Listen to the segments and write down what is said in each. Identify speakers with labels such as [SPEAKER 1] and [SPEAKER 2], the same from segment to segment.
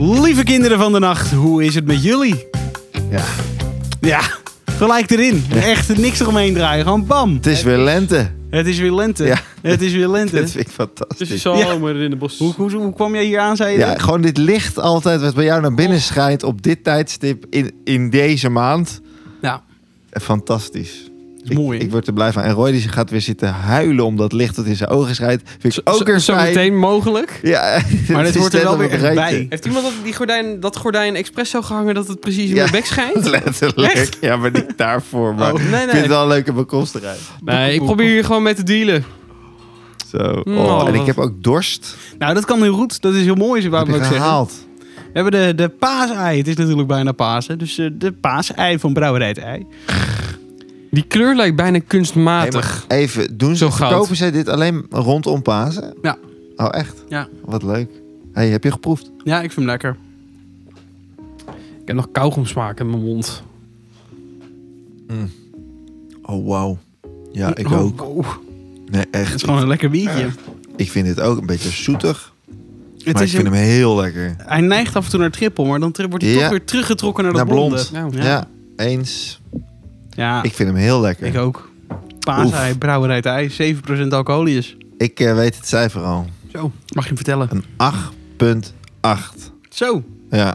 [SPEAKER 1] Lieve kinderen van de nacht, hoe is het met jullie?
[SPEAKER 2] Ja,
[SPEAKER 1] Ja, gelijk erin. Echt niks eromheen draaien, gewoon bam.
[SPEAKER 2] het is weer lente.
[SPEAKER 1] Het is weer lente.
[SPEAKER 2] Ja.
[SPEAKER 1] Het is weer
[SPEAKER 2] Dat
[SPEAKER 1] lente.
[SPEAKER 2] vind ik
[SPEAKER 3] Dus je
[SPEAKER 2] fantastisch.
[SPEAKER 3] zal
[SPEAKER 1] Ja.
[SPEAKER 3] zomer in de bos.
[SPEAKER 1] Hoe, hoe, hoe kwam jij hier aan, zei je?
[SPEAKER 2] Ja, gewoon dit licht altijd wat bij jou naar binnen schijnt op dit tijdstip in, in deze maand.
[SPEAKER 1] Ja.
[SPEAKER 2] Fantastisch.
[SPEAKER 1] is mooi,
[SPEAKER 2] Ik,
[SPEAKER 1] hè?
[SPEAKER 2] ik word er blij van. En Roy die gaat weer zitten huilen om dat licht dat in zijn ogen schijnt. Vind ik ook
[SPEAKER 3] Zo-
[SPEAKER 2] een
[SPEAKER 3] zo
[SPEAKER 2] fijn.
[SPEAKER 3] meteen mogelijk.
[SPEAKER 2] Ja,
[SPEAKER 1] Maar
[SPEAKER 2] het
[SPEAKER 1] dit
[SPEAKER 2] is
[SPEAKER 1] hoort er
[SPEAKER 2] net
[SPEAKER 1] wel
[SPEAKER 2] op
[SPEAKER 1] weer
[SPEAKER 2] het
[SPEAKER 1] echt
[SPEAKER 2] rijtje.
[SPEAKER 1] bij.
[SPEAKER 3] Heeft iemand dat, die gordijn, dat gordijn expres zo gehangen dat het precies in
[SPEAKER 2] Ja.
[SPEAKER 3] mijn bek schijnt?
[SPEAKER 2] Letterlijk.
[SPEAKER 3] Echt?
[SPEAKER 2] Ja, maar niet daarvoor. Maar
[SPEAKER 3] Oh, nee,
[SPEAKER 2] ik vind
[SPEAKER 3] nee.
[SPEAKER 2] het wel een leuke bekostigheid.
[SPEAKER 3] Nee, ik probeer hier gewoon mee te dealen.
[SPEAKER 2] Zo.
[SPEAKER 1] Mm.
[SPEAKER 3] Nou,
[SPEAKER 2] Oh, en ik
[SPEAKER 3] wat-
[SPEAKER 2] heb ook dorst.
[SPEAKER 1] Nou, dat kan heel goed. Dat is heel mooi, zou
[SPEAKER 2] Heb
[SPEAKER 1] ik
[SPEAKER 2] je
[SPEAKER 1] ook zeggen.
[SPEAKER 2] gehaald.
[SPEAKER 1] We hebben de, de paasei. Het is natuurlijk bijna Pasen. Dus eh, de paasei van Brouwerij het Ei.
[SPEAKER 3] Die kleur lijkt bijna kunstmatig.
[SPEAKER 2] Even, doen
[SPEAKER 3] Zo
[SPEAKER 2] ze,
[SPEAKER 3] goud.
[SPEAKER 2] verkopen zij dit alleen rondom Pasen?
[SPEAKER 1] Ja.
[SPEAKER 2] Oh, echt?
[SPEAKER 1] Ja.
[SPEAKER 2] Wat leuk. hey, heb je geproefd?
[SPEAKER 1] Ja, ik vind hem lekker.
[SPEAKER 3] Ik heb nog kauwgomsmaak in mijn mond.
[SPEAKER 2] Oh, wauw. Ja, ik
[SPEAKER 1] Oh,
[SPEAKER 2] ook.
[SPEAKER 1] oh.
[SPEAKER 2] Nee,
[SPEAKER 1] Het is
[SPEAKER 2] echt.
[SPEAKER 1] gewoon een lekker biertje.
[SPEAKER 2] Ik vind dit ook een beetje zoetig.
[SPEAKER 1] Het
[SPEAKER 2] maar ik
[SPEAKER 1] is
[SPEAKER 2] vind
[SPEAKER 1] een-
[SPEAKER 2] hem heel lekker.
[SPEAKER 1] Hij neigt af en toe naar trippel, maar dan tri- wordt hij
[SPEAKER 2] Ja.
[SPEAKER 1] toch weer teruggetrokken naar dat
[SPEAKER 2] Naar blond.
[SPEAKER 1] blonde.
[SPEAKER 2] Ja,
[SPEAKER 3] Nou,
[SPEAKER 1] Ja.
[SPEAKER 2] eens.
[SPEAKER 1] Ja,
[SPEAKER 2] Ik vind hem heel lekker.
[SPEAKER 1] ik
[SPEAKER 2] Ik,
[SPEAKER 1] ook. Paasei, Brouwerij het Ei, 7% alcoholisch.
[SPEAKER 2] eh, weet het cijfer al.
[SPEAKER 1] Zo, mag je hem vertellen.
[SPEAKER 2] Een 8.8.
[SPEAKER 1] Zo,
[SPEAKER 2] Ja.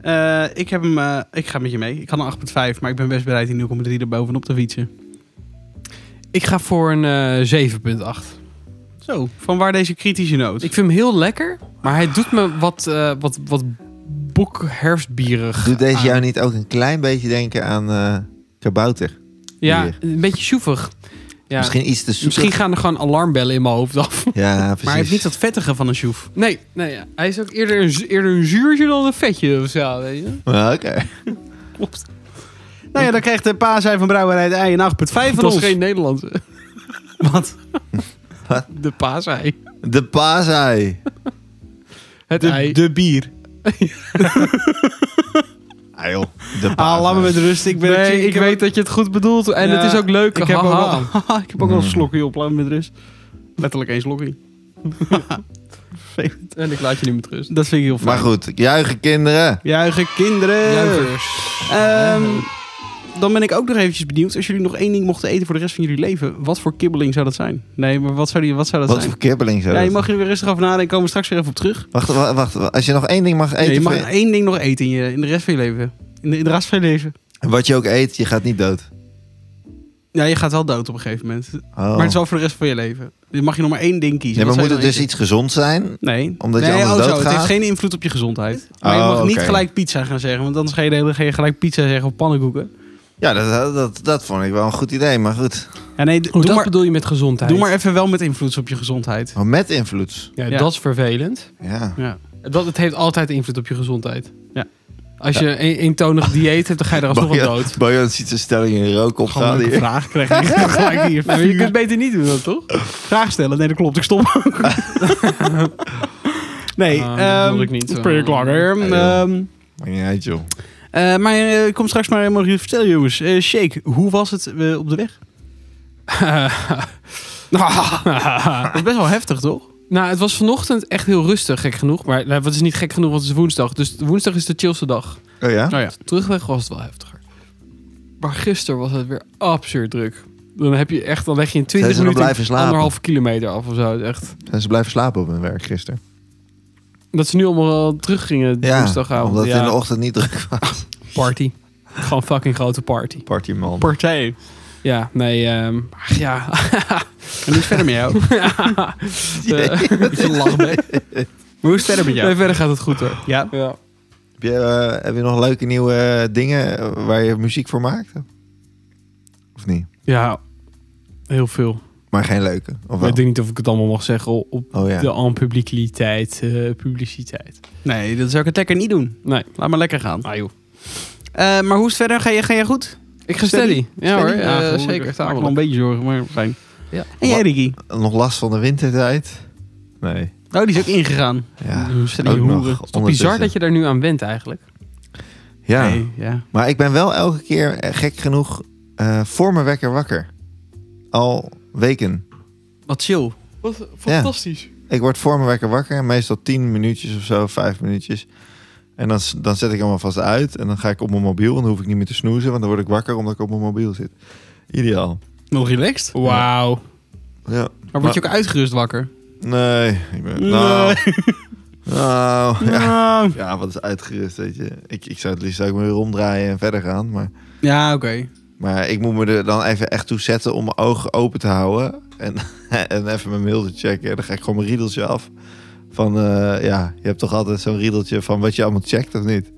[SPEAKER 1] eh, ik, heb hem, eh, ik ga met je mee. Ik had een 8,5, maar ik ben best bereid die 0,3 er bovenop te fietsen.
[SPEAKER 3] Ik ga voor een eh, 7,8.
[SPEAKER 1] Zo, van waar deze kritische noot?
[SPEAKER 3] Ik vind hem heel lekker, maar hij doet me wat, eh wat, wat boekherfstbierig.
[SPEAKER 2] Doet deze
[SPEAKER 1] Ah.
[SPEAKER 3] aan.
[SPEAKER 2] jou niet ook een klein beetje denken aan eh, kabouter?
[SPEAKER 3] Ja,
[SPEAKER 2] Hier.
[SPEAKER 3] een beetje sjoevig. Ja. Misschien,
[SPEAKER 2] Misschien iets te zoetig.
[SPEAKER 3] gaan er gewoon alarmbellen in mijn hoofd af.
[SPEAKER 2] Ja, precies.
[SPEAKER 1] maar hij heeft niet dat vettige van een sjoef.
[SPEAKER 3] Nee, nee ja. hij is ook eerder een, zu- eerder een zuurtje dan een vetje of zo. Weet je?
[SPEAKER 2] Ja, Oké.
[SPEAKER 3] Klopt.
[SPEAKER 1] Nou ja, dan krijgt de Paasei van Brouwerij het Ei een 8,5
[SPEAKER 3] Dat
[SPEAKER 1] van
[SPEAKER 3] was
[SPEAKER 1] ons.
[SPEAKER 3] geen Nederlandse.
[SPEAKER 1] Wat?
[SPEAKER 3] De paasei.
[SPEAKER 2] De paasei.
[SPEAKER 3] Het
[SPEAKER 1] De, dus
[SPEAKER 3] ei.
[SPEAKER 1] de bier.
[SPEAKER 2] Ah, joh. De paasei.
[SPEAKER 1] Ah, laat me met rust. Ik ben
[SPEAKER 3] Nee,
[SPEAKER 1] ik
[SPEAKER 3] ik
[SPEAKER 1] heb
[SPEAKER 3] weet dat je het goed bedoelt en
[SPEAKER 1] Ja,
[SPEAKER 3] het is ook leuk.
[SPEAKER 1] Ik heb, ook
[SPEAKER 3] haha.
[SPEAKER 1] wel, ik heb ook wel een
[SPEAKER 2] Mm.
[SPEAKER 1] slokje op, laat me met rust. Hmm. Letterlijk één slokje. Vervelend.
[SPEAKER 3] En ik laat je niet met rust.
[SPEAKER 1] dat vind ik heel fijn.
[SPEAKER 2] Maar goed, juichen kinderen.
[SPEAKER 1] Juichen, kinderen.
[SPEAKER 3] Juichers.
[SPEAKER 1] Ehm, dan ben ik ook nog eventjes benieuwd. Als jullie nog één ding mochten eten voor de rest van jullie leven. Wat voor kibbeling zou dat zijn? Nee, maar wat zou, die, wat zou dat
[SPEAKER 2] Wat
[SPEAKER 1] zijn?
[SPEAKER 2] voor kibbeling zou
[SPEAKER 1] Ja, je
[SPEAKER 2] dat-
[SPEAKER 1] mag er weer rustig over nadenken. Komen we straks weer even op terug.
[SPEAKER 2] Wacht, wa- wacht, wa- Als je nog één ding mag eten...
[SPEAKER 1] Nee, je mag
[SPEAKER 2] voor-
[SPEAKER 1] één ding nog eten in, je, in de rest van je leven. In de, in de rest van je leven.
[SPEAKER 2] Wat je ook eet, je gaat niet dood.
[SPEAKER 1] Ja, je gaat wel dood op een gegeven moment.
[SPEAKER 2] Oh.
[SPEAKER 1] Maar het is wel voor de rest van je leven. Dus mag je nog maar één ding kiezen.
[SPEAKER 2] Nee, maar
[SPEAKER 1] Wat
[SPEAKER 2] moet
[SPEAKER 1] zou
[SPEAKER 2] het
[SPEAKER 1] je
[SPEAKER 2] dus
[SPEAKER 1] dan
[SPEAKER 2] iets gezond zijn?
[SPEAKER 1] eten? Nee.
[SPEAKER 2] omdat je
[SPEAKER 1] nee,
[SPEAKER 2] anders
[SPEAKER 1] oh, zo, Het
[SPEAKER 2] doodgaat?
[SPEAKER 1] heeft geen invloed op je gezondheid. Maar je
[SPEAKER 2] Oh,
[SPEAKER 1] mag niet
[SPEAKER 2] oké.
[SPEAKER 1] gelijk pizza gaan zeggen. Want anders ga je, de hele, ga je gelijk pizza zeggen of pannenkoeken.
[SPEAKER 2] Ja, dat, dat, dat vond ik wel een goed idee, maar goed.
[SPEAKER 1] Ja, nee, d-
[SPEAKER 3] Hoe
[SPEAKER 1] doe,
[SPEAKER 3] dat
[SPEAKER 1] maar,
[SPEAKER 3] bedoel je met gezondheid?
[SPEAKER 1] doe maar even wel met invloed op je gezondheid.
[SPEAKER 2] Maar Oh, met invloed.
[SPEAKER 3] Ja,
[SPEAKER 1] Ja.
[SPEAKER 3] dat is vervelend.
[SPEAKER 2] Ja.
[SPEAKER 1] Ja.
[SPEAKER 3] Dat, het heeft altijd invloed op je gezondheid.
[SPEAKER 1] Ja.
[SPEAKER 3] Als je een eentonig dieet hebt, dan ga je er alsnog aan dood.
[SPEAKER 2] Bojan ziet zijn stelling in rook
[SPEAKER 1] Gewoon
[SPEAKER 2] opgaan
[SPEAKER 1] een
[SPEAKER 2] hier.
[SPEAKER 1] vraag krijg ik gelijk hier.
[SPEAKER 3] Maar je kunt het beter niet doen, dat toch?
[SPEAKER 1] Vraag stellen? Nee, dat klopt. Ik stop. nee,
[SPEAKER 3] Ah, dat
[SPEAKER 1] ehm,
[SPEAKER 3] wilde ik niet,
[SPEAKER 1] dat ben je
[SPEAKER 3] eh.
[SPEAKER 1] klaar, hè?
[SPEAKER 2] joh.
[SPEAKER 1] Ehm,
[SPEAKER 2] Maakt niet uit, joh.
[SPEAKER 1] eh, maar eh, ik kom straks maar helemaal jullie vertellen, jongens. Eh, Shake, hoe was het eh, op de weg? Dat is best wel heftig, toch?
[SPEAKER 3] nou, het was vanochtend echt heel rustig, gek genoeg. Maar nou, wat is niet gek genoeg, want het is woensdag. Dus woensdag is de chillste dag.
[SPEAKER 2] Oh ja?
[SPEAKER 1] Nou ja.
[SPEAKER 3] Terugweg was het wel heftiger. Maar gisteren was het weer absurd druk. Dan heb je echt, dan leg je in 20
[SPEAKER 2] Zijn ze nog
[SPEAKER 3] minuten
[SPEAKER 2] blijven slapen?
[SPEAKER 3] anderhalve kilometer af of zo. Echt.
[SPEAKER 2] En ze blijven slapen op hun werk gisteren.
[SPEAKER 3] Dat ze nu allemaal wel teruggingen
[SPEAKER 2] Ja,
[SPEAKER 3] woensdagavond.
[SPEAKER 2] omdat het
[SPEAKER 3] ja,
[SPEAKER 2] in de ochtend niet druk was.
[SPEAKER 3] party. Gewoon fucking grote party.
[SPEAKER 2] Partyman.
[SPEAKER 1] Partij.
[SPEAKER 3] Ja, nee, ehm, ach ja.
[SPEAKER 1] En hoe is het verder met jou?
[SPEAKER 3] ja.
[SPEAKER 1] Je lacht mee. Hoe is het verder met jou?
[SPEAKER 3] Eh, Nee, verder gaat het goed hoor.
[SPEAKER 1] Ja.
[SPEAKER 3] Ja.
[SPEAKER 2] Heb je, eh, heb je nog leuke nieuwe eh, dingen eh, waar je muziek voor maakt? Of niet?
[SPEAKER 3] ja, heel veel.
[SPEAKER 2] Maar geen leuke. Of
[SPEAKER 3] Maar
[SPEAKER 2] wel?
[SPEAKER 3] ik denk niet of ik het allemaal mag zeggen op op
[SPEAKER 2] Oh ja.
[SPEAKER 3] de aan publiciteit. eh, publiciteit.
[SPEAKER 1] Nee, dat zou ik het lekker niet doen.
[SPEAKER 3] Nee.
[SPEAKER 1] Laat maar lekker gaan.
[SPEAKER 3] Ah joh.
[SPEAKER 1] Eh, maar hoe is het verder? Ga je, ga je goed?
[SPEAKER 3] Ik ga
[SPEAKER 1] Steady?
[SPEAKER 3] steady. Ja hoor,
[SPEAKER 1] Steady?
[SPEAKER 3] eh,
[SPEAKER 1] gelukkig.
[SPEAKER 3] zeker.
[SPEAKER 1] Ik maak me wel een beetje zorgen, maar fijn.
[SPEAKER 3] Ja.
[SPEAKER 1] En jij, Ricky?
[SPEAKER 2] Nog last van de wintertijd? Nee.
[SPEAKER 1] Oh, die is ook ingegaan.
[SPEAKER 2] Ja.
[SPEAKER 1] Hoe zitten
[SPEAKER 2] ook
[SPEAKER 1] die
[SPEAKER 2] nog
[SPEAKER 1] hoeren? Het
[SPEAKER 3] Toch
[SPEAKER 2] ondertussen.
[SPEAKER 3] bizar dat je daar nu aan went eigenlijk.
[SPEAKER 2] Ja.
[SPEAKER 1] Nee, ja.
[SPEAKER 2] Maar ik ben wel elke keer eh, gek genoeg eh, voor mijn wekker wakker. Al weken.
[SPEAKER 1] Wat chill.
[SPEAKER 3] Wat fantastisch.
[SPEAKER 2] Ik word voor mijn wekker wakker. Meestal tien minuutjes of zo, vijf minuutjes. En dan, s- dan zet ik hem alvast uit. En dan ga ik op mijn mobiel. En dan hoef ik niet meer te snoezen. Want dan word ik wakker omdat ik op mijn mobiel zit. Ideaal.
[SPEAKER 1] Nog relaxed?
[SPEAKER 3] Wauw.
[SPEAKER 2] Ja.
[SPEAKER 1] Maar word je ook uitgerust wakker?
[SPEAKER 2] Nee. Ik ben, nou, nou, ja.
[SPEAKER 1] Nou.
[SPEAKER 2] ja, wat is uitgerust, weet je. Ik, ik zou het liefst zou ik me weer omdraaien en verder gaan. Maar,
[SPEAKER 1] Ja, oké.
[SPEAKER 2] maar ik moet me er dan even echt toe zetten om mijn ogen open te houden. En, en even mijn mail te checken. En dan ga ik gewoon mijn riedeltje af. Van, eh, ja, je hebt toch altijd zo'n riedeltje van wat je allemaal checkt, of niet?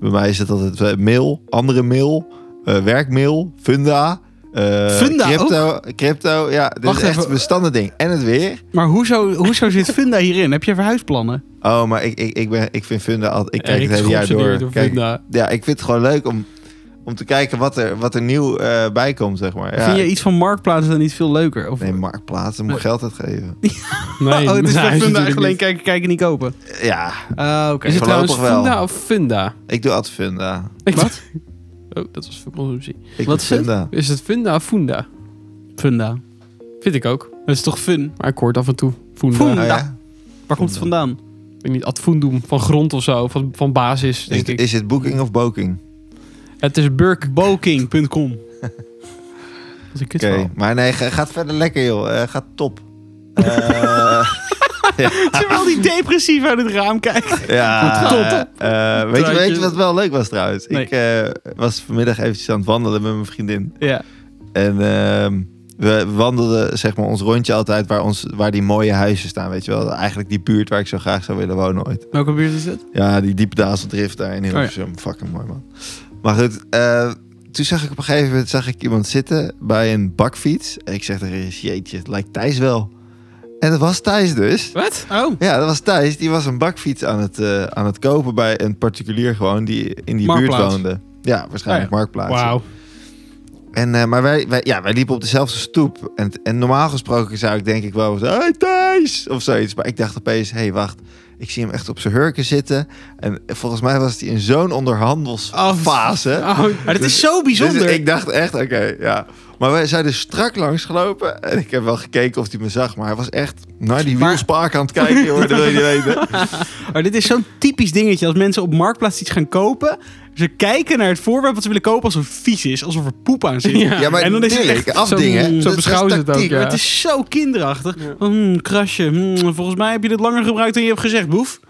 [SPEAKER 2] Bij mij is het altijd eh, mail, andere mail, eh, werkmail, funda. eh,
[SPEAKER 1] Funda
[SPEAKER 2] crypto, crypto, ja. Dit
[SPEAKER 1] Wacht
[SPEAKER 2] is echt
[SPEAKER 1] even.
[SPEAKER 2] een bestanden ding. En het weer.
[SPEAKER 1] Maar hoezo, hoezo zit Funda hierin? Heb je verhuisplannen?
[SPEAKER 2] Oh, maar ik, ik, ik, ben, ik vind Funda altijd... Ik kijk
[SPEAKER 3] Erik
[SPEAKER 2] het hele
[SPEAKER 3] is
[SPEAKER 2] jaar door.
[SPEAKER 3] geobsedeerd door
[SPEAKER 2] Kijk,
[SPEAKER 3] Funda.
[SPEAKER 2] ja, ik vind het gewoon leuk om, om te kijken wat er, wat er nieuw eh, bij komt, zeg maar. Ja,
[SPEAKER 1] Vind je iets van Marktplaats dan niet veel leuker? Of...
[SPEAKER 2] Nee, marktplaatsen moet
[SPEAKER 1] Nee.
[SPEAKER 2] geld uitgeven.
[SPEAKER 3] Nee,
[SPEAKER 1] oh, het is
[SPEAKER 3] nee,
[SPEAKER 1] voor Funda
[SPEAKER 3] natuurlijk
[SPEAKER 1] eigenlijk alleen
[SPEAKER 3] niet.
[SPEAKER 1] kijken, kijken, niet kopen.
[SPEAKER 2] Ja,
[SPEAKER 1] Ah, oké.
[SPEAKER 3] Is het trouwens
[SPEAKER 2] Voorlopig wel.
[SPEAKER 3] Funda of Funda?
[SPEAKER 2] ik doe altijd Funda.
[SPEAKER 3] Ik-
[SPEAKER 1] Wat?
[SPEAKER 3] Oh, dat was voor consumptie.
[SPEAKER 1] Wat
[SPEAKER 2] Ik doe
[SPEAKER 1] is het?
[SPEAKER 2] Funda.
[SPEAKER 3] Is het Funda of Funda?
[SPEAKER 1] Funda.
[SPEAKER 3] Vind ik ook.
[SPEAKER 1] Dat is toch fun?
[SPEAKER 3] Maar ik hoor het af en toe. Funda.
[SPEAKER 1] Funda.
[SPEAKER 2] Oh,
[SPEAKER 1] Ja.
[SPEAKER 2] ja?
[SPEAKER 1] Waar komt het vandaan?
[SPEAKER 3] Ik weet niet, ad fundum, van grond of zo, van, van basis,
[SPEAKER 2] is,
[SPEAKER 3] denk ik.
[SPEAKER 2] is het booking of boking?
[SPEAKER 3] Het is Burk.
[SPEAKER 1] Boking.com. Wat een
[SPEAKER 2] Oké,
[SPEAKER 1] kutverhaal.
[SPEAKER 2] maar nee, ga- gaat verder lekker, joh. Eh, gaat top. Eh,
[SPEAKER 1] Terwijl die depressief uit het raam kijkt.
[SPEAKER 2] ja,
[SPEAKER 1] Top.
[SPEAKER 2] eh, weet, je, weet je
[SPEAKER 1] Truitje.
[SPEAKER 2] wat wel leuk was trouwens?
[SPEAKER 1] Nee.
[SPEAKER 2] Ik eh, was vanmiddag eventjes aan het wandelen met mijn vriendin.
[SPEAKER 1] Ja.
[SPEAKER 2] En ehm, we wandelden zeg maar ons rondje altijd waar, ons, waar die mooie huizen staan, weet je wel. Eigenlijk die buurt waar ik zo graag zou willen wonen ooit.
[SPEAKER 1] Welke buurt is het?
[SPEAKER 2] Ja, die diepe Dazeldrift daar in Hilversum. Fucking mooi, man. Maar goed, eh, toen zag ik op een gegeven moment zag ik iemand zitten bij een bakfiets. En ik zeg tegen Iris, jeetje, het lijkt Thijs wel. En dat was Thijs dus.
[SPEAKER 3] Wat?
[SPEAKER 1] Oh,
[SPEAKER 2] Ja, dat was Thijs. Die was een bakfiets aan het, eh, aan het kopen bij een particulier gewoon die in die buurt
[SPEAKER 1] Marktplaats.
[SPEAKER 2] woonde. Ja, waarschijnlijk Marktplaats.
[SPEAKER 3] Wauw.
[SPEAKER 2] En, eh, maar wij, wij, ja, wij liepen op dezelfde stoep. En, en normaal gesproken zou ik denk ik wel zo... Hey Thijs! Of zoiets. Maar ik dacht opeens... Hé, hey, wacht. Ik zie hem echt op zijn hurken zitten. En volgens mij was hij in zo'n onderhandelsfase.
[SPEAKER 3] Oh,
[SPEAKER 1] maar dit is zo Ah, bijzonder.
[SPEAKER 2] Dus ik dacht echt, oké, ja. Maar wij zijn dus strak langs gelopen. En ik heb wel gekeken of hij me zag. Maar hij was echt naar die
[SPEAKER 1] Maar-
[SPEAKER 2] wielspark aan het kijken, hoor. Dat wil je niet weten.
[SPEAKER 1] Maar dit is zo'n typisch dingetje. Als mensen op Marktplaats iets gaan kopen... ze kijken naar het voorwerp wat ze willen kopen alsof het vies is. Alsof er poep aan zit.
[SPEAKER 3] Ja.
[SPEAKER 2] Ja, maar
[SPEAKER 1] En dan is het
[SPEAKER 2] tuurlijk,
[SPEAKER 1] echt
[SPEAKER 2] afdingen.
[SPEAKER 3] zo-
[SPEAKER 2] Dat
[SPEAKER 3] zo
[SPEAKER 2] is
[SPEAKER 3] beschouwen ze het ook,
[SPEAKER 2] tactiek.
[SPEAKER 3] ja.
[SPEAKER 1] Het is zo kinderachtig.
[SPEAKER 3] Ja.
[SPEAKER 1] Hmm, krasje. Hmm, volgens mij heb je dit langer gebruikt dan je hebt gezegd, boef.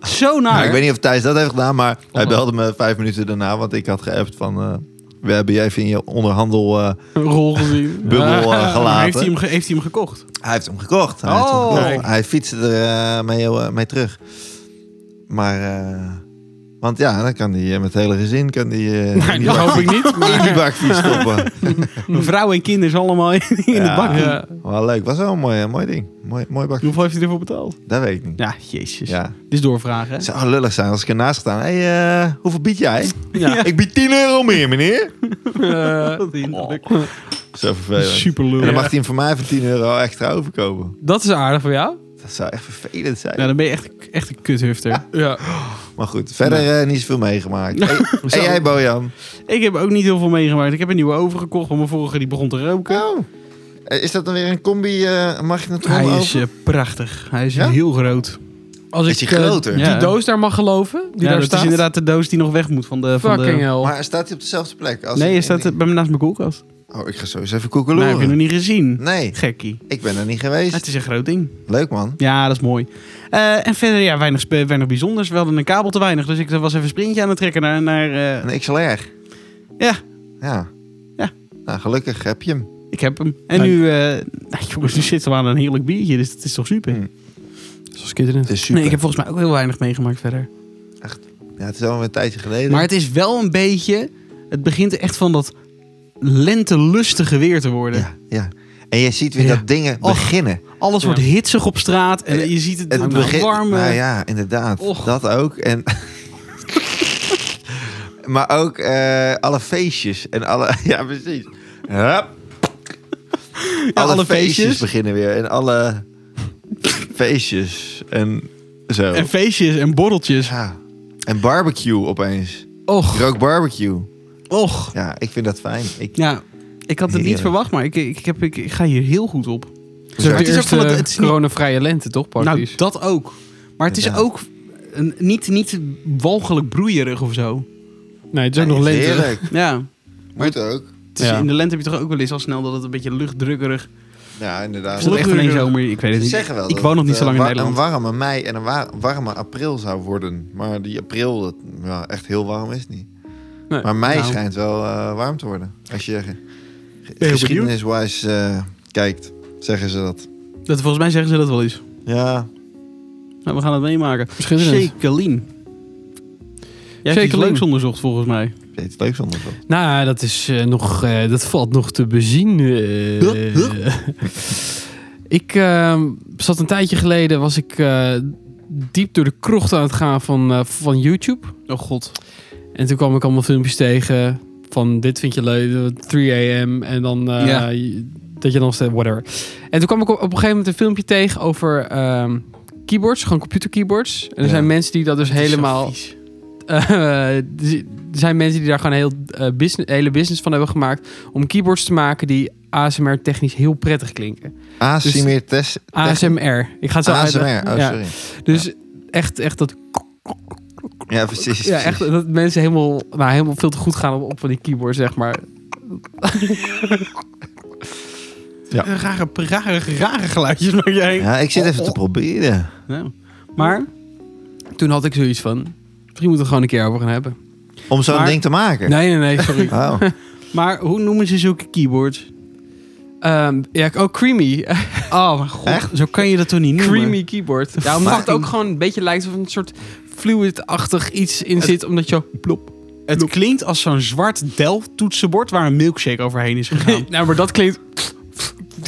[SPEAKER 1] Zo naar.
[SPEAKER 2] Nou, ik weet niet of Thijs dat heeft gedaan, maar hij
[SPEAKER 3] Oh.
[SPEAKER 2] belde me vijf minuten daarna, want ik had geappt van... eh, we hebben je even in je onderhandel... eh,
[SPEAKER 3] een rol gezien.
[SPEAKER 2] Bubbel, eh, gelaten.
[SPEAKER 1] Maar Ah, heeft hij hem, ge- heeft hij hem gekocht?
[SPEAKER 2] hij heeft hem gekocht. Hij, heeft hem
[SPEAKER 1] Oh.
[SPEAKER 2] gekocht.
[SPEAKER 1] Kijk.
[SPEAKER 2] hij fietste er eh, mee, eh, mee terug. Maar... eh, want ja, dan kan hij eh, met het hele gezin... Kan die, eh, in die
[SPEAKER 3] dat
[SPEAKER 1] nou-
[SPEAKER 2] bak-
[SPEAKER 3] hoop ik niet.
[SPEAKER 2] in die bakfiets stoppen.
[SPEAKER 1] Vrouw en kinderen allemaal in de
[SPEAKER 2] Ja.
[SPEAKER 1] bak.
[SPEAKER 3] Ja.
[SPEAKER 2] Wel leuk. Was wel een mooi, eh, mooi ding. Mooi, mooi bakfiets.
[SPEAKER 1] Hoeveel heeft hij ervoor betaald?
[SPEAKER 2] Dat weet ik niet.
[SPEAKER 1] Ja, jezus.
[SPEAKER 2] Ja.
[SPEAKER 1] Dit is doorvragen,
[SPEAKER 2] Het
[SPEAKER 1] hè?
[SPEAKER 2] zou lullig zijn als ik ernaast staan. Hé, hey, eh, hoeveel bied jij?
[SPEAKER 3] Ja.
[SPEAKER 2] Ik bied 10 euro meer, meneer.
[SPEAKER 3] Eh,
[SPEAKER 1] Wat hinderlijk.
[SPEAKER 2] Oh, Zo vervelend.
[SPEAKER 1] Super lul.
[SPEAKER 2] En dan
[SPEAKER 1] Ja.
[SPEAKER 2] mag hij hem voor mij voor 10 euro extra overkopen.
[SPEAKER 3] dat is aardig van jou.
[SPEAKER 2] Dat zou echt vervelend zijn.
[SPEAKER 1] Ja, dan ben je echt, echt een kuthufter.
[SPEAKER 3] Ja.
[SPEAKER 2] Maar goed, verder eh, niet zoveel meegemaakt. Hey,
[SPEAKER 3] Zo.
[SPEAKER 2] en jij, Bojan?
[SPEAKER 1] Ik heb ook niet heel veel meegemaakt. Ik heb een nieuwe oven gekocht, want mijn vorige die begon te roken.
[SPEAKER 2] Eh, Is dat dan weer een combi eh magnetron
[SPEAKER 1] Hij
[SPEAKER 2] over?
[SPEAKER 1] is eh, prachtig. Hij is
[SPEAKER 2] Ja?
[SPEAKER 1] heel groot.
[SPEAKER 3] Als
[SPEAKER 2] Is
[SPEAKER 3] ik
[SPEAKER 2] die
[SPEAKER 3] eh,
[SPEAKER 2] groter?
[SPEAKER 3] die
[SPEAKER 1] Ja.
[SPEAKER 3] doos daar mag geloven, die
[SPEAKER 1] ja,
[SPEAKER 3] daar
[SPEAKER 1] dat
[SPEAKER 3] staat.
[SPEAKER 1] is inderdaad de doos die nog weg moet van de... Van
[SPEAKER 3] Fucking
[SPEAKER 1] de...
[SPEAKER 3] hell.
[SPEAKER 2] Maar staat hij op dezelfde plek? Als
[SPEAKER 1] Nee,
[SPEAKER 2] in-
[SPEAKER 1] je staat eh, bij me naast mijn koelkast.
[SPEAKER 2] Oh, ik ga zo eens even
[SPEAKER 1] Maar heb je nog
[SPEAKER 2] koekeloeren.
[SPEAKER 1] niet gezien.
[SPEAKER 2] Nee,
[SPEAKER 1] Gekkie.
[SPEAKER 2] ik ben er niet
[SPEAKER 1] Het
[SPEAKER 2] geweest.
[SPEAKER 1] is een groot ding.
[SPEAKER 2] Leuk, man.
[SPEAKER 1] Ja, dat is mooi. Eh, en verder, ja, weinig, spe- weinig bijzonders. We hadden een kabel te weinig, dus ik was even een sprintje aan het trekken naar... naar eh,
[SPEAKER 2] Een XLR.
[SPEAKER 1] Ja.
[SPEAKER 2] Ja.
[SPEAKER 1] Ja.
[SPEAKER 2] Nou, gelukkig heb je hem.
[SPEAKER 1] ik heb hem. En nu, eh, nou, jongens, nu zitten we aan een heerlijk biertje, dus dat is toch super.
[SPEAKER 2] Mm,
[SPEAKER 3] Zoals kinderen.
[SPEAKER 2] Het is super.
[SPEAKER 1] Nee, ik heb volgens mij ook heel weinig meegemaakt verder.
[SPEAKER 2] ja, het is al een tijdje geleden.
[SPEAKER 1] Maar het is wel een beetje... Het begint echt van dat lentelustige weer te worden.
[SPEAKER 2] ja, ja. En je ziet weer
[SPEAKER 1] Ja.
[SPEAKER 2] dat dingen
[SPEAKER 1] Och.
[SPEAKER 2] beginnen.
[SPEAKER 1] Alles
[SPEAKER 3] Ja.
[SPEAKER 1] wordt hitsig op straat en
[SPEAKER 2] Eh,
[SPEAKER 1] je ziet het,
[SPEAKER 2] Het
[SPEAKER 1] het
[SPEAKER 2] begin...
[SPEAKER 1] warme...
[SPEAKER 2] Nou ja, inderdaad.
[SPEAKER 1] Och.
[SPEAKER 2] Dat ook. En... maar ook eh, alle feestjes en alle... Ja, precies. Hup. alle,
[SPEAKER 1] alle
[SPEAKER 2] feestjes.
[SPEAKER 1] feestjes.
[SPEAKER 2] beginnen weer. En alle feestjes. En zo.
[SPEAKER 1] En feestjes en borreltjes.
[SPEAKER 2] ja. en barbecue opeens.
[SPEAKER 1] Och,
[SPEAKER 2] Ik Rook barbecue.
[SPEAKER 1] och.
[SPEAKER 2] Ja, ik vind dat fijn. Ik...
[SPEAKER 1] Ja, ik had het niet
[SPEAKER 2] Heerlijk.
[SPEAKER 1] verwacht, maar ik, ik, ik heb, ik, ik ga hier heel goed op. Nou, Zo,
[SPEAKER 3] het
[SPEAKER 1] het is
[SPEAKER 3] is
[SPEAKER 1] ook van het-
[SPEAKER 3] de
[SPEAKER 1] het is niet-
[SPEAKER 3] eh, coronavrije lente, toch? Praktisch.
[SPEAKER 1] Nou, dat ook. Maar het is
[SPEAKER 2] Ja.
[SPEAKER 1] ook een, niet, niet walgelijk broeierig of zo.
[SPEAKER 3] nee, het is ook nog
[SPEAKER 2] Nee,
[SPEAKER 3] lente.
[SPEAKER 2] Heerlijk.
[SPEAKER 1] Ja.
[SPEAKER 2] Moet ook.
[SPEAKER 1] Het is-
[SPEAKER 3] Ja.
[SPEAKER 1] In de lente heb je toch ook wel eens al snel dat het een beetje luchtdrukkerig...
[SPEAKER 2] Ja, inderdaad.
[SPEAKER 1] Is het echt geen zomer? Ik weet het
[SPEAKER 2] Ze
[SPEAKER 1] niet.
[SPEAKER 2] zeggen wel
[SPEAKER 1] ik
[SPEAKER 2] dat
[SPEAKER 1] woon nog
[SPEAKER 2] het,
[SPEAKER 1] niet zo
[SPEAKER 2] eh,
[SPEAKER 1] lang in
[SPEAKER 2] wa-
[SPEAKER 1] Nederland.
[SPEAKER 2] Een warme mei en een wa- warme april zou worden. Maar die april, dat, ja, echt heel warm is het niet.
[SPEAKER 3] Nee.
[SPEAKER 2] maar mei
[SPEAKER 1] Nou.
[SPEAKER 2] schijnt wel eh, warm te worden. Als je ge-
[SPEAKER 1] benieuwd.
[SPEAKER 2] geschiedeniswijs eh, kijkt, zeggen ze dat.
[SPEAKER 1] Dat, volgens mij zeggen ze dat wel eens.
[SPEAKER 2] Ja,
[SPEAKER 1] Nou, we gaan het meemaken.
[SPEAKER 3] Schitterend.
[SPEAKER 1] Shakeline. Jij hebt iets
[SPEAKER 3] Shakeline.
[SPEAKER 1] leuks onderzocht volgens mij.
[SPEAKER 2] iets leuks onderzocht.
[SPEAKER 1] Dus
[SPEAKER 3] Nou, dat, is, eh, nog, eh, dat valt nog te bezien. eh.
[SPEAKER 1] Huh? Huh?
[SPEAKER 3] ik eh, zat een tijdje geleden, was ik eh, diep door de krocht aan het gaan van, eh, van YouTube.
[SPEAKER 1] Oh god.
[SPEAKER 3] En toen kwam ik allemaal filmpjes tegen van dit vind je leuk, 3 a.m. En dan eh,
[SPEAKER 1] Ja.
[SPEAKER 3] je- dat je dan steeds, whatever. En toen kwam ik op, op een gegeven moment een filmpje tegen over ehm, keyboards, gewoon computer keyboards. En er
[SPEAKER 2] Ja.
[SPEAKER 3] zijn mensen die dat dus
[SPEAKER 1] Het is zo
[SPEAKER 3] helemaal
[SPEAKER 1] vies.
[SPEAKER 3] eh, er zi- er zijn mensen die daar gewoon heel, eh, business, hele business van hebben gemaakt. Om keyboards te maken die ASMR technisch heel prettig klinken.
[SPEAKER 2] ASMR test.
[SPEAKER 3] ASMR. Ik ga het zo
[SPEAKER 2] ASMR,
[SPEAKER 3] uitleggen.
[SPEAKER 2] oh
[SPEAKER 3] Ja,
[SPEAKER 2] sorry.
[SPEAKER 3] Dus echt, echt dat,
[SPEAKER 2] Ja, precies.
[SPEAKER 3] ja, echt
[SPEAKER 2] precies.
[SPEAKER 3] dat mensen helemaal, nou, helemaal veel te goed gaan op, op van die keyboards, zeg maar.
[SPEAKER 2] Ja.
[SPEAKER 1] Eh, Rare, rare, rare geluidjes maak jij.
[SPEAKER 2] Ja, ik zit
[SPEAKER 1] oh.
[SPEAKER 2] even te proberen.
[SPEAKER 1] Ja. Maar
[SPEAKER 3] Toen had ik zoiets van, misschien moeten we het gewoon een keer over gaan hebben.
[SPEAKER 2] Om zo'n
[SPEAKER 1] Maar- Oh,
[SPEAKER 2] ding te maken. Oh.
[SPEAKER 3] Nee, nee, nee, sorry.
[SPEAKER 2] Wauw.
[SPEAKER 1] Maar hoe noemen ze zulke keyboards?
[SPEAKER 3] Ehm, ja, oh, creamy.
[SPEAKER 1] Oh, mijn god.
[SPEAKER 2] Echt?
[SPEAKER 1] Zo kan je dat toch niet noemen?
[SPEAKER 3] creamy keyboard. Ja, omdat
[SPEAKER 1] Maar-
[SPEAKER 3] het ook gewoon een beetje lijkt of een soort fluid-achtig iets in zit, omdat je zo plop.
[SPEAKER 1] Het klinkt als zo'n zwart Delft toetsenbord waar een milkshake overheen is gegaan.
[SPEAKER 3] nou, maar dat klinkt.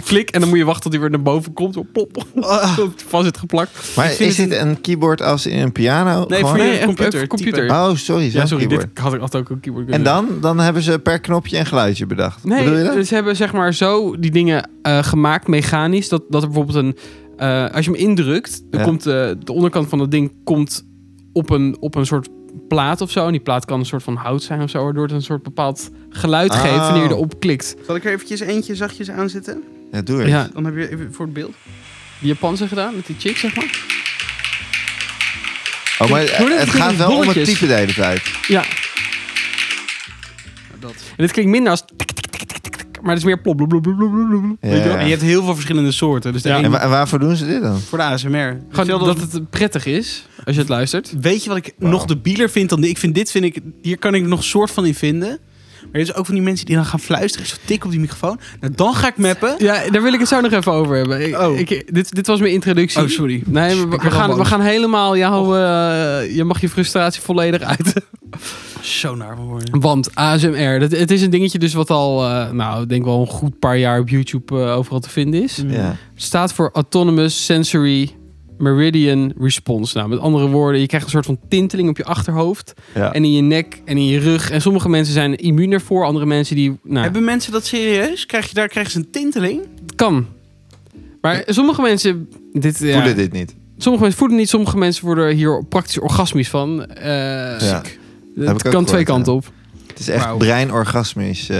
[SPEAKER 3] Klik en dan moet je wachten tot hij weer naar boven komt. Zo Plop. Tot hij Vast zit geplakt.
[SPEAKER 2] Maar
[SPEAKER 1] Ik vind
[SPEAKER 2] is
[SPEAKER 1] het
[SPEAKER 2] dit een keyboard als in een piano?
[SPEAKER 1] Nee,
[SPEAKER 2] Gewoon?
[SPEAKER 1] voor je
[SPEAKER 3] Nee, een-
[SPEAKER 1] computer.
[SPEAKER 3] een computer.
[SPEAKER 1] typen.
[SPEAKER 2] Oh, sorry.
[SPEAKER 3] Ja,
[SPEAKER 2] zo'n
[SPEAKER 3] sorry.
[SPEAKER 2] keyboard.
[SPEAKER 3] Dit had ik altijd ook een keyboard
[SPEAKER 2] En
[SPEAKER 3] kunnen
[SPEAKER 2] dan? Dan hebben ze per knopje een geluidje bedacht. Bedoel je nou? dat?
[SPEAKER 3] Nee, dus- ze hebben zeg maar zo die dingen eh, gemaakt mechanisch. Dat, dat er bijvoorbeeld een. eh, als je hem indrukt, dan
[SPEAKER 2] Ja.
[SPEAKER 3] komt eh, de onderkant van dat ding komt op, een, op een soort plaat of zo. En die plaat kan een soort van hout zijn of zo. Waardoor het een soort bepaald geluid
[SPEAKER 2] Oh.
[SPEAKER 3] geeft wanneer je erop klikt.
[SPEAKER 1] Zal ik er eventjes eentje zachtjes aanzetten?
[SPEAKER 2] Ja, doe het.
[SPEAKER 3] Ja,
[SPEAKER 1] Dan heb je even voor het beeld.
[SPEAKER 3] die Japanse gedaan met die chick zeg maar.
[SPEAKER 2] Oh, maar
[SPEAKER 3] Hoor je
[SPEAKER 2] het
[SPEAKER 3] dat?
[SPEAKER 2] gaat wel om het
[SPEAKER 3] Bolletjes.
[SPEAKER 2] type de hele tijd.
[SPEAKER 3] Ja,
[SPEAKER 1] Dat.
[SPEAKER 3] en dit klinkt minder als. tik, tik, tik, tik, tik, Maar het is meer plop. blop, blop, blop, blop, blop.
[SPEAKER 2] Ja.
[SPEAKER 1] Weet je, wel? En je hebt heel veel verschillende soorten. Dus de
[SPEAKER 3] Ja.
[SPEAKER 1] ene
[SPEAKER 2] En wa- en waarvoor doen ze dit dan?
[SPEAKER 1] voor de ASMR.
[SPEAKER 3] Gewoon
[SPEAKER 1] Hetzelfde
[SPEAKER 3] dat
[SPEAKER 1] als-
[SPEAKER 3] het prettig is als je het luistert.
[SPEAKER 1] Weet je wat ik
[SPEAKER 2] Wauw.
[SPEAKER 1] nog debieler vind dan dit? Ik vind dit, vind ik, hier kan ik nog soort van in vinden. Maar er is ook van die mensen die dan gaan fluisteren. Zo tik op die microfoon. Nou, dan ga ik mappen.
[SPEAKER 3] Ja, daar wil ik het zo nog even over hebben. Ik,
[SPEAKER 1] Oh.
[SPEAKER 3] ik- dit, dit was mijn introductie.
[SPEAKER 1] Oh, sorry.
[SPEAKER 3] Nee,
[SPEAKER 1] Ik
[SPEAKER 3] we, we
[SPEAKER 1] ben al
[SPEAKER 3] gaan,
[SPEAKER 1] boos.
[SPEAKER 3] we gaan helemaal jou. eh, je mag je frustratie volledig uiten.
[SPEAKER 1] Zo naar van worden.
[SPEAKER 3] Want ASMR, dat, het is een dingetje dus wat al, eh, nou, ik denk wel een goed paar jaar op YouTube eh, overal te vinden is.
[SPEAKER 1] Mm.
[SPEAKER 2] Ja.
[SPEAKER 3] Staat voor Autonomous Sensory Meridian Response. Nou, met andere woorden, je krijgt een soort van tinteling op je achterhoofd.
[SPEAKER 2] Ja.
[SPEAKER 3] En in je nek en in je rug. En sommige mensen zijn immuun ervoor, andere mensen die. Nou,
[SPEAKER 1] Hebben mensen dat serieus? Krijg je daar krijgen ze een tinteling?
[SPEAKER 3] het kan. Maar sommige mensen. Dit, ja.
[SPEAKER 2] Voelen dit niet.
[SPEAKER 3] Sommige mensen voelen het niet, sommige mensen worden hier praktisch orgasmisch van. Eh,
[SPEAKER 2] Ja.
[SPEAKER 3] Het
[SPEAKER 2] Heb ik ook
[SPEAKER 3] kan
[SPEAKER 2] gehoord,
[SPEAKER 3] twee
[SPEAKER 2] ja.
[SPEAKER 3] kanten op.
[SPEAKER 2] Het is echt
[SPEAKER 1] Wauw.
[SPEAKER 2] breinorgasmisch. eh.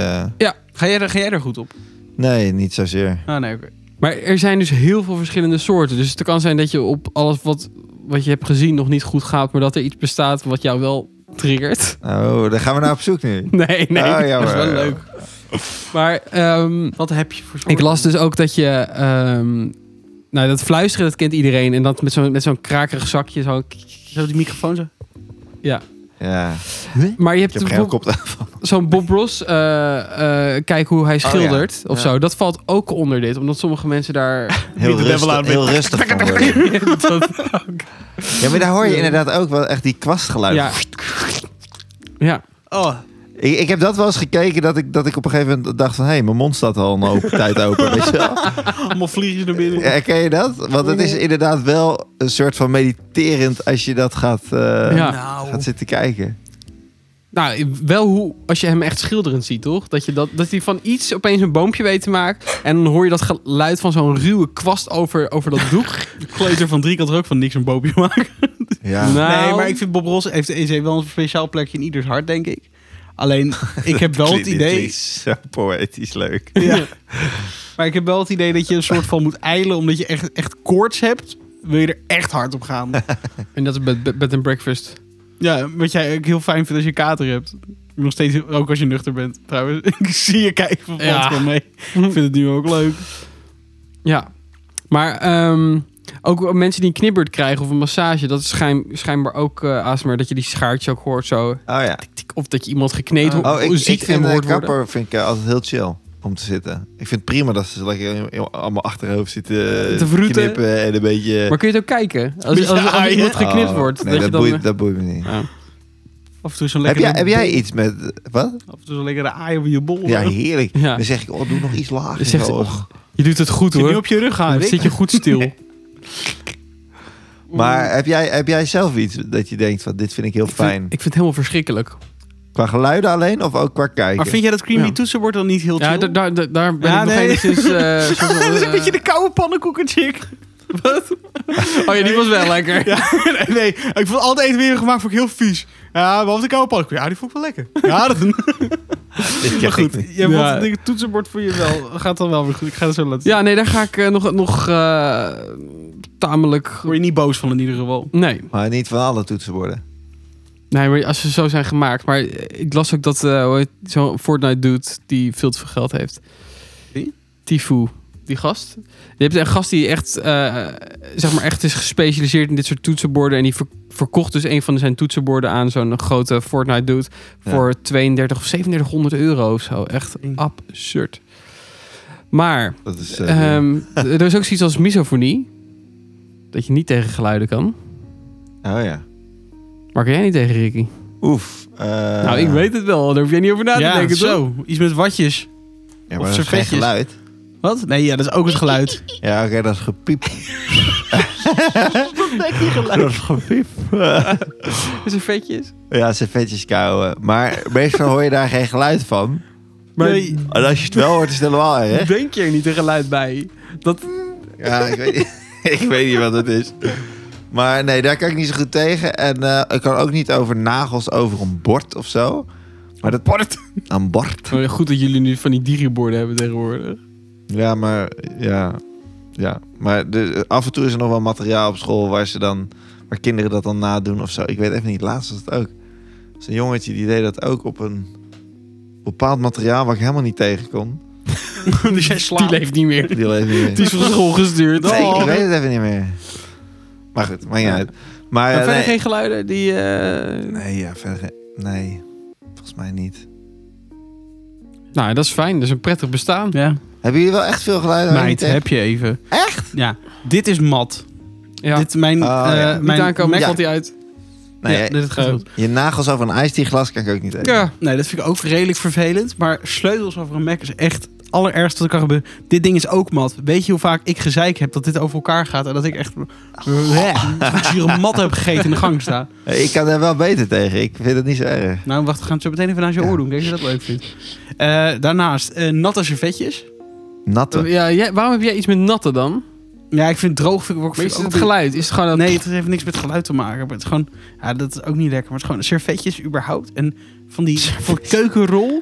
[SPEAKER 1] Ga jij, er, ga jij er goed op?
[SPEAKER 2] nee, niet zozeer.
[SPEAKER 1] Ah, nee, oké.
[SPEAKER 3] Maar er zijn dus heel veel verschillende soorten. Dus het kan zijn dat je op alles wat, wat je hebt gezien nog niet goed gaat, maar dat er iets bestaat wat jou wel triggert.
[SPEAKER 2] Oh, daar gaan we naar op zoek nu.
[SPEAKER 3] Nee, nee.
[SPEAKER 2] Oh, jammer.
[SPEAKER 1] dat is wel leuk.
[SPEAKER 3] Maar ehm,
[SPEAKER 1] Wat heb je voor soort?
[SPEAKER 3] ik las dus ook dat je. ehm, nou, dat fluisteren, dat kent iedereen. En dat met zo'n met zo'n krakerig zakje. Zo.
[SPEAKER 1] Zo die microfoon zo.
[SPEAKER 2] Ja.
[SPEAKER 3] Maar je hebt
[SPEAKER 2] Ik heb
[SPEAKER 3] de
[SPEAKER 2] geen
[SPEAKER 3] Bob-
[SPEAKER 2] koptelefoon.
[SPEAKER 3] zo'n Bob Ross, eh, eh, kijk hoe hij schildert
[SPEAKER 2] Oh,
[SPEAKER 3] of
[SPEAKER 2] Ja.
[SPEAKER 3] zo. Dat valt ook onder dit, omdat sommige mensen daar...
[SPEAKER 2] Heel
[SPEAKER 1] de devil
[SPEAKER 2] rustig,
[SPEAKER 1] out,
[SPEAKER 2] heel rustig van worden.
[SPEAKER 3] dat,
[SPEAKER 2] Ja, maar daar hoor je inderdaad ook wel echt die kwastgeluiden.
[SPEAKER 3] ja. ja.
[SPEAKER 1] Oh,
[SPEAKER 2] Ik, ik heb dat wel eens gekeken dat ik, dat ik op een gegeven moment dacht van... hé, hey, mijn mond staat al een open tijd open, weet je wel?
[SPEAKER 1] allemaal vliegen naar binnen.
[SPEAKER 2] Ja, Herken je dat? Want het is inderdaad wel een soort van mediterend als je dat gaat, eh,
[SPEAKER 3] Ja.
[SPEAKER 1] Nou.
[SPEAKER 2] gaat zitten kijken.
[SPEAKER 3] Nou, wel hoe, als je hem echt schilderend ziet, toch? Dat, je dat, dat hij van iets opeens een boompje weet te maken. En dan hoor je dat geluid van zo'n ruwe kwast over, over dat doek.
[SPEAKER 1] Kleed er van drie kanten ook van niks een boopje maken.
[SPEAKER 2] Ja.
[SPEAKER 3] Nou,
[SPEAKER 1] Nee, maar ik vind Bob Ross heeft de EC wel een speciaal plekje in ieders hart, denk ik. Alleen, ik heb wel het
[SPEAKER 2] Dit
[SPEAKER 1] idee...
[SPEAKER 2] klinkt Zo poëtisch leuk.
[SPEAKER 1] Ja. maar ik heb wel het idee dat je een soort van moet eilen... omdat je echt, echt koorts hebt, wil je er echt hard op gaan.
[SPEAKER 3] En dat is bed, bed, bed and breakfast.
[SPEAKER 1] Ja, wat jij ook heel fijn vindt als je kater hebt. Nog steeds, ook als je nuchter bent trouwens. Ik zie je kijken van
[SPEAKER 3] Ja.
[SPEAKER 1] ja. mee. Ik vind het nu ook leuk.
[SPEAKER 3] Ja. Maar ehm, ook mensen die een knibbeurt krijgen of een massage, dat is schijn- schijnbaar ook eh ASMR. Dat je die schaartjes ook hoort zo.
[SPEAKER 2] Oh ja.
[SPEAKER 3] tik, Of dat je iemand gekneed ho-
[SPEAKER 2] Oh, ik, ik
[SPEAKER 3] ziet
[SPEAKER 2] vind
[SPEAKER 3] en
[SPEAKER 2] eh,
[SPEAKER 3] hoort
[SPEAKER 2] kapper
[SPEAKER 3] worden.
[SPEAKER 2] vind ik eh, altijd heel chill om te zitten. Ik vind het prima dat ze lekker in- allemaal achterhoofd zitten eh,
[SPEAKER 3] Te vroeten.
[SPEAKER 2] knippen en een beetje...
[SPEAKER 3] Maar kun je het ook kijken? Als, als,
[SPEAKER 1] Beetje
[SPEAKER 3] als,
[SPEAKER 1] aaien.
[SPEAKER 3] iemand geknipt
[SPEAKER 2] Oh,
[SPEAKER 3] wordt.
[SPEAKER 2] nee,
[SPEAKER 3] dat,
[SPEAKER 2] dat,
[SPEAKER 3] je dan... eh,
[SPEAKER 2] boeit, dat boeit me niet.
[SPEAKER 3] Ja.
[SPEAKER 1] Af en toe zo'n
[SPEAKER 2] Heb
[SPEAKER 1] lekkere...
[SPEAKER 2] jij, heb jij iets met... Wat?
[SPEAKER 1] Af en toe zo'n lekkere aai op je bol.
[SPEAKER 2] Ja, heerlijk.
[SPEAKER 3] Ja.
[SPEAKER 2] Dan zeg ik, oh, doe nog iets lager.
[SPEAKER 3] Dan oh. zegt
[SPEAKER 2] zo.
[SPEAKER 3] hij, och, Je doet het goed
[SPEAKER 1] Zit nu
[SPEAKER 3] hoor.
[SPEAKER 1] op je rug aan.
[SPEAKER 3] Dan zit je goed stil.
[SPEAKER 2] Maar heb jij, heb jij zelf iets dat je denkt van, dit vind ik heel
[SPEAKER 3] Ik vind,
[SPEAKER 2] fijn?
[SPEAKER 3] ik vind het helemaal verschrikkelijk.
[SPEAKER 2] Qua geluiden alleen of ook qua kijken?
[SPEAKER 1] Maar vind jij dat creamy
[SPEAKER 3] Ja.
[SPEAKER 1] toetsenbord dan niet heel chill?
[SPEAKER 3] Ja, daar, daar, daar- daar ben
[SPEAKER 1] Ja,
[SPEAKER 3] ik nog
[SPEAKER 1] nee.
[SPEAKER 3] enigszins... eh, soort van,
[SPEAKER 1] dat is een
[SPEAKER 3] eh,
[SPEAKER 1] beetje de koude pannenkoeken chick.
[SPEAKER 3] Oh ja, die was wel lekker.
[SPEAKER 1] Ja, nee, nee. Ik vond altijd eten weer gemaakt vond ik heel vies. Ja, behalve de koude pannenkoeken. Ja, die vond ik wel lekker. Ja, dat...
[SPEAKER 2] Dit
[SPEAKER 1] maar
[SPEAKER 2] ken ik
[SPEAKER 1] goed.
[SPEAKER 2] niet.
[SPEAKER 1] Ja,
[SPEAKER 3] Ja.
[SPEAKER 1] want het ding- toetsenbord voor je wel. Gaat dan wel weer goed. Ik ga het zo laten zien.
[SPEAKER 3] Ja, nee, daar ga ik eh, nog, nog eh, tamelijk...
[SPEAKER 1] Word je niet boos van in ieder geval.
[SPEAKER 3] Nee.
[SPEAKER 2] Maar niet van alle toetsenborden.
[SPEAKER 3] nee, maar als ze zo zijn gemaakt. Maar ik las ook dat eh, hoe heet- zo'n Fortnite dude die veel te veel geld heeft.
[SPEAKER 1] Wie?
[SPEAKER 3] Tifu. Die gast. Je hebt een gast die echt, eh, zeg maar echt is gespecialiseerd in dit soort toetsenborden. En die ver- verkocht dus een van zijn toetsenborden aan zo'n grote Fortnite dude.
[SPEAKER 2] Ja.
[SPEAKER 3] Voor 32 of 3700 euro of zo. Echt
[SPEAKER 1] Ding.
[SPEAKER 3] absurd. Maar
[SPEAKER 2] Dat is... eh,
[SPEAKER 3] Ehm, d- er is ook zoiets als misofonie. Dat je niet tegen geluiden kan.
[SPEAKER 2] oh ja.
[SPEAKER 3] Maar kan jij niet tegen, Ricky?
[SPEAKER 2] Oef. eh,
[SPEAKER 3] nou, ik weet het wel. Daar hoef jij niet over na te denken, toch?
[SPEAKER 1] zo. Iets met watjes.
[SPEAKER 2] Ja,
[SPEAKER 1] Of
[SPEAKER 2] maar dat is geen
[SPEAKER 1] servetjes.
[SPEAKER 2] geluid.
[SPEAKER 1] Wat? Nee, ja, dat is ook het geluid.
[SPEAKER 2] Ja, oké, dat is gepiep. dat is gepiep.
[SPEAKER 3] Is er vetjes?
[SPEAKER 2] ja, servetjes kauwen. Maar meestal hoor je daar geen geluid van.
[SPEAKER 3] Maar
[SPEAKER 1] Nee.
[SPEAKER 2] En als je het wel hoort, is het helemaal hè?
[SPEAKER 3] denk je er niet een geluid bij? Dat...
[SPEAKER 2] Ja, ik weet, ik weet niet wat het is. Maar nee, daar kan ik niet zo goed tegen. En eh, ik kan ook niet over nagels over een bord of zo. Maar dat bord. Een bord.
[SPEAKER 3] Goed dat jullie nu van die digiborden hebben tegenwoordig.
[SPEAKER 2] Ja, maar ja. Ja, maar de, af en toe is er nog wel materiaal op school waar ze dan waar kinderen dat dan nadoen of zo. Ik weet even niet, laatst was het ook. Er is een jongetje die deed dat ook op een bepaald materiaal waar ik helemaal niet tegen kon.
[SPEAKER 1] dus jij
[SPEAKER 3] Die
[SPEAKER 1] slaapt.
[SPEAKER 3] leeft niet meer.
[SPEAKER 2] Die leeft niet meer.
[SPEAKER 3] Die is van school gestuurd.
[SPEAKER 2] Nee,
[SPEAKER 3] Oh.
[SPEAKER 2] ik weet het even niet meer. Maar goed, maakt niet uit. Maar,
[SPEAKER 3] Maar
[SPEAKER 2] eh,
[SPEAKER 3] verder
[SPEAKER 2] nee.
[SPEAKER 3] geen geluiden die... eh,
[SPEAKER 2] nee, ja, verder geen- Nee, volgens mij niet.
[SPEAKER 3] Nou, dat is fijn. Dat is een prettig bestaan.
[SPEAKER 1] Ja.
[SPEAKER 2] Hebben jullie wel echt veel geluiden? waar je
[SPEAKER 1] Meid,
[SPEAKER 2] niet tegen-
[SPEAKER 1] heb je even.
[SPEAKER 2] Echt?
[SPEAKER 1] Ja. Dit is mat.
[SPEAKER 3] Ja.
[SPEAKER 1] Dit mijn...
[SPEAKER 2] Oh,
[SPEAKER 1] eh,
[SPEAKER 2] ja.
[SPEAKER 1] mijn
[SPEAKER 3] niet aankomen, Mac
[SPEAKER 2] Ja.
[SPEAKER 3] had die uit.
[SPEAKER 2] Nee,
[SPEAKER 1] ja,
[SPEAKER 2] je-
[SPEAKER 1] dit gaat
[SPEAKER 3] eh,
[SPEAKER 1] goed.
[SPEAKER 2] je nagels over een ijsdieglas kan ik ook niet tegen.
[SPEAKER 3] Ja.
[SPEAKER 1] Nee, dat vind ik ook redelijk vervelend. Maar sleutels over een Mac is echt het allerergste dat kan gebeuren. Dit ding is ook mat. Weet je hoe vaak ik gezeik heb dat dit over elkaar gaat? En dat ik echt... Als je een mat heb gegeten in de gang sta.
[SPEAKER 2] Ik kan daar wel beter tegen. Ik vind het niet zo erg.
[SPEAKER 1] Nou, wacht. We gaan het zo meteen even naar je
[SPEAKER 2] Ja.
[SPEAKER 1] oor doen. Kijk of je dat leuk vindt. Eh, daarnaast, eh, natte servetjes.
[SPEAKER 2] Natte.
[SPEAKER 3] ja, jij- waarom heb jij iets met natten dan?
[SPEAKER 1] Ja, ik vind droog vind ik ook,
[SPEAKER 3] Maar
[SPEAKER 1] vind ik
[SPEAKER 3] is
[SPEAKER 1] ook
[SPEAKER 3] het
[SPEAKER 1] een
[SPEAKER 3] geluid? Is het gewoon dat...
[SPEAKER 1] Nee, het heeft niks met geluid te maken. Maar het is gewoon, ja, dat is ook niet lekker. Maar het is gewoon servetjes überhaupt. En van die voor keukenrol.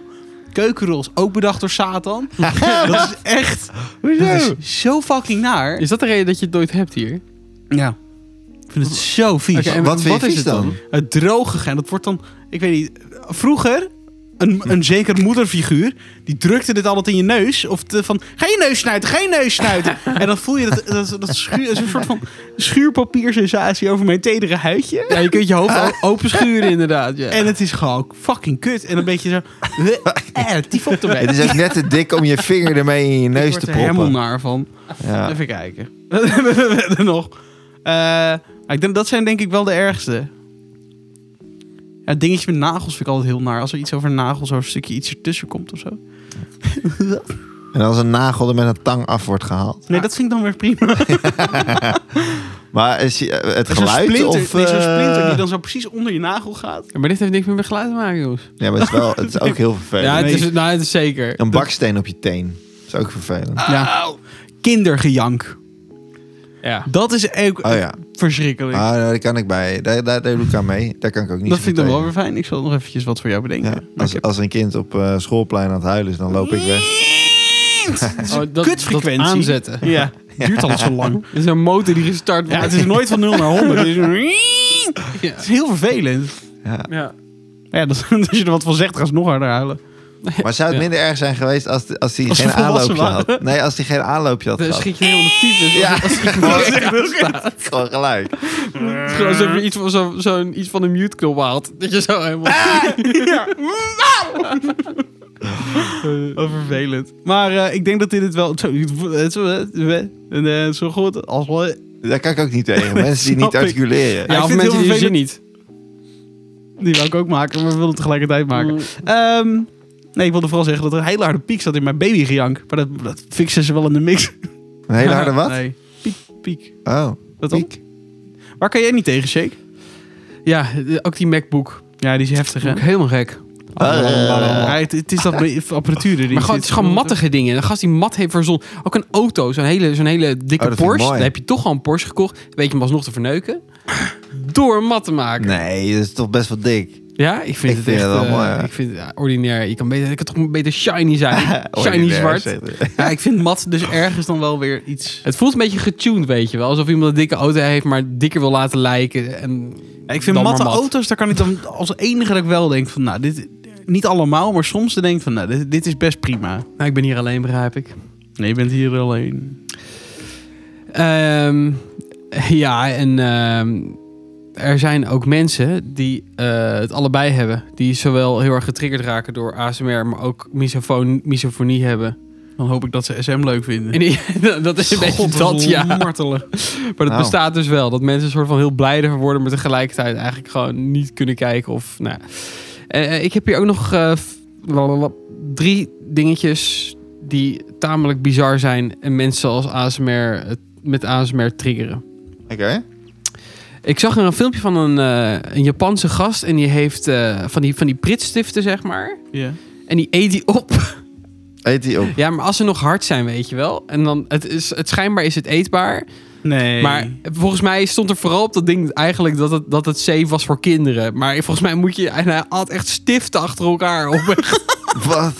[SPEAKER 1] Keukenrol is ook bedacht door Satan. dat is echt dat is zo fucking naar.
[SPEAKER 3] Is dat de reden dat je het nooit hebt hier?
[SPEAKER 1] Ja. Ik vind het zo vies.
[SPEAKER 3] Oké, en
[SPEAKER 2] Wat vind je
[SPEAKER 3] is
[SPEAKER 2] vies
[SPEAKER 3] het
[SPEAKER 2] dan?
[SPEAKER 3] dan?
[SPEAKER 1] Het drogige. En dat wordt dan, ik weet niet. Vroeger, een, een zeker moederfiguur, die drukte dit altijd in je neus. Of te- van, ga je neus snuiten, ga je neus snuiten. en dan voel je dat, dat, dat, schuur, dat is een soort van schuurpapiersensatie over mijn tedere huidje. Ah.
[SPEAKER 3] Ja, je kunt je hoofd o- open schuren inderdaad. Ja.
[SPEAKER 1] En het is gewoon fucking kut. En een beetje zo... Eh, tief op de bek.
[SPEAKER 2] Het is ook net te dik om je vinger ermee in je
[SPEAKER 1] Ik
[SPEAKER 2] neus
[SPEAKER 1] word
[SPEAKER 2] te
[SPEAKER 1] er helemaal
[SPEAKER 2] proppen.
[SPEAKER 1] naar van.
[SPEAKER 2] Ja.
[SPEAKER 1] Even kijken. Wat hebben we verder nog? Eh, maar ik denk, dat zijn denk ik wel de ergste. Ja, dingetjes met nagels vind ik altijd heel naar. Als er iets over nagels, of een stukje iets ertussen komt of zo.
[SPEAKER 2] En als een nagel er met een tang af wordt gehaald.
[SPEAKER 1] Nee, dat vind ik dan weer prima.
[SPEAKER 2] Maar is, eh, het
[SPEAKER 1] Zo'n
[SPEAKER 2] geluid
[SPEAKER 1] splinter,
[SPEAKER 2] of...
[SPEAKER 1] nee, zo'n
[SPEAKER 2] eh,
[SPEAKER 1] splinter die dan zo precies onder je nagel gaat.
[SPEAKER 3] Ja, maar dit heeft niks meer met geluid te maken, jongens.
[SPEAKER 2] Ja, maar het is, wel, het is ook heel vervelend.
[SPEAKER 3] Ja, het
[SPEAKER 1] nee.
[SPEAKER 3] is, nou, het is zeker.
[SPEAKER 2] Een baksteen op je teen. Dat is ook vervelend.
[SPEAKER 1] Ja. Kindergejank.
[SPEAKER 3] Ja.
[SPEAKER 1] Dat is ook
[SPEAKER 2] Oh ja,
[SPEAKER 1] verschrikkelijk.
[SPEAKER 2] ah, daar kan ik bij. Daar, daar, daar doe ik aan mee. Daar kan ik ook niet
[SPEAKER 1] dat
[SPEAKER 2] zo
[SPEAKER 1] vind ik dan
[SPEAKER 2] tegen.
[SPEAKER 1] wel weer fijn. Ik zal nog eventjes wat voor jou bedenken.
[SPEAKER 2] Ja,
[SPEAKER 1] Maar ik
[SPEAKER 2] als,
[SPEAKER 1] heb-
[SPEAKER 2] als een kind op eh, schoolplein aan het huilen is, dan loop ik weg.
[SPEAKER 1] Het is een
[SPEAKER 3] Oh, dat-
[SPEAKER 1] kutfrequentie.
[SPEAKER 3] dat aanzetten.
[SPEAKER 1] Ja, het duurt altijd zo lang.
[SPEAKER 3] Er is een motor die gestart
[SPEAKER 1] Ja,
[SPEAKER 3] wordt.
[SPEAKER 1] het is nooit van 0 naar dus 100. Het is, een-
[SPEAKER 3] Ja.
[SPEAKER 1] het is heel vervelend.
[SPEAKER 2] Ja.
[SPEAKER 3] Ja.
[SPEAKER 1] Maar Ja, dat, als je er wat van zegt, ga ze nog harder huilen.
[SPEAKER 2] Maar zou het minder erg zijn geweest als, als hij
[SPEAKER 1] Als
[SPEAKER 2] geen
[SPEAKER 1] ze volwassen
[SPEAKER 2] aanloopje had? Nee, als hij geen aanloopje had
[SPEAKER 3] Dan
[SPEAKER 2] gehad.
[SPEAKER 3] schiet je helemaal de tyfus.
[SPEAKER 2] Ja.
[SPEAKER 3] Ja. Als ik gewoon
[SPEAKER 2] Gewoon gelijk.
[SPEAKER 3] gewoon alsof je iets van, zo, zo'n- iets van de mute-knop haalt. Dat je zo helemaal...
[SPEAKER 2] Ah,
[SPEAKER 1] Ja. Wat Oh, vervelend. Maar eh, ik denk dat dit het wel... Zo, en, eh, zo goed als wel...
[SPEAKER 2] Daar kan ik ook niet tegen. Mensen die
[SPEAKER 1] Snap
[SPEAKER 2] niet
[SPEAKER 1] ik.
[SPEAKER 2] articuleren.
[SPEAKER 1] ik
[SPEAKER 3] Ja, of
[SPEAKER 1] vind het
[SPEAKER 3] mensen
[SPEAKER 1] heel
[SPEAKER 3] die je
[SPEAKER 1] vervelend.
[SPEAKER 3] zin niet.
[SPEAKER 1] Die wou ik ook maken, maar we wilden het tegelijkertijd maken. Ehm, nee, ik wilde vooral zeggen dat er een hele harde piek zat in mijn babygejank. Maar dat, dat fixen ze wel in de mix.
[SPEAKER 2] Een hele harde wat?
[SPEAKER 1] Nee, piek, piek.
[SPEAKER 2] Oh,
[SPEAKER 1] Dat dan?
[SPEAKER 2] piek.
[SPEAKER 1] Waar kan jij niet tegen, Shake?
[SPEAKER 3] Ja, ook die MacBook.
[SPEAKER 1] Ja, die is heftig, hè?
[SPEAKER 3] Ook helemaal gek.
[SPEAKER 1] Ja, het, het is dat be- apparatuur die
[SPEAKER 3] Maar gewoon, het is gewoon mattige dingen. Een gast die mat heeft verzonnen. Ook een auto, zo'n hele, zo'n hele dikke
[SPEAKER 2] Oh, dat vind ik
[SPEAKER 3] Porsche.
[SPEAKER 2] mooi.
[SPEAKER 3] Dan heb je toch al een Porsche gekocht. Weet je hem alsnog te verneuken. Door hem mat te maken.
[SPEAKER 2] Nee, dat is toch best wel dik.
[SPEAKER 3] Ja, ik vind
[SPEAKER 2] Ik
[SPEAKER 3] het
[SPEAKER 2] vind
[SPEAKER 3] echt...
[SPEAKER 2] het wel
[SPEAKER 3] eh,
[SPEAKER 2] mooi, ja.
[SPEAKER 3] Ik vind het ja, ordinair. Je kan, beter, je kan toch beter shiny zijn. shiny
[SPEAKER 2] Ordinair,
[SPEAKER 3] zwart.
[SPEAKER 2] zeker.
[SPEAKER 1] Ja, ik vind mat dus ergens dan wel weer iets...
[SPEAKER 3] Het voelt een beetje getuned, weet je wel. Alsof iemand een dikke auto heeft, maar dikker wil laten lijken. En
[SPEAKER 1] Ja, ik vind
[SPEAKER 3] dan maar
[SPEAKER 1] matte
[SPEAKER 3] mat.
[SPEAKER 1] auto's, daar kan ik dan als enige dat ik wel denk van... Nou, dit, niet allemaal, maar soms dan denk ik van... Nou, dit, dit is best prima.
[SPEAKER 3] Nou, ik ben hier alleen, begrijp ik.
[SPEAKER 1] Nee, je bent hier alleen.
[SPEAKER 3] Ehm, ja, en ehm, er zijn ook mensen die eh, het allebei hebben. Die zowel heel erg getriggerd raken door ASMR, maar ook misofoon, misofonie hebben.
[SPEAKER 1] Dan hoop ik dat ze SM leuk vinden.
[SPEAKER 3] En die- dat is een beetje
[SPEAKER 1] God,
[SPEAKER 3] dat,
[SPEAKER 1] is
[SPEAKER 3] ja. Maar
[SPEAKER 1] Martelen.
[SPEAKER 3] dat
[SPEAKER 2] Nou.
[SPEAKER 3] bestaat dus wel. Dat mensen soort van heel blij ervan worden, maar tegelijkertijd eigenlijk gewoon niet kunnen kijken. Of, nou. ja. Eh, eh, ik heb hier ook nog eh, f- lalalala, drie dingetjes die tamelijk bizar zijn en mensen als ASMR het- met ASMR triggeren.
[SPEAKER 2] Oké.
[SPEAKER 3] Ik zag er een filmpje van een, eh, een Japanse gast. En die heeft eh, van die, van die pritstiften, zeg maar.
[SPEAKER 1] Ja.
[SPEAKER 3] En die eet die op.
[SPEAKER 2] Eet die op.
[SPEAKER 3] Ja, maar als ze nog hard zijn, weet je wel. En dan, het, is, het schijnbaar is het eetbaar.
[SPEAKER 1] Nee.
[SPEAKER 3] Maar volgens mij stond er vooral op dat ding eigenlijk dat het, dat het safe was voor kinderen. Maar volgens mij moet je... En hij at echt stiften achter elkaar op.
[SPEAKER 2] Wat?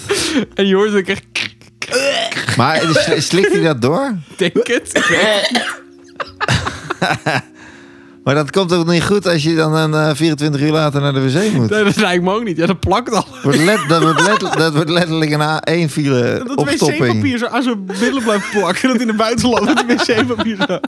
[SPEAKER 3] en je hoort het ook echt... krik,
[SPEAKER 2] Maar sl- slikt hij dat door?
[SPEAKER 3] Denk het.
[SPEAKER 2] Maar dat komt toch niet goed als je dan een, eh, 24 uur later naar de wc moet?
[SPEAKER 3] Nee, dat lijkt me ook niet. Ja, dat plakt al.
[SPEAKER 2] Wordt let- dat, wordt let- dat wordt letterlijk een A1 file
[SPEAKER 1] dat
[SPEAKER 2] opstopping.
[SPEAKER 1] wc-papier zo aan zijn middelen blijft plakken. Dat in het buitenland het wc-papier zo...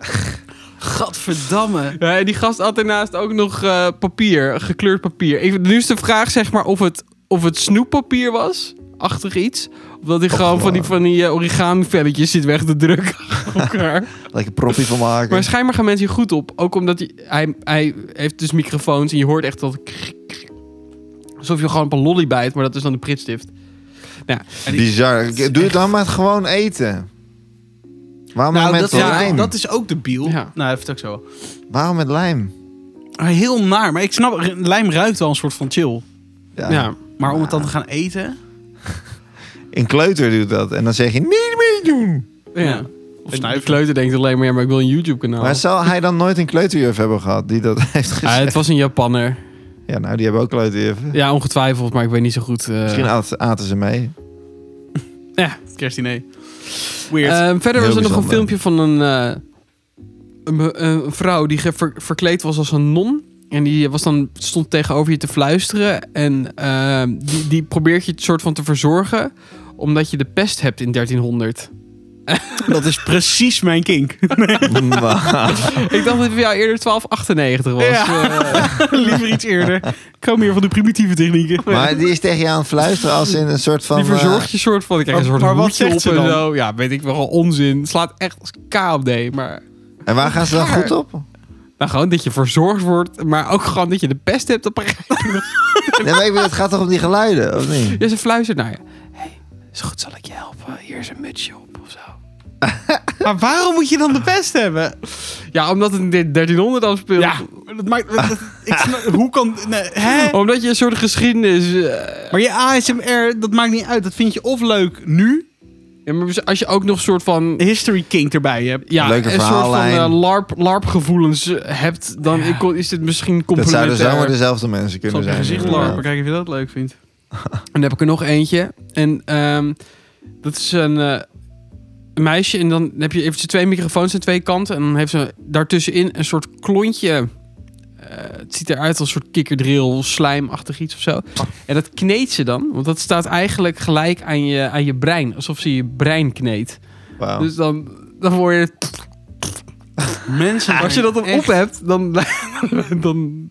[SPEAKER 1] Gadverdamme.
[SPEAKER 3] Ja, en die gast had daarnaast ook nog eh, papier, gekleurd papier. Even, nu is de vraag zeg maar of het, of het snoeppapier was, achtig iets. Of dat hij gewoon van die, van die eh, origami velletjes zit weg te drukken op elkaar.
[SPEAKER 2] Lekker proppie van
[SPEAKER 3] Maar
[SPEAKER 2] maken.
[SPEAKER 3] schijnbaar gaan mensen hier goed op. Ook omdat hij, hij, hij heeft dus microfoons en je hoort echt dat... krik, krik. Alsof je gewoon op een lolly bijt, maar dat is dan de pritstift.
[SPEAKER 2] Bizar. Doe het dan maar gewoon eten. Waarom
[SPEAKER 1] Nou,
[SPEAKER 2] met
[SPEAKER 1] dat,
[SPEAKER 3] ja,
[SPEAKER 2] lijm?
[SPEAKER 1] dat is ook debiel.
[SPEAKER 3] Ja.
[SPEAKER 1] Nou, even ook zo.
[SPEAKER 2] Waarom met lijm?
[SPEAKER 1] Heel naar, maar ik snap... Lijm ruikt wel een soort van chill.
[SPEAKER 3] Ja.
[SPEAKER 1] Maar om het dan te gaan eten...
[SPEAKER 2] Een kleuter doet dat. En dan zeg je, niet meer doen.
[SPEAKER 3] Ja.
[SPEAKER 1] Ja. Of
[SPEAKER 3] En die
[SPEAKER 1] snuiven.
[SPEAKER 3] kleuter denkt alleen maar, ja, maar ik wil een
[SPEAKER 1] Oh.
[SPEAKER 3] YouTube-kanaal.
[SPEAKER 2] Maar zal hij dan nooit een kleuterjuf hebben gehad die dat heeft
[SPEAKER 3] Ah,
[SPEAKER 2] gezegd?
[SPEAKER 3] het was een Japanner.
[SPEAKER 2] Ja, nou, die hebben ook kleuterjuffen.
[SPEAKER 3] Ja, ongetwijfeld, maar ik weet niet zo goed... eh,
[SPEAKER 2] Misschien at- aten ze mee.
[SPEAKER 1] Oh, Kerstdiner. Weird.
[SPEAKER 3] Ehm, verder
[SPEAKER 2] Heel
[SPEAKER 3] was er nog een
[SPEAKER 2] bijzonder.
[SPEAKER 3] filmpje van een, eh, een, be- een vrouw die ge- ver- verkleed was als een non. En die was dan, stond tegenover je te fluisteren. En ehm, die, die probeert je het soort van te verzorgen. Omdat je de pest hebt in 1300.
[SPEAKER 1] Dat is precies mijn kink.
[SPEAKER 2] Maar-
[SPEAKER 3] Ik dacht dat het voor jou eerder 1298 was.
[SPEAKER 1] Ja.
[SPEAKER 3] Eh,
[SPEAKER 1] Liever iets eerder. Ik hou meer van de primitieve technieken.
[SPEAKER 2] maar die is tegen je aan het fluisteren als in een soort van... eh,
[SPEAKER 3] die verzorgt je soort van. Ik krijg een
[SPEAKER 1] Maar-
[SPEAKER 3] soort
[SPEAKER 1] maar eh, wat
[SPEAKER 3] hoedje
[SPEAKER 1] zegt
[SPEAKER 3] op
[SPEAKER 1] ze
[SPEAKER 3] en
[SPEAKER 1] dan?
[SPEAKER 3] zo. Ja, weet ik wel. gewoon Onzin. Het slaat echt als KMD. Maar
[SPEAKER 2] eh, en waar gaan ze dan goed op?
[SPEAKER 3] nou, gewoon dat je verzorgd wordt. Maar ook gewoon dat je de pest hebt op een
[SPEAKER 2] Nee, maar ik bedoel, het gaat toch om die geluiden, of niet?
[SPEAKER 3] Ja, ze fluistert naar je. Hé, hey, is goed, zal ik je helpen? Hier is een mutsje op of zo.
[SPEAKER 1] Maar waarom moet je dan de pest hebben?
[SPEAKER 3] Ja, omdat het in dit 1300 afspeelt.
[SPEAKER 1] Ja, dat maakt. dat- ik snap- hoe kan. Nee, hè?
[SPEAKER 3] Omdat je een soort geschiedenis... eh,
[SPEAKER 1] Maar je ASMR, dat maakt niet uit. Dat vind je of leuk nu.
[SPEAKER 3] Ja, maar dus als je ook nog een soort van...
[SPEAKER 1] History King erbij hebt.
[SPEAKER 3] Ja,
[SPEAKER 2] Leuke
[SPEAKER 3] een soort van
[SPEAKER 2] verhaallijn.
[SPEAKER 3] eh, larp, LARP-gevoelens eh, hebt, dan is dit misschien
[SPEAKER 2] Dat
[SPEAKER 3] complementair.
[SPEAKER 2] zouden zomaar dezelfde mensen
[SPEAKER 1] Zal
[SPEAKER 2] kunnen
[SPEAKER 1] op je
[SPEAKER 2] zijn.
[SPEAKER 1] gezicht
[SPEAKER 2] inderdaad.
[SPEAKER 1] larpen, kijken of je dat leuk vindt.
[SPEAKER 3] En dan heb ik er nog eentje. En ehm, dat is een eh, een meisje. En dan heb je eventjes twee microfoons aan twee kanten. En dan heeft ze daartussenin een soort klontje. Eh, het ziet eruit als een soort kikkerdril, slijmachtig iets of zo. En dat kneedt ze dan. Want dat staat eigenlijk gelijk aan je, aan je brein. Alsof ze je brein kneedt.
[SPEAKER 2] Wauw.
[SPEAKER 3] Dus dan, dan word je...
[SPEAKER 1] Mensen,
[SPEAKER 3] Als je dat dan
[SPEAKER 1] Ah, echt-
[SPEAKER 3] op hebt, dan, dan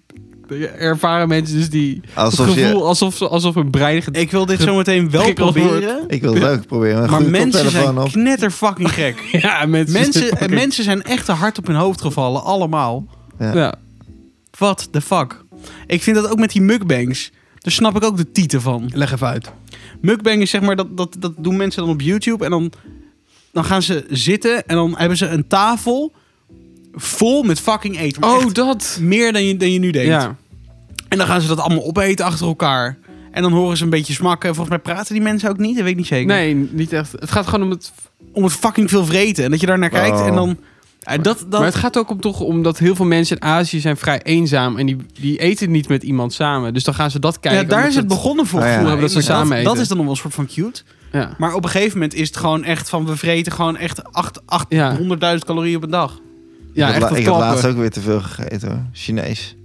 [SPEAKER 3] ervaren mensen dus die...
[SPEAKER 2] Alsof
[SPEAKER 3] het gevoel
[SPEAKER 2] je...
[SPEAKER 3] alsof, ze- alsof hun brein... ge-
[SPEAKER 1] Ik wil dit zometeen wel
[SPEAKER 3] Prikkeld
[SPEAKER 1] proberen.
[SPEAKER 2] Ik wil het ook proberen.
[SPEAKER 1] Maar
[SPEAKER 2] Een goede
[SPEAKER 1] mensen
[SPEAKER 2] koptelefoon
[SPEAKER 1] zijn
[SPEAKER 2] op.
[SPEAKER 1] knetter fucking gek.
[SPEAKER 3] Ja,
[SPEAKER 1] mensen, en mensen zijn echt te hard op hun hoofd gevallen, allemaal.
[SPEAKER 3] Ja.
[SPEAKER 1] What the fuck? Ik vind dat ook met die mukbangs. Daar snap ik ook de titel van.
[SPEAKER 3] Leg even uit.
[SPEAKER 1] Mukbang is zeg maar, dat, dat, dat doen mensen dan op YouTube. En dan, dan gaan ze zitten en dan hebben ze een tafel vol met fucking eten. Maar
[SPEAKER 3] Oh,
[SPEAKER 1] echt
[SPEAKER 3] dat.
[SPEAKER 1] meer dan je, dan je nu denkt.
[SPEAKER 3] Ja.
[SPEAKER 1] En dan gaan ze dat allemaal opeten achter elkaar. En dan horen ze een beetje smakken. Volgens mij praten die mensen ook niet, dat weet ik niet zeker.
[SPEAKER 3] Nee, niet echt. Het gaat gewoon om het.
[SPEAKER 1] Om het fucking veel vreten. En dat je daar naar kijkt
[SPEAKER 2] Wow.
[SPEAKER 1] en dan... eh, dat, dat,
[SPEAKER 3] Maar het gaat ook om toch om dat heel veel mensen in Azië zijn vrij eenzaam en die, die eten niet met iemand samen. Dus dan gaan ze dat kijken.
[SPEAKER 1] ja, daar
[SPEAKER 3] omdat
[SPEAKER 1] is het begonnen voor.
[SPEAKER 2] Ah, ja.
[SPEAKER 1] gevoel hebben
[SPEAKER 3] Dat ze
[SPEAKER 1] inderdaad.
[SPEAKER 3] samen eten.
[SPEAKER 1] dat is dan nog wel een soort van cute.
[SPEAKER 3] Ja.
[SPEAKER 1] Maar op een gegeven moment is het gewoon echt van... we vreten gewoon echt acht- 800.000
[SPEAKER 3] Ja.
[SPEAKER 1] calorieën op een dag.
[SPEAKER 3] Ja,
[SPEAKER 2] ik
[SPEAKER 3] echt
[SPEAKER 2] heb, la-
[SPEAKER 3] dat
[SPEAKER 2] ik heb
[SPEAKER 3] klappen.
[SPEAKER 2] laatst ook weer te veel gegeten hoor. Chinees.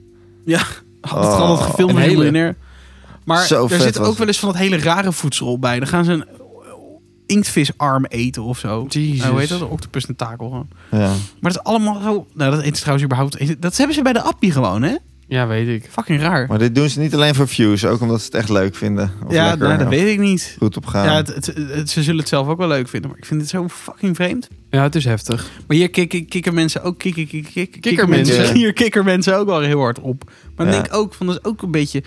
[SPEAKER 1] Had het gewoon
[SPEAKER 2] Oh.
[SPEAKER 1] wat gefilmd
[SPEAKER 3] Een
[SPEAKER 1] met een
[SPEAKER 3] hele.
[SPEAKER 1] miljonair. Maar
[SPEAKER 2] Zo
[SPEAKER 1] er
[SPEAKER 2] vet
[SPEAKER 1] zit
[SPEAKER 2] was
[SPEAKER 1] ook
[SPEAKER 2] het.
[SPEAKER 1] wel eens van dat hele rare voedsel bij. Dan gaan ze een inktvisarm eten of zo.
[SPEAKER 3] Jezus.
[SPEAKER 1] Eh, hoe heet dat? Een octopus tentakel gewoon.
[SPEAKER 2] Ja.
[SPEAKER 1] Maar dat is allemaal zo... Nou, dat eten ze trouwens überhaupt... Dat hebben ze bij de appie gewoon, hè?
[SPEAKER 3] Ja, weet ik.
[SPEAKER 1] Fucking raar.
[SPEAKER 2] Maar dit doen ze niet alleen voor views. Ook omdat ze het echt leuk vinden. Of
[SPEAKER 1] ja,
[SPEAKER 2] lekker,
[SPEAKER 1] nou, dat
[SPEAKER 2] of
[SPEAKER 1] weet ik niet.
[SPEAKER 2] goed op gaan.
[SPEAKER 1] Ja, het, het, het- ze zullen het zelf ook wel leuk vinden. Maar ik vind het zo fucking vreemd.
[SPEAKER 3] Ja, het is heftig.
[SPEAKER 1] Maar hier kikken, kikken mensen ook kikken, kikken, kikken,
[SPEAKER 3] Kikkermensen.
[SPEAKER 1] mensen. Hier kikken mensen ook wel heel hard op. Maar dan
[SPEAKER 2] Ja.
[SPEAKER 1] denk ik ook van dat is ook een beetje.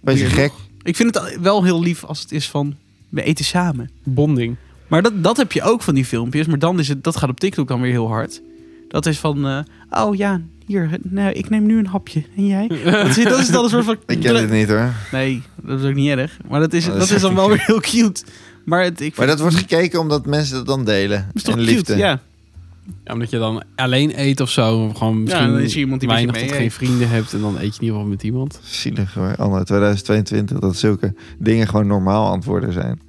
[SPEAKER 2] Beetje gek.
[SPEAKER 1] Ik vind het wel heel lief als het is van we eten samen.
[SPEAKER 3] Bonding.
[SPEAKER 1] Maar dat, dat heb je ook van die filmpjes. Maar dan is het dat gaat op TikTok dan weer heel hard. Dat is van eh, oh ja hier nou, ik neem nu een hapje en jij. Dat is, dat is dan een soort van.
[SPEAKER 2] Ik ken dit niet hoor.
[SPEAKER 1] Nee, dat is ook niet erg. Maar dat is,
[SPEAKER 2] Maar
[SPEAKER 1] dat
[SPEAKER 2] dat
[SPEAKER 1] is,
[SPEAKER 2] is
[SPEAKER 1] dan
[SPEAKER 2] echt
[SPEAKER 1] wel
[SPEAKER 2] niet
[SPEAKER 1] weer heel cute. Maar het, ik
[SPEAKER 2] Maar
[SPEAKER 1] vind-
[SPEAKER 2] dat wordt gekeken omdat mensen dat dan delen.
[SPEAKER 1] is toch
[SPEAKER 2] en
[SPEAKER 1] cute,
[SPEAKER 2] liefde.
[SPEAKER 1] ja.
[SPEAKER 3] Ja, omdat je dan alleen eet of zo. of Gewoon misschien
[SPEAKER 1] dan is er iemand die met je Oh
[SPEAKER 3] weinig tot
[SPEAKER 1] mee
[SPEAKER 3] geen
[SPEAKER 1] eet.
[SPEAKER 3] vrienden hebt en dan eet je in ieder geval met iemand.
[SPEAKER 2] Zielig hoor. Anno 2022. Dat zulke dingen gewoon normaal antwoorden zijn.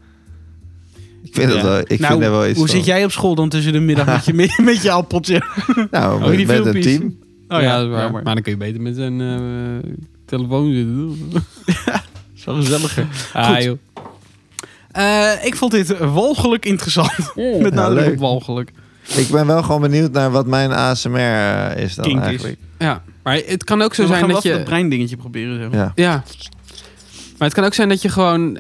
[SPEAKER 2] Ik vind,
[SPEAKER 1] Ja.
[SPEAKER 2] dat, wel, ik
[SPEAKER 1] Nou,
[SPEAKER 2] vind daar wel iets
[SPEAKER 1] Hoe
[SPEAKER 2] van.
[SPEAKER 1] zit jij op school dan tussen de middag met je, met, met je appeltje?
[SPEAKER 2] Nou,
[SPEAKER 1] Oh, die
[SPEAKER 2] met, met een
[SPEAKER 1] filmpjes.
[SPEAKER 2] team.
[SPEAKER 1] Oh ja,
[SPEAKER 3] dat is waar.
[SPEAKER 1] ja,
[SPEAKER 3] maar.
[SPEAKER 1] maar-
[SPEAKER 3] dan kun je beter met een eh, telefoon zitten.
[SPEAKER 1] Zo gezelliger.
[SPEAKER 3] Ah, joh.
[SPEAKER 1] Eh, ik vond dit walgelijk interessant. Met
[SPEAKER 2] Ja,
[SPEAKER 1] nadruk op
[SPEAKER 2] leuk.
[SPEAKER 1] walgelijk.
[SPEAKER 2] Ik ben wel gewoon benieuwd naar wat mijn ASMR eh, is dan
[SPEAKER 1] Kink is.
[SPEAKER 2] eigenlijk.
[SPEAKER 3] Ja, maar het kan ook zo
[SPEAKER 1] we
[SPEAKER 3] zijn
[SPEAKER 1] gaan
[SPEAKER 3] dat
[SPEAKER 1] wel even
[SPEAKER 3] je...
[SPEAKER 1] dat breindingetje proberen. Zeg. maar.
[SPEAKER 2] Ja.
[SPEAKER 3] Ja. Maar het kan ook zijn dat je gewoon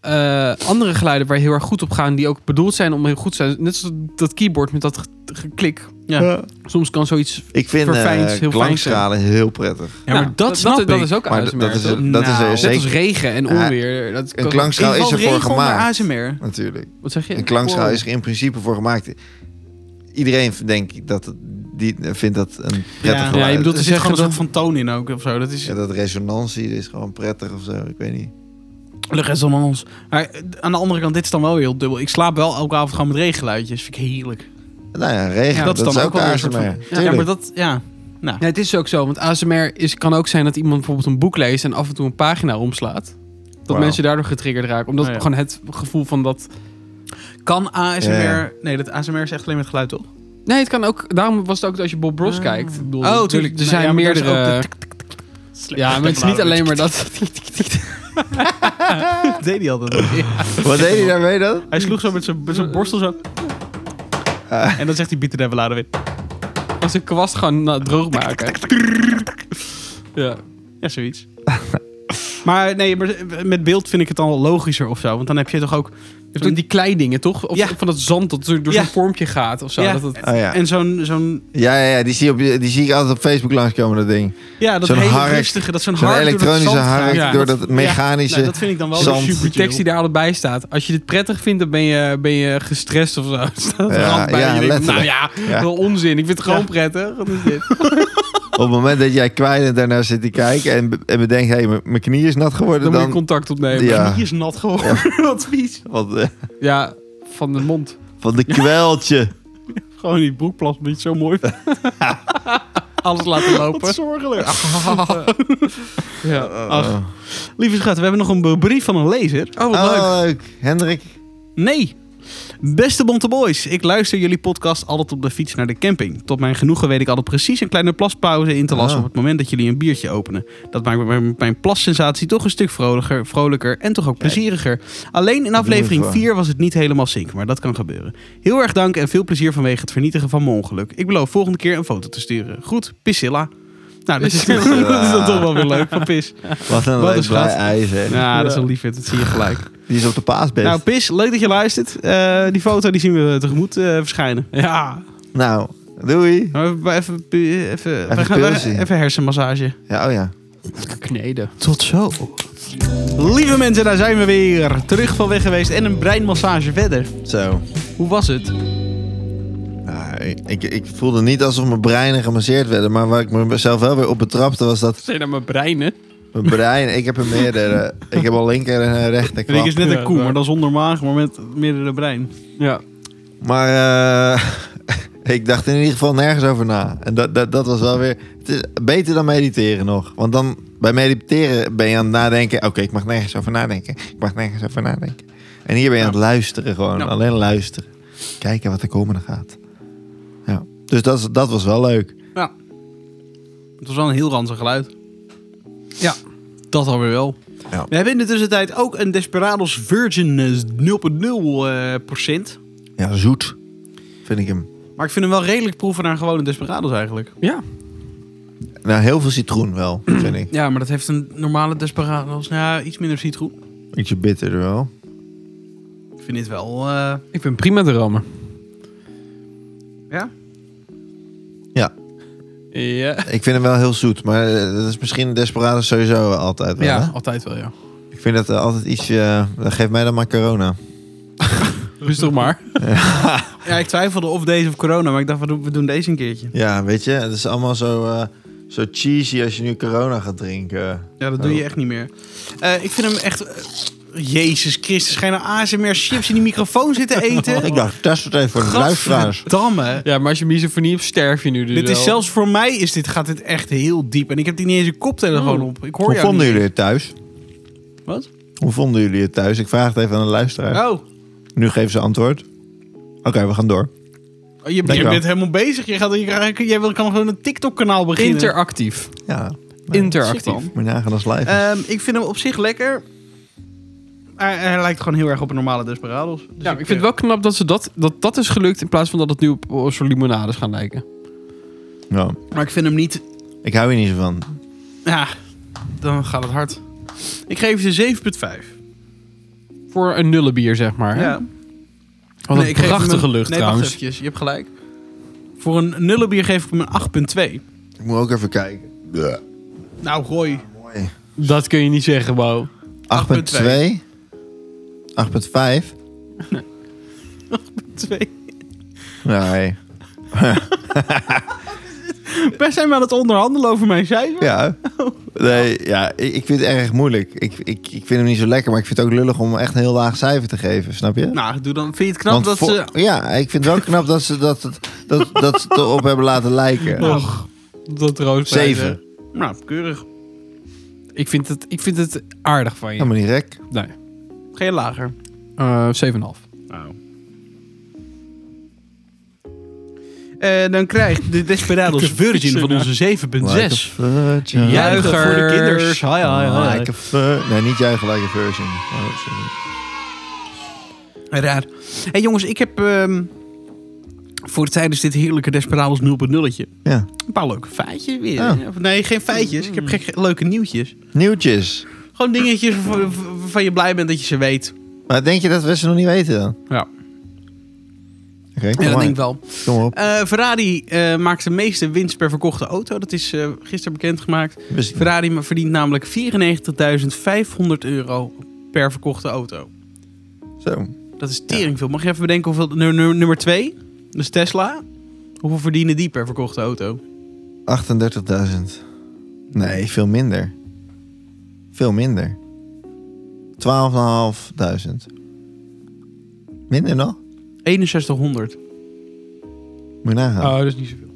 [SPEAKER 3] eh, andere geluiden waar je heel erg goed op gaan, die ook bedoeld zijn om heel goed te zijn. Net zoals dat keyboard met dat ge- geklik.
[SPEAKER 1] Ja.
[SPEAKER 2] Ja.
[SPEAKER 3] Soms kan zoiets.
[SPEAKER 2] Ik vind
[SPEAKER 3] Verfijnd,
[SPEAKER 2] eh
[SPEAKER 3] heel
[SPEAKER 2] klankschalen heel prettig.
[SPEAKER 1] Ja, maar
[SPEAKER 3] Nou,
[SPEAKER 1] dat snap
[SPEAKER 3] dat,
[SPEAKER 1] ik.
[SPEAKER 3] is ook
[SPEAKER 2] Maar d-
[SPEAKER 3] ASMR.
[SPEAKER 2] dat is,
[SPEAKER 3] toch?
[SPEAKER 2] er- dat is
[SPEAKER 1] Nou.
[SPEAKER 2] er
[SPEAKER 1] Net
[SPEAKER 3] Net als
[SPEAKER 2] zeker.
[SPEAKER 3] regen en
[SPEAKER 2] Ja,
[SPEAKER 3] onweer. Dat
[SPEAKER 2] Een
[SPEAKER 3] kan-
[SPEAKER 2] klankschaal is
[SPEAKER 1] Inval
[SPEAKER 2] er voor
[SPEAKER 1] regel naar
[SPEAKER 2] gemaakt.
[SPEAKER 1] ASMR.
[SPEAKER 2] Natuurlijk.
[SPEAKER 3] Wat zeg je?
[SPEAKER 2] Een klankschaal
[SPEAKER 3] Wow.
[SPEAKER 2] is er in principe voor gemaakt. Iedereen denk ik dat het- die vindt dat een prettig
[SPEAKER 1] Ja,
[SPEAKER 2] geluid.
[SPEAKER 3] je bedoelt
[SPEAKER 1] Er zit gewoon
[SPEAKER 2] Ja,
[SPEAKER 3] te zeggen
[SPEAKER 1] een soort van toon in ook of zo. Dat is
[SPEAKER 2] dat, resonantie is gewoon prettig of zo. Ik weet niet.
[SPEAKER 1] de rest van ons. Maar eh, aan de andere kant, dit is dan wel weer heel dubbel. Ik slaap wel elke avond gewoon met regenluidjes. Vind ik heerlijk.
[SPEAKER 2] Nou ja, regen.
[SPEAKER 1] Ja,
[SPEAKER 2] dat, is dan ook,
[SPEAKER 1] wel weer een
[SPEAKER 2] ASMR.
[SPEAKER 1] soort van-
[SPEAKER 2] Tuurlijk.
[SPEAKER 1] Ja, maar dat... Ja.
[SPEAKER 3] Ja, het is ook zo, want ASMR is, kan ook zijn dat iemand bijvoorbeeld een boek leest en af en toe een pagina omslaat. Dat
[SPEAKER 2] Wauw.
[SPEAKER 3] mensen daardoor getriggerd raken. Omdat
[SPEAKER 1] Ah, ja.
[SPEAKER 3] gewoon het gevoel van dat.
[SPEAKER 1] Kan ASMR...
[SPEAKER 2] Ja.
[SPEAKER 1] Nee, dat ASMR is echt alleen met geluid, toch?
[SPEAKER 3] Nee, het kan ook. Daarom was het ook dat als je Bob Ross
[SPEAKER 1] Ah.
[SPEAKER 3] kijkt. Ik bedoel,
[SPEAKER 1] Oh,
[SPEAKER 3] er-
[SPEAKER 1] tuurlijk.
[SPEAKER 3] Er
[SPEAKER 1] Nou
[SPEAKER 3] zijn
[SPEAKER 1] ja, maar daar is
[SPEAKER 3] meerdere.
[SPEAKER 1] ook
[SPEAKER 3] Ja, maar het is niet alleen maar dat.
[SPEAKER 1] Dat deed hij altijd.
[SPEAKER 2] Wat deed hij daarmee dan?
[SPEAKER 1] Hij sloeg zo met zijn, met zijn borstel zo.
[SPEAKER 2] Ah.
[SPEAKER 1] En dan zegt hij bieten de laden weer.
[SPEAKER 3] Als een kwast gewoon nou, droog maken. Ja.
[SPEAKER 1] Ja, zoiets. maar nee, maar met beeld vind ik het dan wel logischer of zo. Want dan heb je toch ook...
[SPEAKER 3] Je hebt ook die kleidingen, toch? Of
[SPEAKER 1] Ja.
[SPEAKER 3] van dat zand dat door, door
[SPEAKER 1] Ja.
[SPEAKER 3] zo'n vormpje gaat of zo.
[SPEAKER 1] Ja.
[SPEAKER 3] Dat het,
[SPEAKER 2] Oh, ja.
[SPEAKER 1] En zo'n... zo'n
[SPEAKER 2] Ja, ja, ja, die zie, je op, die zie ik altijd op Facebook langskomen, dat ding.
[SPEAKER 1] ja, dat
[SPEAKER 2] Zo'n
[SPEAKER 1] hele
[SPEAKER 2] hark,
[SPEAKER 1] rustige... Dat zo'n
[SPEAKER 2] Zo'n
[SPEAKER 1] hark door dat
[SPEAKER 2] elektronische
[SPEAKER 1] zand gaat.
[SPEAKER 2] hark
[SPEAKER 3] Ja.
[SPEAKER 2] door dat mechanische...
[SPEAKER 1] Nou, dat vind ik dan wel
[SPEAKER 2] zand.
[SPEAKER 1] super
[SPEAKER 3] die tekst die
[SPEAKER 1] chill.
[SPEAKER 3] daar allebei staat. Als je dit prettig vindt, dan ben je, ben je gestrest of zo. Staat
[SPEAKER 2] Ja,
[SPEAKER 3] ja, bij.
[SPEAKER 2] ja,
[SPEAKER 3] je denkt, nou
[SPEAKER 2] letterlijk.
[SPEAKER 3] ja,
[SPEAKER 2] Ja.
[SPEAKER 3] wel onzin. Ik vind het gewoon
[SPEAKER 1] Ja.
[SPEAKER 3] prettig. Wat is dit?
[SPEAKER 2] Op het moment dat jij kwijlend daarnaar zit te kijken en, be- en bedenkt, hé, hey, mijn knie is nat
[SPEAKER 3] Dan,
[SPEAKER 2] geworden,
[SPEAKER 3] moet
[SPEAKER 2] dan...
[SPEAKER 3] je contact opnemen. Ja,
[SPEAKER 2] Ja.
[SPEAKER 1] Die is nat geworden. Wat vies.
[SPEAKER 2] Want, eh,
[SPEAKER 3] ja van de mond.
[SPEAKER 2] Van de kweltje.
[SPEAKER 1] Gewoon die broekplas niet zo mooi.
[SPEAKER 3] Alles laten
[SPEAKER 1] Wat
[SPEAKER 3] lopen.
[SPEAKER 1] zorgelijk.
[SPEAKER 3] Ja.
[SPEAKER 1] Ach. Lieve schat, we hebben nog een brief van een lezer.
[SPEAKER 3] Oh, wat leuk.
[SPEAKER 2] Oh, leuk. Hendrik.
[SPEAKER 1] Nee. Beste Bonte Boys, ik luister jullie podcast altijd op de fiets naar de camping. Tot mijn genoegen weet ik altijd precies een kleine plaspauze in te lassen
[SPEAKER 2] Ah.
[SPEAKER 1] op het moment dat jullie een biertje openen. Dat maakt mijn, mijn plassensatie toch een stuk vrolijker, vrolijker en toch ook plezieriger. Alleen in aflevering
[SPEAKER 2] wel.
[SPEAKER 1] 4 was het niet helemaal zink, maar dat kan gebeuren. Heel erg dank en veel plezier vanwege het vernietigen van mijn ongeluk. Ik beloof volgende keer een foto te sturen. Goed, Piscilla. Nou, dat is, dat
[SPEAKER 2] Priscilla.
[SPEAKER 1] is dan toch wel weer leuk van Pis.
[SPEAKER 2] Wat een
[SPEAKER 1] Wat een
[SPEAKER 2] leuk
[SPEAKER 1] schat.
[SPEAKER 2] blij ei, zeg.
[SPEAKER 1] Ja, dat is een liefheid, dat zie je gelijk.
[SPEAKER 2] Die is op de
[SPEAKER 1] Nou,
[SPEAKER 2] paasbeest. Nou,
[SPEAKER 1] Pis, leuk dat je luistert. Eh, die foto die zien we tegemoet eh, verschijnen.
[SPEAKER 3] Ja.
[SPEAKER 2] doei.
[SPEAKER 1] Nou, even, even, even, we gaan,
[SPEAKER 2] pillen zien.
[SPEAKER 1] we- even hersenmassage.
[SPEAKER 2] Ja, oh ja.
[SPEAKER 3] Kneden.
[SPEAKER 1] Tot zo. Lieve mensen, daar zijn we weer. Terug van weg geweest en een breinmassage verder.
[SPEAKER 2] Zo.
[SPEAKER 1] Hoe was het?
[SPEAKER 2] Nou, ik, ik, ik voelde niet alsof mijn breinen gemasseerd werden. Maar waar ik mezelf wel weer op betrapte was dat
[SPEAKER 3] Zijn naar mijn breinen.
[SPEAKER 2] mijn brein... Ik heb een meerdere... Ik heb al linker en een rechter
[SPEAKER 1] Rick is
[SPEAKER 2] kwap.
[SPEAKER 1] net
[SPEAKER 3] Ja,
[SPEAKER 1] een koe,
[SPEAKER 3] waar.
[SPEAKER 1] maar dan zonder maag, maar met meerdere brein.
[SPEAKER 3] Ja.
[SPEAKER 2] Maar eh, ik dacht in ieder geval nergens over na. En dat, dat, dat was wel weer... Het is beter dan mediteren nog. Want dan bij mediteren ben je aan het nadenken... Oké, ik mag nergens over nadenken. Ik mag nergens over nadenken. En hier ben je aan het luisteren gewoon.
[SPEAKER 3] Ja.
[SPEAKER 2] Alleen luisteren. Kijken wat er komende gaat. Ja. Dus dat, is- dat was wel leuk.
[SPEAKER 1] Het was wel een heel ranzig geluid.
[SPEAKER 3] Ja.
[SPEAKER 1] Dat alweer wel.
[SPEAKER 2] Ja.
[SPEAKER 1] We hebben in de tussentijd ook een Desperados Virgin eh, 0.0 eh, procent.
[SPEAKER 2] Ja, zoet. Vind ik hem.
[SPEAKER 1] Maar ik vind hem wel redelijk proeven naar gewone Desperados eigenlijk.
[SPEAKER 3] Ja.
[SPEAKER 2] Nou, heel veel citroen wel, vind ik.
[SPEAKER 1] Ja, maar dat heeft een normale Desperados. Nou, iets minder citroen.
[SPEAKER 2] Ietsje bitterder wel.
[SPEAKER 1] Ik vind dit wel. eh,
[SPEAKER 3] Ik ben prima te rammen.
[SPEAKER 1] ja?
[SPEAKER 2] Ja,
[SPEAKER 3] Ja.
[SPEAKER 2] ik vind hem wel heel zoet. Maar eh, dat is misschien Desperados sowieso altijd wel, hè?
[SPEAKER 3] Ja, altijd wel, ja.
[SPEAKER 2] Ik vind dat eh, altijd iets... eh, dat geeft mij dan maar corona.
[SPEAKER 3] Rustig Dus maar.
[SPEAKER 1] Ja, ik twijfelde of deze of corona, maar ik dacht, we doen, we doen deze een keertje.
[SPEAKER 2] Ja, weet je? Het is allemaal zo, eh, zo cheesy als je nu corona gaat drinken.
[SPEAKER 1] Ja, dat doe je echt niet meer. Eh, ik vind hem echt. eh, Jezus Christus, ga je nou ASMR chips in die microfoon zitten eten?
[SPEAKER 2] Oh, Ik dacht, test het even voor de luisteraars.
[SPEAKER 1] Gadverdamme.
[SPEAKER 3] Ja, maar als je misofonie hebt, sterf je nu dus
[SPEAKER 1] Dit is
[SPEAKER 3] wel.
[SPEAKER 1] zelfs voor mij is dit, gaat dit echt heel diep. En ik heb die niet eens een koptelefoon
[SPEAKER 3] Oh.
[SPEAKER 1] op. Ik hoor
[SPEAKER 2] Hoe
[SPEAKER 1] jou
[SPEAKER 2] vonden
[SPEAKER 1] niet.
[SPEAKER 2] jullie het thuis?
[SPEAKER 1] Wat?
[SPEAKER 2] Hoe vonden jullie het thuis? Ik vraag het even aan de luisteraar.
[SPEAKER 1] Oh,
[SPEAKER 2] Nu geven ze antwoord. Oké, we gaan door.
[SPEAKER 1] je, je
[SPEAKER 2] Dankjewel.
[SPEAKER 1] bent helemaal bezig. Je gaat, je, jij wil- kan gewoon een TikTok-kanaal beginnen.
[SPEAKER 3] Interactief.
[SPEAKER 2] Ja,
[SPEAKER 3] Interactief.
[SPEAKER 1] Super.
[SPEAKER 2] moet je nagaan als live.
[SPEAKER 1] Ehm, ik vind hem op zich lekker. Hij, hij lijkt gewoon heel erg op een normale Desperados. Dus
[SPEAKER 3] ja, ik vind het wel knap dat ze dat, dat, dat is gelukt in plaats van dat het nu op een soort limonades gaan lijken.
[SPEAKER 2] Nou,
[SPEAKER 1] Maar ik vind hem niet
[SPEAKER 2] ik hou hier niet zo van.
[SPEAKER 1] Ja, dan gaat het hard. Ik geef ze 7,5.
[SPEAKER 3] Voor een nullenbier, zeg maar. hè? Wat een
[SPEAKER 1] ik geef hem
[SPEAKER 3] prachtige
[SPEAKER 1] een-
[SPEAKER 3] lucht
[SPEAKER 1] nee, wacht
[SPEAKER 3] trouwens.
[SPEAKER 1] eventjes, je hebt gelijk. Voor een nullenbier geef ik hem een 8,2.
[SPEAKER 2] Ik moet ook even kijken.
[SPEAKER 1] Nou, gooi.
[SPEAKER 2] Mooi.
[SPEAKER 3] Dat kun je niet zeggen, Bo.
[SPEAKER 2] 8.2. 8.5.
[SPEAKER 1] Twee.
[SPEAKER 2] Nee.
[SPEAKER 1] Wij zijn we aan het onderhandelen over mijn cijfer.
[SPEAKER 2] Ja. Nee, ja, ik, ik vind het erg moeilijk. Ik, ik, ik vind hem niet zo lekker, maar ik vind het ook lullig om echt een heel laag cijfer te geven, snap je?
[SPEAKER 1] Nou, doe dan. Vind je het knap dat
[SPEAKER 2] voor-
[SPEAKER 1] ze...
[SPEAKER 2] Ja, ik vind het wel knap dat ze dat, dat, dat, dat ze het erop hebben laten lijken.
[SPEAKER 1] Nou,
[SPEAKER 3] Och, dat rood.
[SPEAKER 2] Zeven.
[SPEAKER 1] nou, keurig.
[SPEAKER 3] Ik vind, het, ik vind het aardig van je.
[SPEAKER 2] Helemaal niet gek.
[SPEAKER 3] Nee.
[SPEAKER 1] Geen lager.
[SPEAKER 3] Eh, 7,5.
[SPEAKER 1] Nou. Eh, dan krijgt de Desperados Virgin van onze 7,6.
[SPEAKER 2] virgin.
[SPEAKER 1] Ja. Juichen voor de kinders.
[SPEAKER 3] Juichers. Hi, hi, hi.
[SPEAKER 2] Like a vir- nee, niet juichen like a virgin. Oh, sorry.
[SPEAKER 1] Raar. Hé hey jongens, ik heb ehm, voor tijdens dit heerlijke Desperados 0.0'tje
[SPEAKER 2] Ja.
[SPEAKER 1] een paar leuke feitjes weer.
[SPEAKER 2] Ja.
[SPEAKER 1] Of Nee, geen feitjes. Ik heb gek ge- leuke nieuwtjes.
[SPEAKER 2] Nieuwtjes.
[SPEAKER 1] Gewoon dingetjes waarvan waarvan je blij bent dat je ze weet.
[SPEAKER 2] Maar denk je dat we ze nog niet weten dan?
[SPEAKER 1] Ja,
[SPEAKER 2] Oké, kom,
[SPEAKER 1] dat
[SPEAKER 2] maar.
[SPEAKER 1] denk ik wel.
[SPEAKER 2] kom op.
[SPEAKER 1] Eh, Ferrari eh, maakt de meeste winst per verkochte auto. Dat is eh, gisteren bekendgemaakt.
[SPEAKER 2] Wist ik niet.
[SPEAKER 1] Ferrari ma- verdient namelijk 94.500 euro per verkochte auto.
[SPEAKER 2] Zo.
[SPEAKER 1] Dat is tering veel. Mag je even bedenken hoeveel... nu- nu- Nummer 2, dus Tesla. Hoeveel verdienen die per verkochte auto?
[SPEAKER 2] 38.000. Nee, veel minder. Veel minder. 12.500. Minder nog?
[SPEAKER 1] 6100.
[SPEAKER 2] Moet je nagaan.
[SPEAKER 3] Oh, dat is niet zoveel.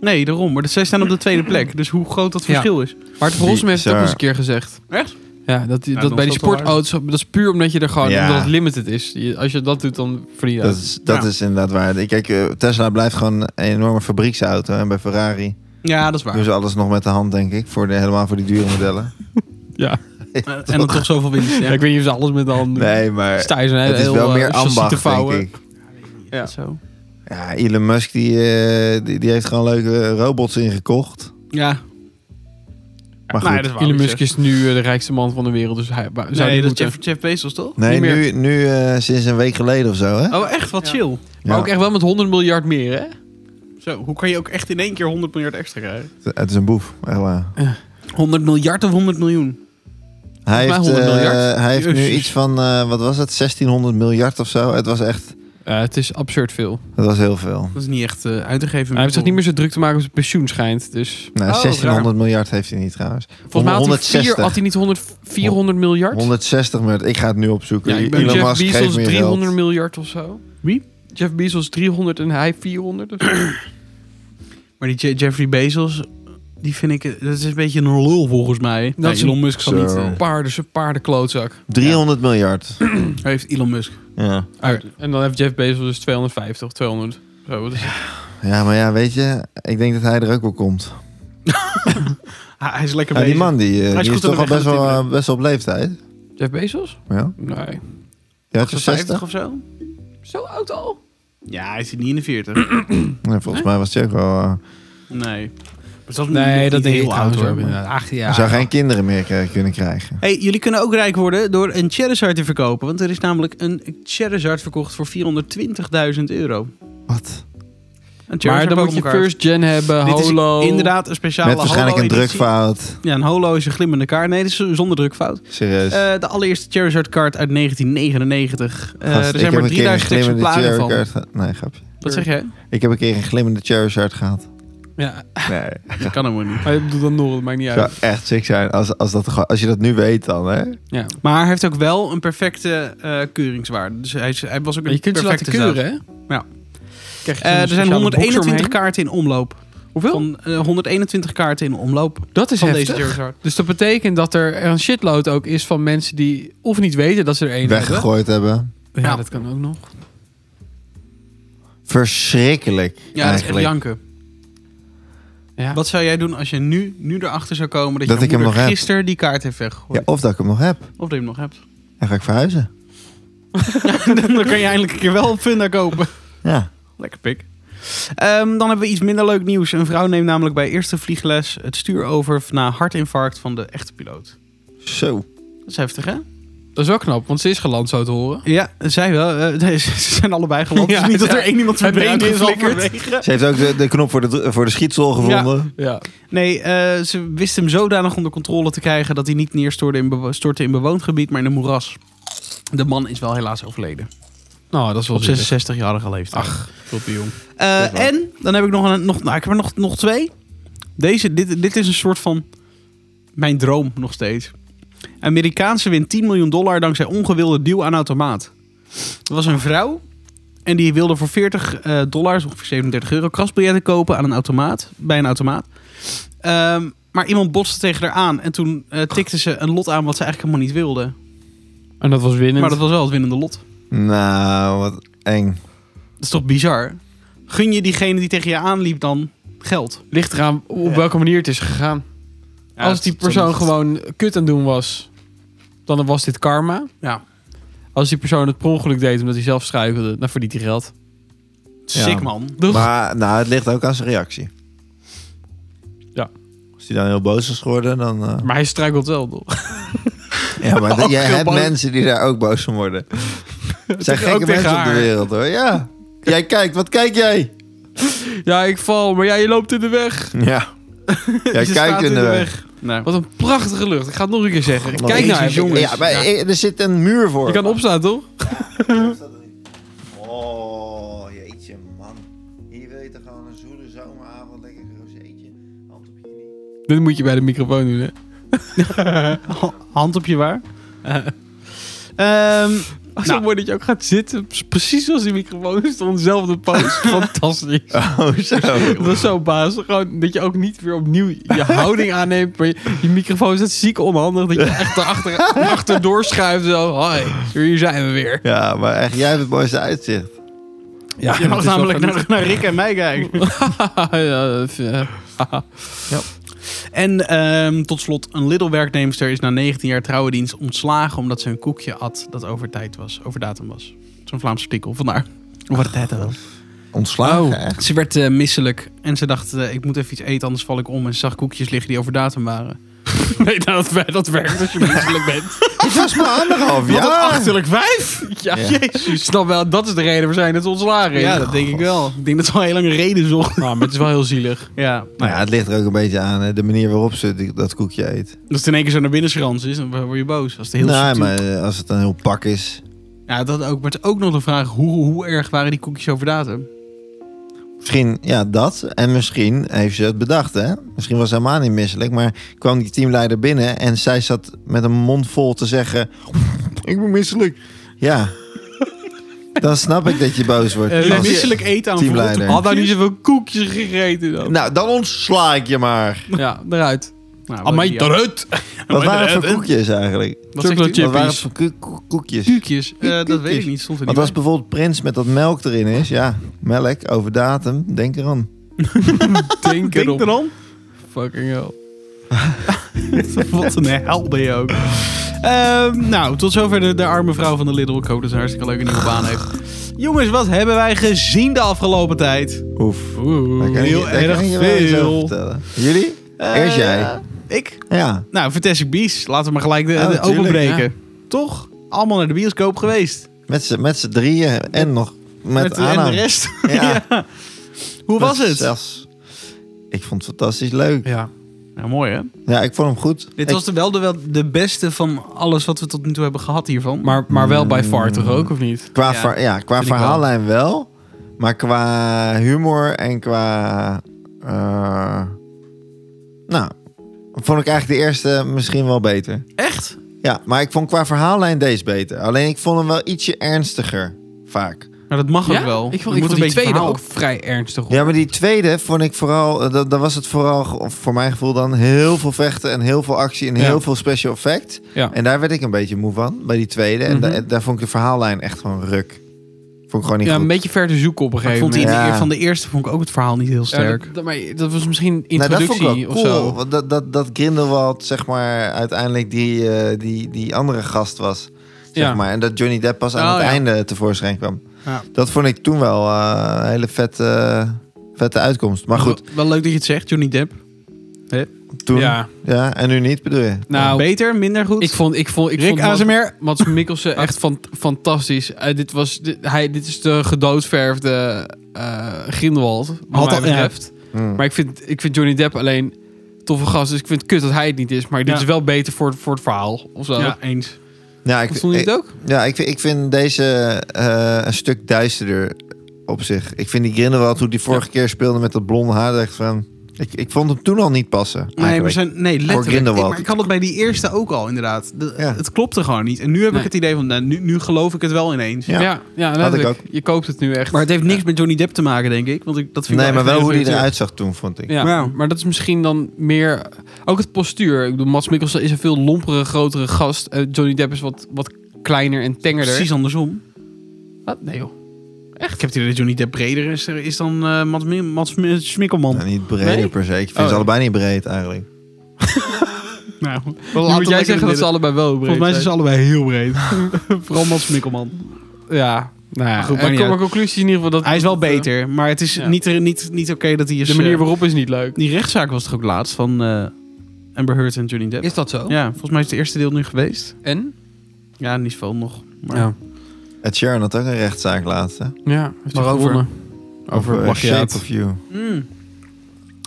[SPEAKER 1] Nee, daarom. Maar de- zij staan op de tweede plek. Dus hoe groot dat
[SPEAKER 3] Ja.
[SPEAKER 1] verschil is.
[SPEAKER 3] Maarten Verholsen heeft het
[SPEAKER 2] Bizar.
[SPEAKER 3] ook eens een keer gezegd.
[SPEAKER 1] Echt?
[SPEAKER 3] Ja, dat,
[SPEAKER 1] Ja,
[SPEAKER 3] dat
[SPEAKER 1] dan
[SPEAKER 3] bij die
[SPEAKER 1] is dat wel
[SPEAKER 3] sportauto's, dat is puur omdat je er gewoon,
[SPEAKER 2] Ja.
[SPEAKER 3] omdat het limited is. Je- als je dat doet, dan verdien je
[SPEAKER 2] Dat,
[SPEAKER 3] dat.
[SPEAKER 2] is, dat
[SPEAKER 1] Ja.
[SPEAKER 2] is inderdaad waar. Ik Kijk, eh, Tesla blijft gewoon een enorme fabrieksauto. En bij Ferrari
[SPEAKER 1] Ja, dat is waar.
[SPEAKER 3] Dus-
[SPEAKER 2] doen ze alles nog met de hand, denk ik. Voor de, helemaal voor die dure modellen.
[SPEAKER 3] Ja.
[SPEAKER 1] Eh, en dan toch zoveel winst.
[SPEAKER 3] Ja,
[SPEAKER 1] Ja.
[SPEAKER 3] ik weet niet of ze alles met de handen doen.
[SPEAKER 2] Nee, maar
[SPEAKER 3] Sta je zo'n
[SPEAKER 2] het is
[SPEAKER 3] heel,
[SPEAKER 2] wel
[SPEAKER 3] eh,
[SPEAKER 2] meer
[SPEAKER 3] chassis te
[SPEAKER 2] ambacht, denk
[SPEAKER 3] vouwen.
[SPEAKER 2] ik.
[SPEAKER 3] Ja.
[SPEAKER 1] Zo.
[SPEAKER 2] Ja, Elon Musk die, eh, die, die heeft gewoon leuke robots ingekocht.
[SPEAKER 1] Ja.
[SPEAKER 2] Maar goed.
[SPEAKER 1] Nou ja, dat is waar
[SPEAKER 3] Elon
[SPEAKER 1] wat je
[SPEAKER 3] Musk is nu eh, de rijkste man van de wereld, dus hij wa- zou
[SPEAKER 1] Nee,
[SPEAKER 3] die
[SPEAKER 1] dat is
[SPEAKER 3] moeten.
[SPEAKER 1] Jeff, Jeff Bezos toch?
[SPEAKER 2] Nee,
[SPEAKER 3] niet meer.
[SPEAKER 2] nu, nu eh, sinds een week geleden of zo, hè?
[SPEAKER 1] Oh, echt? Wat
[SPEAKER 3] Ja.
[SPEAKER 1] chill.
[SPEAKER 3] Maar
[SPEAKER 2] Ja.
[SPEAKER 3] ook echt wel met 100 miljard meer, hè?
[SPEAKER 1] Zo, hoe kan je ook echt in één keer 100 miljard extra krijgen?
[SPEAKER 2] Het is een boef, echt waar.
[SPEAKER 1] 100 miljard of 100 miljoen?
[SPEAKER 2] Hij
[SPEAKER 3] mij
[SPEAKER 2] heeft,
[SPEAKER 3] 100
[SPEAKER 2] eh,
[SPEAKER 3] miljard.
[SPEAKER 2] hij heeft nu
[SPEAKER 1] Jezus.
[SPEAKER 2] iets van, eh, wat was het, 1600 miljard of zo? Het was echt,
[SPEAKER 3] Eh, het is absurd veel.
[SPEAKER 2] het was heel veel.
[SPEAKER 1] Dat is niet echt eh, uit te geven.
[SPEAKER 3] Hij heeft zich niet meer zo druk te maken op zijn pensioen schijnt. Dus
[SPEAKER 2] Nou,
[SPEAKER 1] Oh,
[SPEAKER 2] 1600 miljard heeft hij niet trouwens.
[SPEAKER 3] volgens mij had hij, vier,
[SPEAKER 2] 160.
[SPEAKER 3] had hij niet 100, 400 miljard.
[SPEAKER 2] 160 miljard, ik ga het nu opzoeken.
[SPEAKER 3] ja, ik ben
[SPEAKER 2] Elon
[SPEAKER 3] Jeff
[SPEAKER 2] Musk
[SPEAKER 3] Bezos
[SPEAKER 2] geeft meer
[SPEAKER 3] 300
[SPEAKER 2] geld.
[SPEAKER 3] miljard of zo.
[SPEAKER 1] Wie?
[SPEAKER 3] Jeff Bezos 300 en hij 400. of zo.
[SPEAKER 1] Maar die Je- Jeffrey Bezos, die vind ik... eh, Dat is een beetje een lul volgens mij.
[SPEAKER 3] Dat
[SPEAKER 1] Dat
[SPEAKER 3] is
[SPEAKER 1] Elon Musk zal
[SPEAKER 2] Zo.
[SPEAKER 1] niet... eh,
[SPEAKER 3] Paarden, zijn paardenklootzak.
[SPEAKER 2] 300 miljard.
[SPEAKER 1] hij heeft Elon Musk.
[SPEAKER 2] Ja.
[SPEAKER 3] En dan heeft Jeff Bezos dus 250, 200. Zo, wat is het?
[SPEAKER 2] ja, maar ja, weet je, ik denk dat hij er ook wel komt.
[SPEAKER 1] Hij, hij is lekker
[SPEAKER 2] Ja, die
[SPEAKER 1] bezig.
[SPEAKER 2] man die, eh,
[SPEAKER 1] Hij is
[SPEAKER 2] die
[SPEAKER 1] goed
[SPEAKER 2] is
[SPEAKER 1] aan de
[SPEAKER 2] toch al
[SPEAKER 1] weg aan
[SPEAKER 2] best
[SPEAKER 1] het
[SPEAKER 2] wel,
[SPEAKER 1] timmeren.
[SPEAKER 2] eh, best wel op leeftijd.
[SPEAKER 3] Jeff Bezos?
[SPEAKER 2] Ja,
[SPEAKER 3] Nee.
[SPEAKER 2] ja
[SPEAKER 1] 50
[SPEAKER 2] 60?
[SPEAKER 1] of zo?
[SPEAKER 3] Zo oud al?
[SPEAKER 1] Ja, hij zit niet in de 40.
[SPEAKER 2] Nee, volgens mij was hij ook wel... eh,
[SPEAKER 1] nee. Maar dat
[SPEAKER 3] Nee, dat denk ik
[SPEAKER 1] heel oud
[SPEAKER 3] trouwens
[SPEAKER 1] hoor.
[SPEAKER 3] ook
[SPEAKER 1] maar-
[SPEAKER 3] inderdaad. Ach ja.
[SPEAKER 2] Hij zou geen kinderen meer eh, kunnen krijgen.
[SPEAKER 1] Hey, jullie kunnen ook rijk worden door een Charizard te verkopen. Want er is namelijk een Charizard verkocht voor 420.000 euro.
[SPEAKER 2] Wat?
[SPEAKER 1] Een Charizard
[SPEAKER 3] Maar dan moet je
[SPEAKER 1] Pokémon kaart.
[SPEAKER 3] first gen hebben,
[SPEAKER 1] Dit is
[SPEAKER 3] holo.
[SPEAKER 1] inderdaad een speciale
[SPEAKER 2] Met waarschijnlijk een
[SPEAKER 1] holo-editie.
[SPEAKER 2] drukfout.
[SPEAKER 1] Ja, een holo is een glimmende kaart. Nee, dit is zonder drukfout.
[SPEAKER 2] Serieus.
[SPEAKER 1] Eh, de allereerste Charizard kaart uit 1999. Eh,
[SPEAKER 2] Gast,
[SPEAKER 1] er
[SPEAKER 2] ik
[SPEAKER 1] zijn
[SPEAKER 2] heb
[SPEAKER 1] maar
[SPEAKER 2] een keer een
[SPEAKER 1] 3000
[SPEAKER 2] glimmende
[SPEAKER 1] exemplaren van.
[SPEAKER 2] Charizard gehad. Nee, grapje.
[SPEAKER 1] Wat zeg jij?
[SPEAKER 2] Ik heb een keer een glimmende Charizard gehad.
[SPEAKER 3] Ja,
[SPEAKER 2] Nee.
[SPEAKER 1] Dat kan helemaal niet.
[SPEAKER 3] maar ik bedoel dan nog, dat maakt niet
[SPEAKER 2] zou
[SPEAKER 3] uit.
[SPEAKER 2] echt sick zijn als, als, dat, gewoon- als je dat nu weet dan, hè?
[SPEAKER 3] Ja.
[SPEAKER 1] Maar hij heeft ook wel een perfecte eh, keuringswaarde. Dus hij, is- hij was ook
[SPEAKER 3] Maar
[SPEAKER 1] een
[SPEAKER 3] je kunt ze laten
[SPEAKER 1] perfecte
[SPEAKER 3] keuren, hè?
[SPEAKER 1] Ja.
[SPEAKER 3] Krijg je
[SPEAKER 1] zaak. Eh,
[SPEAKER 3] zo'n
[SPEAKER 1] er zijn
[SPEAKER 3] speciale box
[SPEAKER 1] 121
[SPEAKER 3] eromheen.
[SPEAKER 1] kaarten in omloop.
[SPEAKER 3] Hoeveel?
[SPEAKER 1] Van, eh, 121 kaarten in omloop
[SPEAKER 3] dat is
[SPEAKER 1] van
[SPEAKER 3] heftig.
[SPEAKER 1] deze Charizard.
[SPEAKER 3] Dus dat betekent dat er een shitload ook is van mensen die of niet weten dat ze er één hebben.
[SPEAKER 2] Weggegooid hebben.
[SPEAKER 3] Ja,
[SPEAKER 1] Ja.
[SPEAKER 3] dat kan ook nog.
[SPEAKER 2] Verschrikkelijk,
[SPEAKER 1] Ja, dat is echt
[SPEAKER 2] eigenlijk.
[SPEAKER 1] janken.
[SPEAKER 3] Ja.
[SPEAKER 1] Wat zou jij doen als je nu, nu erachter zou komen dat,
[SPEAKER 2] Dat
[SPEAKER 1] je
[SPEAKER 2] ik hem
[SPEAKER 1] moeder
[SPEAKER 2] nog heb.
[SPEAKER 1] gisteren die kaart heeft
[SPEAKER 2] ja,
[SPEAKER 1] weggegooid?
[SPEAKER 2] of dat ik hem nog heb.
[SPEAKER 1] Of dat je hem nog hebt.
[SPEAKER 2] Dan ga ik verhuizen.
[SPEAKER 1] Dan kan je eindelijk een keer wel een funda kopen.
[SPEAKER 2] Ja.
[SPEAKER 1] Lekker pik. Ehm, dan hebben we iets minder leuk nieuws. Een vrouw neemt namelijk bij eerste vliegles het stuur over na hartinfarct van de echte piloot.
[SPEAKER 2] Zo.
[SPEAKER 1] Dat is heftig, hè?
[SPEAKER 3] Dat is wel knap, want ze is geland zo te horen.
[SPEAKER 1] Ja, zij wel. Eh, nee, ze ze zijn allebei geland.
[SPEAKER 3] Ja,
[SPEAKER 1] Het is niet
[SPEAKER 3] ja.
[SPEAKER 1] dat er één iemand zijn
[SPEAKER 3] Hebben
[SPEAKER 1] been is
[SPEAKER 3] uitgeflikkerd.
[SPEAKER 1] halverwege.
[SPEAKER 2] Ze heeft ook de, de knop voor de, dru- voor de schietsel gevonden.
[SPEAKER 3] Ja.
[SPEAKER 1] Nee, eh, ze wist hem zodanig onder controle te krijgen dat hij niet neerstortte in, bewo- stortte in bewoond gebied, maar in een moeras. De man is wel helaas overleden.
[SPEAKER 3] Nou, dat is wel
[SPEAKER 1] Op
[SPEAKER 3] zielig.
[SPEAKER 1] 66-jarige leeftijd. Ach,
[SPEAKER 3] Tot die jong.
[SPEAKER 1] Eh,
[SPEAKER 2] Dat is waar.
[SPEAKER 1] en dan heb ik nog, een, nog, nou, ik heb er nog, nog twee. Deze, dit, dit is een soort van mijn droom nog steeds. Amerikaanse wint 10 miljoen dollar dankzij ongewilde duw aan automaat. Er was een vrouw en die wilde voor 40 eh dollars, ongeveer 37 euro, krasbiljetten kopen aan een automaat, bij een automaat. Ehm, maar iemand botste tegen haar aan en toen eh, tikte ze een lot aan wat ze eigenlijk helemaal niet wilde.
[SPEAKER 3] En dat was winnen.
[SPEAKER 1] Maar dat was wel het winnende lot.
[SPEAKER 2] Nou, wat eng.
[SPEAKER 1] Dat is toch bizar? Gun je diegene die tegen je aanliep dan geld?
[SPEAKER 3] ligt eraan op
[SPEAKER 2] Ja.
[SPEAKER 3] welke manier het is gegaan. Als die persoon gewoon kut aan het doen was, dan was dit karma.
[SPEAKER 1] Ja.
[SPEAKER 3] Als die persoon het per ongeluk deed omdat hij zelf struikelde, dan verdient hij geld.
[SPEAKER 1] Sick
[SPEAKER 2] Ja.
[SPEAKER 1] man.
[SPEAKER 3] Toch?
[SPEAKER 2] Maar nou, het ligt ook aan zijn reactie.
[SPEAKER 3] Ja.
[SPEAKER 2] Als hij dan heel boos is geworden, dan... eh,
[SPEAKER 3] Maar hij struikelt wel, toch?
[SPEAKER 2] Ja, maar dat-
[SPEAKER 3] Ook
[SPEAKER 2] jij
[SPEAKER 3] heel
[SPEAKER 2] hebt
[SPEAKER 3] boos.
[SPEAKER 2] mensen die daar ook boos van worden. Het zijn
[SPEAKER 3] Ook
[SPEAKER 2] gekke
[SPEAKER 3] tegen
[SPEAKER 2] mensen op
[SPEAKER 3] haar.
[SPEAKER 2] de wereld hoor, ja. Jij kijkt, wat kijk jij?
[SPEAKER 3] Ja, ik val, maar ja, je loopt in de weg.
[SPEAKER 2] Ja. Jij
[SPEAKER 1] Ze
[SPEAKER 2] kijkt
[SPEAKER 1] staat
[SPEAKER 2] in eh, de weg.
[SPEAKER 1] Nee.
[SPEAKER 3] Wat een prachtige lucht. Ik ga het nog een keer zeggen.
[SPEAKER 2] Nog
[SPEAKER 3] Kijk
[SPEAKER 2] eens
[SPEAKER 3] naar hem.
[SPEAKER 2] iets jongens. Ja, maar eh, er zit een muur voor.
[SPEAKER 3] Oh, Je kan opstaan, toch?
[SPEAKER 2] Oh, jeetje man. Hier wil je toch gewoon een zoele zomeravond, lekker een rozeetje, hand op je knie.
[SPEAKER 3] Dit moet je bij de microfoon doen, hè?
[SPEAKER 1] Hand op je waar. Ehm,
[SPEAKER 3] Oh, zo
[SPEAKER 1] Nou.
[SPEAKER 3] mooi dat je ook gaat zitten. Precies zoals die microfoon is. Dan dezelfde pose. Fantastisch.
[SPEAKER 2] Oh, zo.
[SPEAKER 3] Dat is zo baas. Gewoon dat je ook niet weer opnieuw je houding aanneemt. Maar je, je microfoon is net ziek onhandig. Dat je echt erachter achterdoor schuift. Zo, hoi, hier zijn we weer.
[SPEAKER 2] Ja, maar echt, jij hebt het mooiste uitzicht.
[SPEAKER 3] Ja,
[SPEAKER 1] Je mag namelijk naar, naar Rick en mij kijken.
[SPEAKER 3] eh,
[SPEAKER 1] En ehm, tot slot, een Lidl werknemster is na 19 jaar trouwendienst ontslagen omdat ze een koekje at dat over tijd was, over datum was. Zo'n Vlaamse prikkel, vandaar. Over de tijd wel.
[SPEAKER 2] Ontslagen,
[SPEAKER 3] Oh.
[SPEAKER 2] echt.
[SPEAKER 1] Ze werd eh, misselijk en ze dacht, eh, ik moet even iets eten, anders val ik om. En ze zag koekjes liggen die over datum waren.
[SPEAKER 3] Nee, dat, dat werkt als je menselijk bent.
[SPEAKER 2] Het was maar anderhalf
[SPEAKER 1] Wat een
[SPEAKER 2] jaar.
[SPEAKER 1] achterlijk wijf!
[SPEAKER 3] Ja,
[SPEAKER 2] Ja.
[SPEAKER 3] jezus. Snap wel, dat is de reden waar zij net ontslagen is.
[SPEAKER 1] Ja, dat denk ik wel. Ik denk dat ze al heel lang een reden zocht.
[SPEAKER 3] Nou, maar het is wel heel zielig.
[SPEAKER 1] Ja,
[SPEAKER 2] Nou ja, het ligt er ook een beetje aan, hè, de manier waarop ze die- dat koekje eet.
[SPEAKER 1] Als het in één keer zo naar binnen schrans is, dan word je boos. Als het heel
[SPEAKER 2] nee,
[SPEAKER 1] subtiel-
[SPEAKER 2] maar eh, als het een heel pak is.
[SPEAKER 1] Ja, dat ook. Maar het is ook nog de vraag, hoe, hoe erg waren die koekjes over datum?
[SPEAKER 2] Misschien, ja, dat. En misschien heeft ze het bedacht, hè. Misschien was ze helemaal niet misselijk. Maar kwam die teamleider binnen en zij zat met een mond vol te zeggen... Ik ben misselijk. Ja. Dan snap ik dat je boos wordt.
[SPEAKER 3] Eh,
[SPEAKER 2] Als-
[SPEAKER 1] misselijk eten aan
[SPEAKER 2] Teamleider.
[SPEAKER 1] verrotte
[SPEAKER 3] Had nou niet zoveel koekjes gegeten dan.
[SPEAKER 2] Nou, dan ontsla ik je maar.
[SPEAKER 3] Ja, eruit.
[SPEAKER 1] Nou,
[SPEAKER 3] Amai,
[SPEAKER 1] wat-
[SPEAKER 3] eruit!
[SPEAKER 2] Wat waren het voor koekjes eigenlijk?
[SPEAKER 1] Wat zegt u?
[SPEAKER 3] Chocolate chip.
[SPEAKER 2] Wat waren het
[SPEAKER 3] Chippies.
[SPEAKER 2] voor koe- koe- koekjes?
[SPEAKER 1] Koekjes? Eh, dat
[SPEAKER 2] Koekjes.
[SPEAKER 1] weet ik niet. Stond er niet
[SPEAKER 2] Want als
[SPEAKER 1] bij.
[SPEAKER 2] bijvoorbeeld prins met dat melk erin is, ja, melk over datum, denk eraan.
[SPEAKER 3] Denk
[SPEAKER 1] Denk
[SPEAKER 3] erop.
[SPEAKER 1] erom.
[SPEAKER 3] Fucking hell.
[SPEAKER 1] Wat een hel ben je ook. Ehm, nou, tot zover de, de arme vrouw van de Lidl. Ik hoop dat ze een hartstikke leuke nieuwe baan heeft. Jongens, wat hebben wij gezien de afgelopen tijd?
[SPEAKER 2] Oef.
[SPEAKER 3] Oeh.
[SPEAKER 2] Daar kan ik-
[SPEAKER 1] heel
[SPEAKER 2] daar kan
[SPEAKER 1] erg
[SPEAKER 2] ik je wel iets over
[SPEAKER 1] veel. Eh,
[SPEAKER 2] vertellen. Jullie? Eerst jij.
[SPEAKER 1] Ik?
[SPEAKER 2] Ja.
[SPEAKER 1] Nou, Fantastic Beasts. Laten we maar gelijk de,
[SPEAKER 2] Oh,
[SPEAKER 1] de
[SPEAKER 2] tuurlijk,
[SPEAKER 1] openbreken. Toch? Allemaal naar de bioscoop geweest.
[SPEAKER 2] Met z'n, met z'n drieën en nog met,
[SPEAKER 1] de- en
[SPEAKER 2] Anna.
[SPEAKER 1] de rest.
[SPEAKER 2] Ja.
[SPEAKER 1] Hoe was
[SPEAKER 2] Met
[SPEAKER 1] het?
[SPEAKER 2] zelfs- ik vond het fantastisch leuk.
[SPEAKER 3] Ja.
[SPEAKER 1] Nou, mooi hè?
[SPEAKER 2] Ja, ik vond hem goed.
[SPEAKER 1] Dit
[SPEAKER 2] Ik-
[SPEAKER 1] was de, wel de, wel de beste van alles wat we tot nu toe hebben gehad hiervan.
[SPEAKER 3] Maar, maar wel bij far toch ook, of niet?
[SPEAKER 2] qua
[SPEAKER 1] ja,
[SPEAKER 2] ver- ja, qua
[SPEAKER 1] vind ik wel.
[SPEAKER 2] verhaallijn wel. Maar qua humor en qua... eh, nou, vond ik eigenlijk de eerste misschien wel beter.
[SPEAKER 1] echt?
[SPEAKER 2] Ja, maar ik vond qua verhaallijn deze beter. Alleen ik vond hem wel ietsje ernstiger, vaak.
[SPEAKER 1] Nou, dat mag ook wel.
[SPEAKER 3] Ik vond,
[SPEAKER 1] Je
[SPEAKER 3] ik
[SPEAKER 1] moet
[SPEAKER 3] vond die tweede
[SPEAKER 1] verhaal-
[SPEAKER 3] ook vrij ernstig.
[SPEAKER 2] Ja, maar die tweede vond ik vooral... eh, Dat, dat was het vooral, ge- voor mijn gevoel dan... heel veel vechten en heel veel actie en
[SPEAKER 3] Ja.
[SPEAKER 2] heel veel special effect.
[SPEAKER 3] Ja.
[SPEAKER 2] En daar werd ik een beetje moe van, bij die tweede. En
[SPEAKER 3] Mhm.
[SPEAKER 2] da- daar vond ik de verhaallijn echt gewoon ruk. Vond ik gewoon niet
[SPEAKER 3] ja,
[SPEAKER 2] goed.
[SPEAKER 3] een beetje ver te zoeken op een
[SPEAKER 1] Maar ik vond
[SPEAKER 3] gegeven
[SPEAKER 1] die
[SPEAKER 3] moment.
[SPEAKER 1] in de
[SPEAKER 2] Ja.
[SPEAKER 1] eer van de eerste vond ik ook het verhaal niet heel
[SPEAKER 3] Ja,
[SPEAKER 1] sterk.
[SPEAKER 3] dat- dat, maar dat was misschien
[SPEAKER 2] Nou, dat
[SPEAKER 3] introductie
[SPEAKER 2] vond ik wel
[SPEAKER 3] of
[SPEAKER 2] cool.
[SPEAKER 3] zo.
[SPEAKER 2] want Dat, dat, dat Grindelwald, zeg maar, uiteindelijk die, eh, die, die andere gast was. Zeg
[SPEAKER 3] Ja.
[SPEAKER 2] maar. En dat Johnny Depp pas aan
[SPEAKER 1] Oh,
[SPEAKER 2] het
[SPEAKER 1] ja.
[SPEAKER 2] einde tevoorschijn kwam.
[SPEAKER 1] Ja.
[SPEAKER 2] Dat vond ik toen wel eh, een hele vette, vette uitkomst. Maar goed,
[SPEAKER 1] Wel, wel leuk dat je het zegt, Johnny Depp.
[SPEAKER 2] toen... Ja.
[SPEAKER 3] Ja.
[SPEAKER 2] en nu niet, bedoel je?
[SPEAKER 3] Nou,
[SPEAKER 1] Beter, minder goed.
[SPEAKER 3] ik vond, ik vond, ik
[SPEAKER 1] Rick
[SPEAKER 3] vond Mats-
[SPEAKER 1] ASMR.
[SPEAKER 3] Mats Mikkelsen echt van, fantastisch. Eh, dit, was, dit, hij, dit is de gedoodverfde eh Grindelwald,
[SPEAKER 1] Had
[SPEAKER 3] wat mij
[SPEAKER 1] al- ja.
[SPEAKER 3] betreft.
[SPEAKER 2] Hm.
[SPEAKER 3] Maar ik vind, ik vind Johnny Depp alleen toffe gast. Dus ik vind het kut dat hij het niet is. Maar dit
[SPEAKER 1] Ja.
[SPEAKER 3] is wel beter voor, voor het verhaal. Of zo.
[SPEAKER 1] Ja, eens.
[SPEAKER 2] Ja, ik,
[SPEAKER 3] Dat vond je
[SPEAKER 2] ik-
[SPEAKER 3] het ook?
[SPEAKER 2] Ja, ik, vind- ik vind deze eh, een stuk duisterder op zich. Ik vind die Grindelwald, hoe die vorige keer speelde met dat blonde haar, echt van... Ik, ik vond hem toen al niet passen,
[SPEAKER 1] Nee,
[SPEAKER 2] eigenlijk.
[SPEAKER 1] maar zijn, nee letterlijk. Ik,
[SPEAKER 2] Grindelwald.
[SPEAKER 1] maar ik had het bij die eerste ook al, inderdaad. De-
[SPEAKER 2] Ja.
[SPEAKER 1] Het klopte gewoon niet. En nu heb
[SPEAKER 3] Nee.
[SPEAKER 1] ik het idee van, nou, nu, nu geloof ik het wel ineens.
[SPEAKER 2] Ja.
[SPEAKER 3] Ja, ja, letterlijk.
[SPEAKER 2] ook.
[SPEAKER 3] Je koopt het nu echt.
[SPEAKER 1] Maar het heeft niks met Johnny Depp te maken, denk ik. Want ik, dat vind ik
[SPEAKER 2] Nee, maar
[SPEAKER 1] echt
[SPEAKER 2] wel
[SPEAKER 1] een
[SPEAKER 2] hoe
[SPEAKER 1] hele
[SPEAKER 2] die
[SPEAKER 1] goede
[SPEAKER 2] eruit zag toen, vond ik.
[SPEAKER 3] Ja,
[SPEAKER 1] Ja.
[SPEAKER 3] maar dat is misschien dan meer... Ook het postuur. Ik bedoel, Mats Mikkelsen is een veel lompere, grotere gast. Eh, Johnny Depp is wat, wat kleiner en
[SPEAKER 1] acteur.
[SPEAKER 3] tengerder.
[SPEAKER 1] Precies andersom.
[SPEAKER 3] Wat? Nee joh.
[SPEAKER 1] Echt? Ik heb het idee dat Johnny Depp breder is, is dan eh Mats, Mi- Mats Mi- Smikkelman.
[SPEAKER 2] Nou, niet breder
[SPEAKER 3] Nee?
[SPEAKER 2] per se. Ik vind
[SPEAKER 3] Oh.
[SPEAKER 2] ze allebei niet breed, eigenlijk.
[SPEAKER 1] Nou,
[SPEAKER 3] Nu moet jij zeggen dat ze allebei wel breed
[SPEAKER 1] Volgens mij zijn ze
[SPEAKER 3] zijn.
[SPEAKER 1] allebei heel breed. Vooral Mats Smikkelman.
[SPEAKER 3] Ja, nou ja.
[SPEAKER 1] Maar goed,
[SPEAKER 3] Eh,
[SPEAKER 1] maakt niet
[SPEAKER 3] kom maar
[SPEAKER 1] uit.
[SPEAKER 3] conclusie in ieder geval dat...
[SPEAKER 1] Hij is wel
[SPEAKER 3] dat, eh,
[SPEAKER 1] beter, maar het is
[SPEAKER 3] ja.
[SPEAKER 1] niet, niet, niet oké dat hij is...
[SPEAKER 3] De manier
[SPEAKER 1] eh,
[SPEAKER 3] waarop is niet leuk.
[SPEAKER 1] Die rechtszaak was toch ook laatst van eh, Amber Heard en Johnny Depp?
[SPEAKER 3] Is dat zo?
[SPEAKER 1] Ja, volgens mij is het eerste deel nu geweest.
[SPEAKER 3] En?
[SPEAKER 1] Ja, niet veel nog. Maar
[SPEAKER 3] Ja.
[SPEAKER 2] Ed Sheeran had ook een rechtszaak laatst, hè?
[SPEAKER 3] Ja, heeft hij
[SPEAKER 1] Waarover?
[SPEAKER 3] gewonnen. Over
[SPEAKER 2] eh, Shape
[SPEAKER 3] plagiaat.
[SPEAKER 2] of You.
[SPEAKER 1] Mm.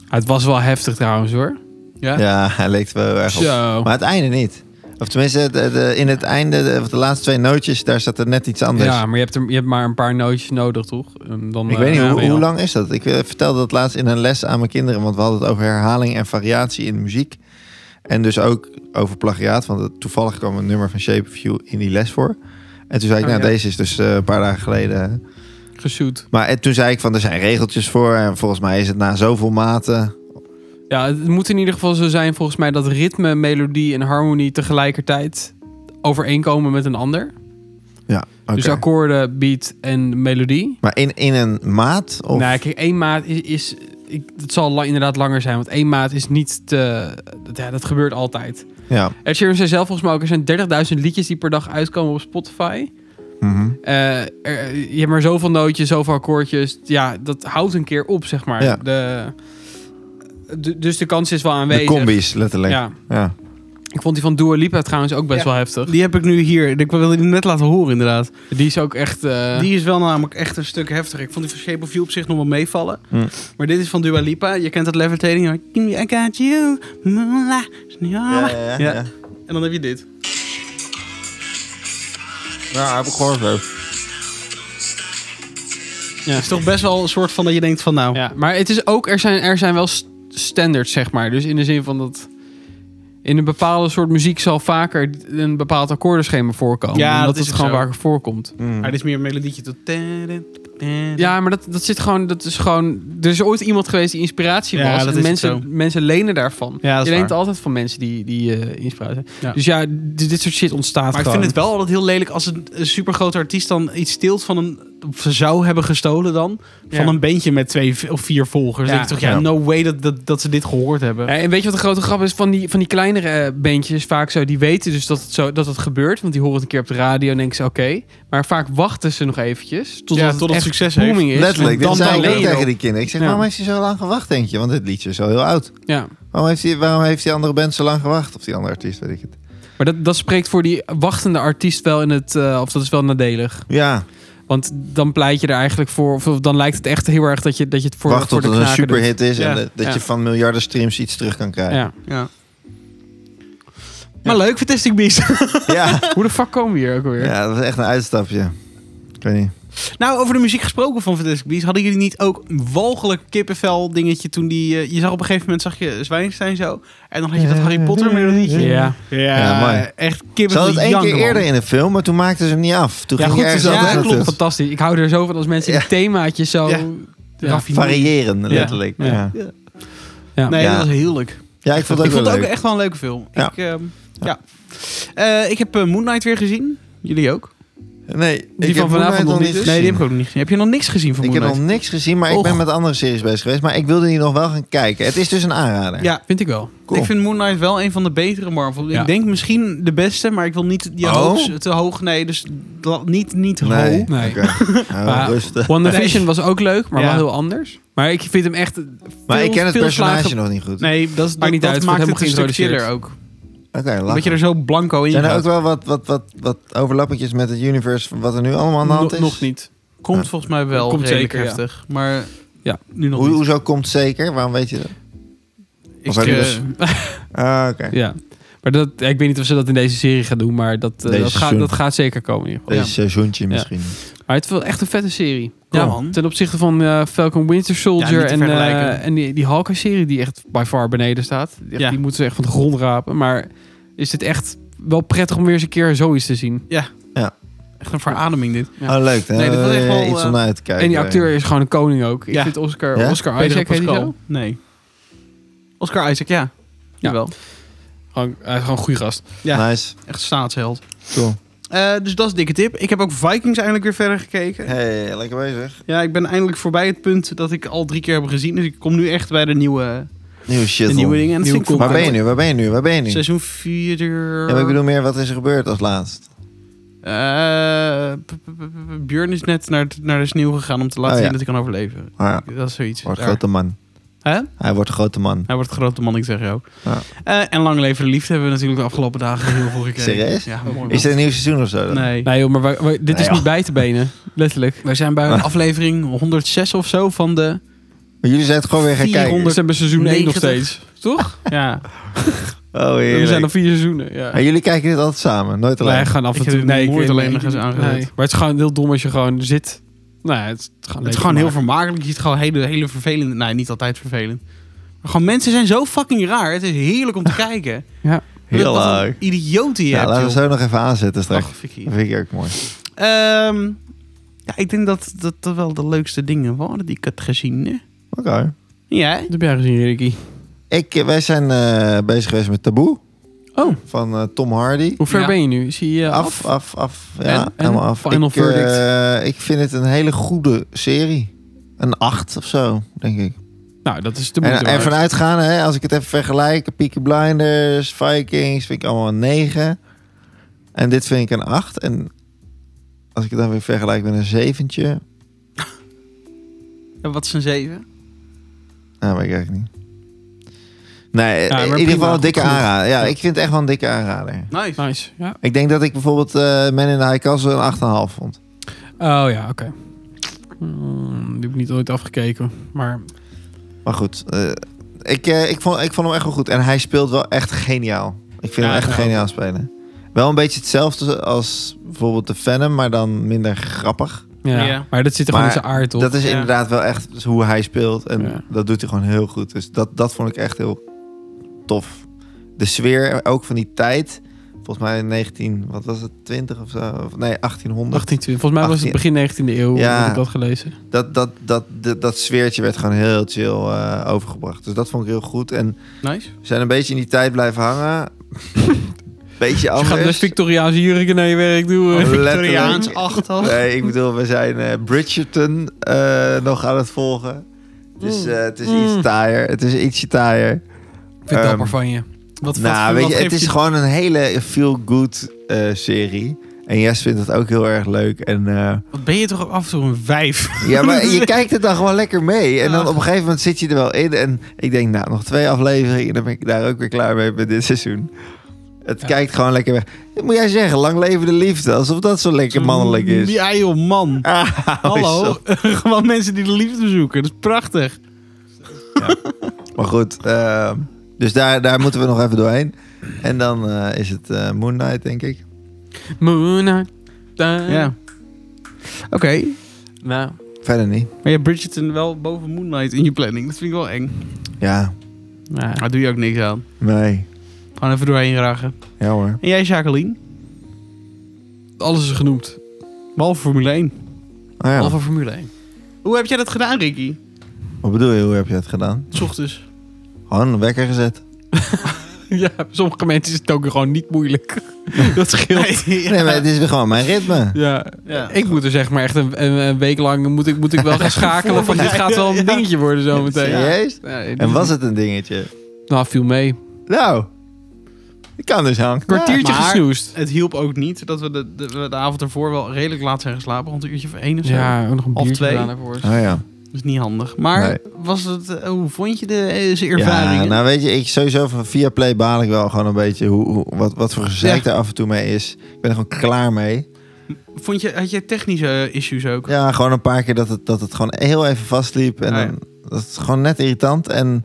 [SPEAKER 3] Ja, het was wel heftig trouwens hoor.
[SPEAKER 1] Ja?
[SPEAKER 2] Ja, hij leek er wel heel erg op.
[SPEAKER 3] Zo.
[SPEAKER 2] Maar het einde niet. Of tenminste, de- de- in het einde, de, of de laatste twee nootjes, daar zat er net iets anders.
[SPEAKER 3] Ja, maar je hebt, er, je hebt maar een paar nootjes nodig toch? En dan,
[SPEAKER 2] Ik
[SPEAKER 3] eh,
[SPEAKER 2] weet niet,
[SPEAKER 3] ja,
[SPEAKER 2] hoe,
[SPEAKER 3] ben je
[SPEAKER 2] hoe
[SPEAKER 3] al-
[SPEAKER 2] lang is dat? Ik eh, vertelde dat laatst in een les aan mijn kinderen, want we hadden het over herhaling en variatie in muziek. En dus ook over plagiaat, want het- toevallig kwam een nummer van Shape of You in die les voor. En toen zei ik,
[SPEAKER 3] Oh,
[SPEAKER 2] nou,
[SPEAKER 3] ja.
[SPEAKER 2] deze is dus eh, een paar dagen geleden.
[SPEAKER 3] Gesuit.
[SPEAKER 2] Maar eh, toen zei ik van, er zijn regeltjes voor. En volgens mij is het na zoveel maten.
[SPEAKER 3] Ja, het moet in ieder geval zo zijn volgens mij dat ritme, melodie en harmonie tegelijkertijd overeenkomen met een ander.
[SPEAKER 2] Oké.
[SPEAKER 3] Dus akkoorden, beat en melodie.
[SPEAKER 2] Maar in, in een maat? Of...
[SPEAKER 3] Nou, kijk, één maat is... is ik, het zal la- inderdaad langer zijn, want één maat is niet te... Dat, ja, dat gebeurt altijd.
[SPEAKER 2] Ja.
[SPEAKER 3] Ed Sheeran zei zelf volgens mij ook... Er zijn 30.000 liedjes die per dag uitkomen op Spotify.
[SPEAKER 2] Mhm.
[SPEAKER 3] Eh, er- je hebt maar zoveel nootjes, zoveel akkoordjes. Ja, dat houdt een keer op, zeg maar.
[SPEAKER 2] Ja.
[SPEAKER 3] De, de- dus de kans is wel
[SPEAKER 2] De
[SPEAKER 3] aanwezig.
[SPEAKER 2] combis, letterlijk. Ja.
[SPEAKER 3] Ja. Ik vond die van Dua Lipa trouwens ook best
[SPEAKER 1] Ja.
[SPEAKER 3] wel heftig.
[SPEAKER 1] Die heb ik nu hier. Ik wilde die net laten horen, inderdaad.
[SPEAKER 3] Die is ook echt... eh,
[SPEAKER 1] Die is wel namelijk echt een stuk heftiger. Ik vond die van Shape of You op zich nog wel meevallen.
[SPEAKER 2] Hm.
[SPEAKER 1] Maar dit is van Dua Lipa. Je kent dat levitating. I got you. Mwah.
[SPEAKER 2] Ja, ja, ja,
[SPEAKER 1] Ja.
[SPEAKER 2] ja.
[SPEAKER 1] En dan heb je dit.
[SPEAKER 2] Ja, heb ik gehoord. ook.
[SPEAKER 3] ja.
[SPEAKER 1] Het is toch best wel een soort van dat je denkt van nou...
[SPEAKER 3] Ja, maar het is ook, er zijn, er zijn wel st- standards, zeg maar. Dus in de zin van dat. In een bepaalde soort muziek zal vaker een bepaald akkoordenschema voorkomen.
[SPEAKER 1] Ja,
[SPEAKER 3] omdat
[SPEAKER 1] dat is
[SPEAKER 3] het
[SPEAKER 1] ook
[SPEAKER 3] gewoon
[SPEAKER 1] zo.
[SPEAKER 3] vaker voorkomt.
[SPEAKER 2] Mm.
[SPEAKER 1] Maar dit is meer een melodietje tot...
[SPEAKER 3] Ja, maar dat, dat zit gewoon. Dat is gewoon. Er is ooit iemand geweest die inspiratie
[SPEAKER 1] Ja,
[SPEAKER 3] was.
[SPEAKER 1] dat
[SPEAKER 3] en
[SPEAKER 1] is
[SPEAKER 3] mensen,
[SPEAKER 1] het zo.
[SPEAKER 3] mensen lenen daarvan.
[SPEAKER 1] Ja, dat is
[SPEAKER 3] Je leent
[SPEAKER 1] waar.
[SPEAKER 3] altijd van mensen die, die eh, inspiratie zijn.
[SPEAKER 1] Ja.
[SPEAKER 3] Dus ja, dit, dit soort shit ontstaat
[SPEAKER 1] Maar ik
[SPEAKER 3] gewoon.
[SPEAKER 1] vind het wel altijd heel lelijk als een, een supergrote artiest dan iets steelt van een... Of ze zou hebben gestolen dan.
[SPEAKER 3] Ja.
[SPEAKER 1] Van een bandje met twee v- of vier volgers.
[SPEAKER 3] Ja.
[SPEAKER 1] Dan denk ik toch, ja,
[SPEAKER 2] Ja.
[SPEAKER 1] no way dat, dat, dat ze dit gehoord hebben.
[SPEAKER 3] Ja, en weet je wat de grote grap is van die, van die kleinere eh, bandjes? Vaak zo, die weten dus dat het, zo, dat het gebeurt. Want die horen het een keer op de radio en denken ze oké. Maar vaak wachten ze nog eventjes. Totdat
[SPEAKER 1] Ja,
[SPEAKER 3] het
[SPEAKER 1] totdat
[SPEAKER 3] echt
[SPEAKER 1] het succes heeft.
[SPEAKER 3] booming is.
[SPEAKER 2] Letterlijk,
[SPEAKER 3] En
[SPEAKER 2] dit zei ik
[SPEAKER 3] leen
[SPEAKER 2] ook
[SPEAKER 3] je
[SPEAKER 2] tegen
[SPEAKER 3] erop.
[SPEAKER 2] die kinderen. Ik zeg,
[SPEAKER 3] Ja.
[SPEAKER 2] waarom heeft hij zo lang gewacht, denk je? Want dit liedje is al heel oud.
[SPEAKER 3] Ja,
[SPEAKER 2] Waarom heeft, die, waarom heeft die andere band zo lang gewacht? Of die andere artiest, weet ik het.
[SPEAKER 3] maar dat, dat spreekt voor die wachtende artiest wel in het... eh, of dat is wel nadelig.
[SPEAKER 2] Ja,
[SPEAKER 3] Want dan pleit je er eigenlijk voor... Of dan lijkt het echt heel erg dat je, dat je het voor,
[SPEAKER 2] wacht
[SPEAKER 3] voor
[SPEAKER 2] tot het
[SPEAKER 3] de
[SPEAKER 2] een
[SPEAKER 3] knaken doet.
[SPEAKER 2] superhit is
[SPEAKER 1] Ja,
[SPEAKER 2] en de- dat
[SPEAKER 3] ja.
[SPEAKER 2] je van miljarden streams iets terug kan krijgen.
[SPEAKER 3] Ja.
[SPEAKER 1] Ja. Maar leuk, Fantastic Beasts.
[SPEAKER 2] Ja,
[SPEAKER 3] Hoe de fuck komen we hier ook
[SPEAKER 2] ja.
[SPEAKER 3] weer?
[SPEAKER 2] dat is echt een uitstapje. Ik weet niet.
[SPEAKER 1] nou, over de muziek gesproken van Fantastic Beasts. Hadden jullie niet ook een walgelijk kippenvel dingetje toen die... eh, je zag op een gegeven moment, zag je Zwijnstein zo. En dan had je dat Harry Potter melodietje.
[SPEAKER 3] Ja.
[SPEAKER 1] Ja,
[SPEAKER 2] Ja, mooi.
[SPEAKER 1] echt
[SPEAKER 2] Ze
[SPEAKER 1] kippenvel
[SPEAKER 2] hadden het één keer
[SPEAKER 1] janken, man.
[SPEAKER 2] eerder in een film, maar toen maakten ze hem niet af. Toen
[SPEAKER 1] Ja,
[SPEAKER 2] ging
[SPEAKER 1] goed,
[SPEAKER 2] je
[SPEAKER 1] dus
[SPEAKER 2] ergens
[SPEAKER 1] ja,
[SPEAKER 2] anders
[SPEAKER 1] klopt.
[SPEAKER 2] naartoe.
[SPEAKER 3] Fantastisch. Ik hou er zo van als mensen die
[SPEAKER 2] Ja.
[SPEAKER 3] themaatjes zo...
[SPEAKER 1] Ja.
[SPEAKER 3] Ja.
[SPEAKER 2] Variëren, letterlijk.
[SPEAKER 3] Ja.
[SPEAKER 2] Ja, ja.
[SPEAKER 3] Ja.
[SPEAKER 1] Nee,
[SPEAKER 2] Ja.
[SPEAKER 1] dat was heerlijk.
[SPEAKER 2] ik vond het
[SPEAKER 1] ik vond
[SPEAKER 2] ook wel
[SPEAKER 1] het ook
[SPEAKER 2] leuk.
[SPEAKER 1] echt wel een leuke film.
[SPEAKER 2] Ja.
[SPEAKER 1] Ik, ehm, ja. Eh, ik heb eh, Moon Knight weer gezien. Jullie ook?
[SPEAKER 2] Nee,
[SPEAKER 3] Die
[SPEAKER 2] ik
[SPEAKER 3] van
[SPEAKER 2] heb
[SPEAKER 3] vanavond
[SPEAKER 2] Moonlight
[SPEAKER 3] nog
[SPEAKER 2] nog
[SPEAKER 3] niet
[SPEAKER 2] niet
[SPEAKER 3] dus?
[SPEAKER 1] Nee, die heb
[SPEAKER 2] gezien.
[SPEAKER 1] ik ook nog niet gezien. Heb je nog niks gezien van
[SPEAKER 2] Ik
[SPEAKER 1] Moon
[SPEAKER 2] heb nog
[SPEAKER 1] Knight?
[SPEAKER 2] niks gezien, maar ik
[SPEAKER 1] Och.
[SPEAKER 2] ben met andere series bezig geweest. Maar ik wilde die nog wel gaan kijken. Het is dus een aanrader.
[SPEAKER 1] Ja.
[SPEAKER 3] Vind ik wel.
[SPEAKER 2] Cool.
[SPEAKER 1] Ik vind Moon Knight wel een van de betere Marvel.
[SPEAKER 3] Ja.
[SPEAKER 1] Ik denk misschien de beste, maar ik wil niet die
[SPEAKER 2] Oh.
[SPEAKER 1] hoog, te hoog. Nee, dus la- niet, niet
[SPEAKER 2] Nee.
[SPEAKER 1] hoog.
[SPEAKER 3] Nee.
[SPEAKER 2] Oké. Nou,
[SPEAKER 3] Maar-
[SPEAKER 2] rustig.
[SPEAKER 3] WandaVision was ook leuk, maar
[SPEAKER 1] Ja.
[SPEAKER 3] wel heel anders. Maar ik vind hem echt...
[SPEAKER 2] Maar
[SPEAKER 3] veel-
[SPEAKER 2] ik ken het
[SPEAKER 3] veel
[SPEAKER 2] personage
[SPEAKER 3] slagen-
[SPEAKER 2] nog niet goed.
[SPEAKER 1] Nee, dat, is-
[SPEAKER 3] Maakt
[SPEAKER 1] dat,
[SPEAKER 3] niet
[SPEAKER 1] dat
[SPEAKER 3] uit,
[SPEAKER 1] maakt
[SPEAKER 3] wordt
[SPEAKER 1] het een
[SPEAKER 3] helemaal
[SPEAKER 1] stuk chiller
[SPEAKER 3] geïntroduceerd.
[SPEAKER 1] ook.
[SPEAKER 2] Oké, lachen.
[SPEAKER 1] Dat je er zo blanco in
[SPEAKER 2] Zijn er
[SPEAKER 1] gaat.
[SPEAKER 2] ook wel wat, wat, wat, wat overlappetjes met het universe van wat er nu allemaal aan de hand
[SPEAKER 3] Nog,
[SPEAKER 2] is?
[SPEAKER 3] nog niet.
[SPEAKER 1] Komt
[SPEAKER 2] Ja.
[SPEAKER 1] volgens mij wel
[SPEAKER 3] Komt
[SPEAKER 1] redelijk
[SPEAKER 3] zeker, ja.
[SPEAKER 1] heftig. Maar
[SPEAKER 3] Ja.
[SPEAKER 1] nu nog
[SPEAKER 2] Hoe,
[SPEAKER 1] niet.
[SPEAKER 2] hoezo komt zeker? Waarom weet je dat?
[SPEAKER 1] Ik,
[SPEAKER 2] of heb je
[SPEAKER 1] eh,
[SPEAKER 2] dus- Ah, oké.
[SPEAKER 3] Ja. Maar dat, ja, ik weet niet of ze dat in deze serie gaan doen, maar dat, eh,
[SPEAKER 2] Deze
[SPEAKER 3] dat, gaat,
[SPEAKER 2] seizoen.
[SPEAKER 3] dat gaat zeker komen in ieder geval.
[SPEAKER 2] Deze seizoentje misschien.
[SPEAKER 3] Maar het is wel echt een vette serie.
[SPEAKER 1] Ja,
[SPEAKER 3] Ja,
[SPEAKER 1] man.
[SPEAKER 3] Ten opzichte van eh, Falcon Winter
[SPEAKER 1] Ja,
[SPEAKER 3] Soldier
[SPEAKER 1] niet te
[SPEAKER 3] en, eh,
[SPEAKER 1] vergelijken.
[SPEAKER 3] en die, die Hawkeye-serie die echt by far beneden staat. Die, echt-
[SPEAKER 1] Ja.
[SPEAKER 3] die moeten ze echt van de grond rapen. Maar is dit echt wel prettig om weer eens een keer zoiets te zien.
[SPEAKER 1] Echt een verademing dit.
[SPEAKER 3] Ja.
[SPEAKER 2] Oh, leuk. Dan
[SPEAKER 1] Nee, dat
[SPEAKER 2] hebben
[SPEAKER 1] was echt
[SPEAKER 2] we
[SPEAKER 1] wel,
[SPEAKER 2] iets
[SPEAKER 1] eh,
[SPEAKER 2] om naar uit te kijken.
[SPEAKER 3] en die acteur is gewoon een koning ook. Ik
[SPEAKER 1] Ja.
[SPEAKER 3] vind Oscar,
[SPEAKER 2] Ja?
[SPEAKER 3] Oscar
[SPEAKER 1] Pedro
[SPEAKER 3] Isaac heet hij zo.
[SPEAKER 1] Nee. Oscar Isaac, ja. Jawel.
[SPEAKER 3] Gewoon, hij is gewoon een goede gast.
[SPEAKER 1] Ja.
[SPEAKER 2] Nice.
[SPEAKER 1] Echt staatsheld.
[SPEAKER 2] Cool.
[SPEAKER 1] Eh, dus dat is een dikke tip. Ik heb ook Vikings eindelijk weer verder gekeken.
[SPEAKER 2] Hey, lekker bezig.
[SPEAKER 1] Ja, ik ben eindelijk voorbij het punt dat ik al drie keer heb gezien. Dus ik kom nu echt bij de nieuwe,
[SPEAKER 2] Nieuwe shit.
[SPEAKER 1] de nieuwe dingen. En dat
[SPEAKER 3] Nieuwe
[SPEAKER 1] vind ik
[SPEAKER 2] Waar
[SPEAKER 1] wel
[SPEAKER 2] ben je
[SPEAKER 1] leuk.
[SPEAKER 2] nu? Waar ben je nu? Waar ben je nu?
[SPEAKER 1] Seizoen 4.
[SPEAKER 2] Ja, maar ik bedoel meer, wat is er gebeurd als laatst?
[SPEAKER 1] Eh, Björn is net naar, het- naar de sneeuw gegaan om te laten
[SPEAKER 2] Oh, ja.
[SPEAKER 1] zien dat hij kan overleven.
[SPEAKER 2] Ah, ja.
[SPEAKER 1] Dat is zoiets.
[SPEAKER 2] Wordt
[SPEAKER 1] Daar.
[SPEAKER 2] grote man.
[SPEAKER 1] Hè?
[SPEAKER 2] Hij wordt grote man.
[SPEAKER 1] Hij wordt een grote man, ik zeg jou.
[SPEAKER 2] Ja.
[SPEAKER 1] Eh, en Lang Leven de Liefde hebben we natuurlijk de afgelopen dagen heel veel gekeken.
[SPEAKER 2] Serieus?
[SPEAKER 1] Ja, mooi man.
[SPEAKER 2] Is er een nieuw seizoen of zo? dan?
[SPEAKER 1] Nee.
[SPEAKER 3] Nee joh, maar wij- wij- dit is
[SPEAKER 2] Nee,
[SPEAKER 3] niet bij te benen. Letterlijk.
[SPEAKER 1] Wij zijn bij aflevering 106 of zo van de...
[SPEAKER 2] Maar jullie zijn het gewoon weer gaan kijken.
[SPEAKER 1] 400.
[SPEAKER 3] We zijn bij seizoen 1 nog
[SPEAKER 1] 90.
[SPEAKER 3] steeds. Toch?
[SPEAKER 1] Ja,
[SPEAKER 2] Oh,
[SPEAKER 3] We zijn al
[SPEAKER 2] heerlijk.
[SPEAKER 3] vier seizoenen. Ja.
[SPEAKER 2] Maar jullie kijken dit altijd samen, nooit alleen.
[SPEAKER 3] Nee, gewoon af en
[SPEAKER 1] Ik
[SPEAKER 3] toe.
[SPEAKER 1] heb
[SPEAKER 3] Nee, ik
[SPEAKER 1] nooit
[SPEAKER 3] weet-
[SPEAKER 1] alleen nog eens
[SPEAKER 3] nee.
[SPEAKER 1] aangezet.
[SPEAKER 3] Maar het is gewoon heel dom als je gewoon zit. Nou ja, het is gewoon,
[SPEAKER 1] het is
[SPEAKER 3] leuk
[SPEAKER 1] gewoon heel
[SPEAKER 3] gemaakt.
[SPEAKER 1] vermakelijk. Je ziet gewoon hele, hele vervelende... Nee, niet altijd vervelend. Maar gewoon mensen zijn zo fucking raar. Het is heerlijk om te kijken.
[SPEAKER 3] Ja.
[SPEAKER 2] Heel
[SPEAKER 1] Wat een
[SPEAKER 2] leuk.
[SPEAKER 1] Idioot die je
[SPEAKER 2] Ja,
[SPEAKER 1] hebt,
[SPEAKER 2] laten we
[SPEAKER 1] joh.
[SPEAKER 2] zo nog even aanzetten straks.
[SPEAKER 1] Ach, fikkie.
[SPEAKER 2] Dat vind ik ook mooi.
[SPEAKER 1] Ehm, ja, ik denk dat dat dat wel de leukste dingen waren die ik had gezien. Hè?
[SPEAKER 2] Oké.
[SPEAKER 1] Ja, hè?
[SPEAKER 3] Dat heb jij gezien, Ricky.
[SPEAKER 2] Ik, wij zijn eh, bezig geweest met Taboe
[SPEAKER 3] Oh,
[SPEAKER 2] van eh, Tom Hardy.
[SPEAKER 3] hoe ver
[SPEAKER 1] Ja.
[SPEAKER 3] ben je nu? Zie je
[SPEAKER 2] Af,
[SPEAKER 3] af?
[SPEAKER 2] af, af. Ja,
[SPEAKER 3] En- en?
[SPEAKER 2] helemaal af.
[SPEAKER 3] Final
[SPEAKER 2] ik, eh,
[SPEAKER 3] verdict.
[SPEAKER 2] ik vind het een hele goede serie. Een acht of zo, denk ik.
[SPEAKER 3] Nou, dat is de
[SPEAKER 2] En,
[SPEAKER 3] moeite
[SPEAKER 2] en
[SPEAKER 3] waard.
[SPEAKER 2] vanuit gaan, hè, als ik het even vergelijk, Peaky Blinders, Vikings, vind ik allemaal een 9. En dit vind ik een 8. En als ik het dan weer vergelijk met een zeventje,
[SPEAKER 1] En wat is een 7?
[SPEAKER 2] nou weet ik eigenlijk niet. Nee,
[SPEAKER 3] maar
[SPEAKER 2] in
[SPEAKER 3] prima,
[SPEAKER 2] ieder geval een
[SPEAKER 3] goed
[SPEAKER 2] dikke
[SPEAKER 3] genoeg.
[SPEAKER 2] aanrader. Ja, ik vind het echt wel een dikke aanrader.
[SPEAKER 1] Nice.
[SPEAKER 3] Nice, ja.
[SPEAKER 2] Ik denk dat ik bijvoorbeeld eh Men in the High Castle een 8,5 vond.
[SPEAKER 3] Oh ja, oké. Hmm, die heb ik niet ooit afgekeken, maar...
[SPEAKER 2] Maar goed, eh, ik, eh, ik, vond, ik vond hem echt wel goed. En hij speelt wel echt geniaal. Ik vind
[SPEAKER 3] Ja,
[SPEAKER 2] hem echt
[SPEAKER 3] ja.
[SPEAKER 2] geniaal spelen. Wel een beetje hetzelfde als bijvoorbeeld de Venom, maar dan minder grappig.
[SPEAKER 3] Ja,
[SPEAKER 1] Ja.
[SPEAKER 3] maar dat zit er
[SPEAKER 2] Maar
[SPEAKER 3] gewoon in zijn aard op.
[SPEAKER 2] Dat is
[SPEAKER 1] Ja.
[SPEAKER 2] inderdaad wel echt dus hoe hij speelt. En
[SPEAKER 3] Ja.
[SPEAKER 2] dat doet hij gewoon heel goed. Dus dat, dat vond ik echt heel tof. De sfeer ook van die tijd. Volgens mij in 19, wat was het, 20 of zo? Of nee, 1800.
[SPEAKER 3] 18, volgens mij was het
[SPEAKER 2] 18.
[SPEAKER 3] begin 19e eeuw,
[SPEAKER 2] Ja.
[SPEAKER 3] heb ik dat gelezen.
[SPEAKER 2] Dat, dat, dat, dat, dat sfeertje werd gewoon heel chill eh, overgebracht. Dus dat vond ik heel goed. En
[SPEAKER 1] Nice.
[SPEAKER 2] we zijn een beetje in die tijd blijven hangen. beetje
[SPEAKER 3] Je
[SPEAKER 2] anders.
[SPEAKER 3] gaat met Victoriaanse jurken naar je werk doen.
[SPEAKER 2] Oh, letterlijk.
[SPEAKER 1] Victoriaans 8 al.
[SPEAKER 2] Nee, ik bedoel, we zijn eh, Bridgerton eh, nog aan het volgen. Dus eh, het is
[SPEAKER 3] Mm.
[SPEAKER 2] iets taaier. Het is ietsje taaier.
[SPEAKER 3] Ik vind het
[SPEAKER 2] Ehm,
[SPEAKER 3] dapper van je. Wat,
[SPEAKER 2] nou,
[SPEAKER 3] wat,
[SPEAKER 2] weet
[SPEAKER 3] wat
[SPEAKER 2] je, het
[SPEAKER 3] geeft
[SPEAKER 2] is gewoon een hele feel-good eh, serie. En Jes vindt dat ook heel erg leuk. En, eh,
[SPEAKER 1] Wat ben je toch af en toe een wijf?
[SPEAKER 2] ja, maar je kijkt het dan gewoon lekker mee. En dan
[SPEAKER 1] Ja.
[SPEAKER 2] op een gegeven moment zit je er wel in. En ik denk, nou, nog twee afleveringen. Dan ben ik daar ook weer klaar mee met dit seizoen. Het
[SPEAKER 3] Ja.
[SPEAKER 2] kijkt gewoon lekker weg. Moet jij zeggen, lang leven de liefde. Alsof dat zo lekker mannelijk is.
[SPEAKER 1] Ja joh, man.
[SPEAKER 2] Ah, is
[SPEAKER 1] Hallo.
[SPEAKER 2] dat-
[SPEAKER 1] Gewoon mensen die de liefde zoeken. Dat is prachtig.
[SPEAKER 2] Maar goed, ehm, dus daar, daar moeten we nog even doorheen. En dan eh, is het eh Moon Knight, denk ik.
[SPEAKER 3] Moon Knight. Da-
[SPEAKER 1] Ja. Oké.
[SPEAKER 3] Nou,
[SPEAKER 2] Verder niet.
[SPEAKER 1] Maar je hebt Bridgerton wel boven Moon Knight in je planning. Dat vind ik wel eng.
[SPEAKER 2] Ja,
[SPEAKER 3] nou,
[SPEAKER 1] Daar doe je ook niks aan.
[SPEAKER 2] nee.
[SPEAKER 1] Gewoon even doorheen ragen.
[SPEAKER 2] Ja hoor.
[SPEAKER 1] En jij, Jacqueline?
[SPEAKER 3] alles is genoemd.
[SPEAKER 1] Behalve Formule 1.
[SPEAKER 2] Ah ja.
[SPEAKER 3] Behalve Formule 1.
[SPEAKER 1] Hoe heb jij dat gedaan, Ricky?
[SPEAKER 2] Wat bedoel je, hoe heb je het gedaan?
[SPEAKER 1] S ochtends.
[SPEAKER 2] Gewoon een wekker gezet.
[SPEAKER 3] ja, sommige mensen is het ook gewoon niet moeilijk. dat scheelt.
[SPEAKER 2] Nee, maar het is weer gewoon mijn ritme.
[SPEAKER 3] Ja.
[SPEAKER 1] Ja.
[SPEAKER 3] ik moet er zeg maar echt een, een, een week lang moet ik, moet ik wel gaan schakelen. Van dit gaat wel een dingetje worden zometeen.
[SPEAKER 2] Serieus?
[SPEAKER 3] meteen.
[SPEAKER 2] En was het een dingetje?
[SPEAKER 3] Nou, viel mee.
[SPEAKER 2] Nou, ik kan dus hangen.
[SPEAKER 3] Kwartiertje
[SPEAKER 1] maar-
[SPEAKER 3] gesnoest.
[SPEAKER 1] Het hielp ook niet dat we de, de, we de avond ervoor wel redelijk laat zijn geslapen. Rond een uurtje of één of zo.
[SPEAKER 3] Ja, ook nog een
[SPEAKER 1] Half
[SPEAKER 3] biertje
[SPEAKER 1] twee.
[SPEAKER 3] gedaan daarvoor.
[SPEAKER 2] Oh ja.
[SPEAKER 1] Dat is niet handig. Maar
[SPEAKER 2] Nee.
[SPEAKER 1] was het, eh, hoe vond je de, eh, zijn ervaringen?
[SPEAKER 2] Ja, nou weet je, ik sowieso van via play baal ik wel gewoon een beetje hoe, hoe- wat, wat voor gezeik er af en toe mee is. Ik ben er gewoon klaar mee.
[SPEAKER 1] Vond je, had je technische eh, issues ook?
[SPEAKER 2] Ja, gewoon een paar keer dat het, dat het gewoon heel even vastliep. En
[SPEAKER 1] Ah, ja.
[SPEAKER 2] dan, dat is gewoon net irritant. En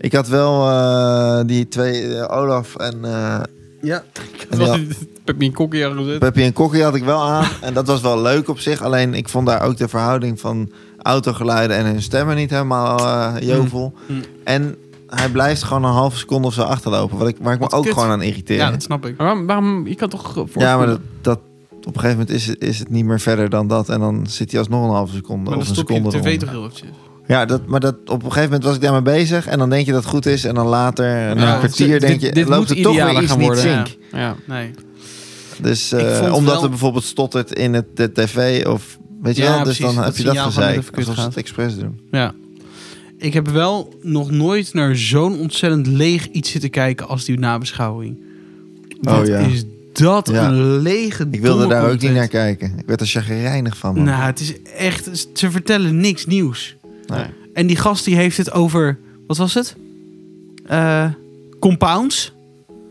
[SPEAKER 2] ik had wel eh, die twee, eh, Olaf en, eh
[SPEAKER 1] Ja.
[SPEAKER 2] en die-
[SPEAKER 3] Peppi en Kokkie aangezet.
[SPEAKER 2] Peppy en Kokkie had ik wel aan. En dat was wel leuk op zich. Alleen ik vond daar ook de verhouding van autogeluiden en hun stemmen niet helemaal eh, jovel.
[SPEAKER 1] Mm. Mm.
[SPEAKER 2] En hij blijft gewoon een halve seconde of zo achterlopen. Wat ik, waar ik me
[SPEAKER 1] Wat
[SPEAKER 2] ook
[SPEAKER 1] kut.
[SPEAKER 2] gewoon aan
[SPEAKER 1] Ja,
[SPEAKER 2] irriteer.
[SPEAKER 1] dat snap ik.
[SPEAKER 3] Maar Waarom, waarom, je kan toch eh,
[SPEAKER 2] Ja, maar dat,
[SPEAKER 3] voorspelen?
[SPEAKER 2] dat, op een gegeven moment is, het- is het niet meer verder dan dat. En dan zit hij alsnog een halve seconde
[SPEAKER 1] Maar dan
[SPEAKER 2] of een
[SPEAKER 1] stop je
[SPEAKER 2] seconde
[SPEAKER 1] de tv
[SPEAKER 2] eronder.
[SPEAKER 1] toch heel eventjes.
[SPEAKER 2] Ja, dat, maar dat, op een gegeven moment was ik daarmee bezig. En dan denk je dat het goed is. En dan later, na
[SPEAKER 3] Ja,
[SPEAKER 2] een kwartier,
[SPEAKER 3] dit-
[SPEAKER 2] denk je...
[SPEAKER 3] dit- dit
[SPEAKER 2] loopt
[SPEAKER 3] moet
[SPEAKER 2] er toch weer
[SPEAKER 3] idealer
[SPEAKER 2] iets
[SPEAKER 3] gaan
[SPEAKER 2] niet
[SPEAKER 3] worden,
[SPEAKER 2] zink.
[SPEAKER 3] Ja.
[SPEAKER 1] Nee.
[SPEAKER 2] Dus
[SPEAKER 1] Ik
[SPEAKER 2] eh,
[SPEAKER 1] vond
[SPEAKER 2] omdat
[SPEAKER 1] wel-
[SPEAKER 2] er bijvoorbeeld stottert in het, de tv of... Weet je
[SPEAKER 1] Ja,
[SPEAKER 2] wel, dus
[SPEAKER 1] precies,
[SPEAKER 2] dan
[SPEAKER 1] dat
[SPEAKER 2] heb je dat
[SPEAKER 1] signaal gewoon
[SPEAKER 2] gezeik.
[SPEAKER 1] even kut
[SPEAKER 2] Alsof ze
[SPEAKER 1] gaat.
[SPEAKER 2] het expres doen.
[SPEAKER 1] Ja. Ik heb wel nog nooit naar zo'n ontzettend leeg iets zitten kijken als die nabeschouwing.
[SPEAKER 2] Oh,
[SPEAKER 1] Wat
[SPEAKER 2] ja.
[SPEAKER 1] Is dat
[SPEAKER 2] Ja.
[SPEAKER 1] een lege
[SPEAKER 2] Ik wilde daar ook niet
[SPEAKER 1] doelcontent.
[SPEAKER 2] naar kijken. Ik werd er chagrijnig van, man.
[SPEAKER 1] Nou, het is echt... Ze vertellen niks nieuws.
[SPEAKER 2] Nee.
[SPEAKER 1] En die gast die heeft het over... Wat was het? Eh, compounds.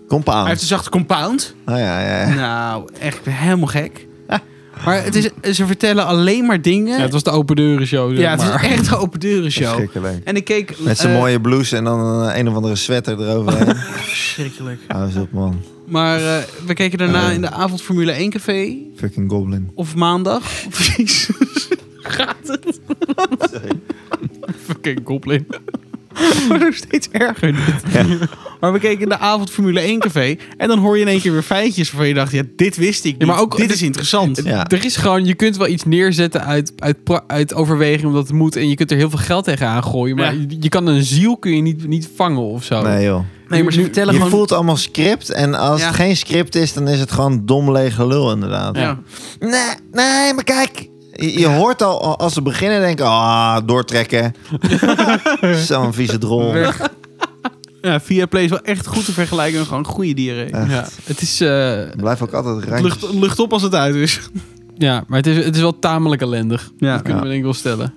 [SPEAKER 2] Kom
[SPEAKER 1] Hij
[SPEAKER 2] aan.
[SPEAKER 1] heeft een zachte compound.
[SPEAKER 2] Oh, ja, ja. ja.
[SPEAKER 1] Nou, echt ik ben helemaal gek. Maar het is, ze vertellen alleen maar dingen.
[SPEAKER 3] Ja, het was de open deuren show.
[SPEAKER 1] Ja,
[SPEAKER 3] Ja,
[SPEAKER 1] het is echt een open deuren show.
[SPEAKER 2] Verschrikkelijk.
[SPEAKER 1] En ik keek...
[SPEAKER 2] Met zijn
[SPEAKER 1] eh,
[SPEAKER 2] mooie blouse en dan eh, een of andere sweater eroverheen.
[SPEAKER 1] Verschrikkelijk.
[SPEAKER 2] Hou eens op, man.
[SPEAKER 1] Maar eh, we keken daarna
[SPEAKER 2] Eh.
[SPEAKER 1] in de avond Formule 1 café.
[SPEAKER 2] Fucking goblin.
[SPEAKER 1] Of maandag. Of Jezus. Gaat het?
[SPEAKER 3] fucking goblin.
[SPEAKER 1] Het wordt ook steeds erger. dit. Maar we keken in de avond Formule 1 café. En dan hoor je in één keer weer feitjes waarvan je dacht, ja, dit wist ik niet.
[SPEAKER 3] maar ook-
[SPEAKER 1] dit is interessant.
[SPEAKER 2] Ja.
[SPEAKER 3] Er is gewoon, je kunt wel iets neerzetten uit, uit, pra- uit overweging omdat het moet. En je kunt er heel veel geld tegenaan gooien. Maar
[SPEAKER 1] Ja.
[SPEAKER 3] je, je kan een ziel kun je niet, niet vangen of zo.
[SPEAKER 2] Nee joh.
[SPEAKER 1] Nee, maar ze
[SPEAKER 3] Nu-
[SPEAKER 1] vertellen
[SPEAKER 2] je
[SPEAKER 1] gewoon...
[SPEAKER 2] voelt allemaal script en als
[SPEAKER 1] Ja.
[SPEAKER 2] het geen script is, dan is het gewoon dom leeg gelul inderdaad.
[SPEAKER 1] Ja.
[SPEAKER 2] Nee, nee, maar kijk. Je, je hoort al al- als ze beginnen denken, ah, doortrekken. Zo'n vieze drol.
[SPEAKER 3] Weg.
[SPEAKER 1] Ja, via Play is wel echt goed te vergelijken met gewoon goede dieren.
[SPEAKER 2] Ja.
[SPEAKER 3] Ja, het is, eh,
[SPEAKER 2] Blijf ook altijd
[SPEAKER 1] Het
[SPEAKER 2] randjes.
[SPEAKER 1] Lucht, lucht op als het uit is.
[SPEAKER 3] ja, maar het is, het is wel tamelijk ellendig.
[SPEAKER 1] Ja.
[SPEAKER 3] Dat kunnen we denk ik wel stellen.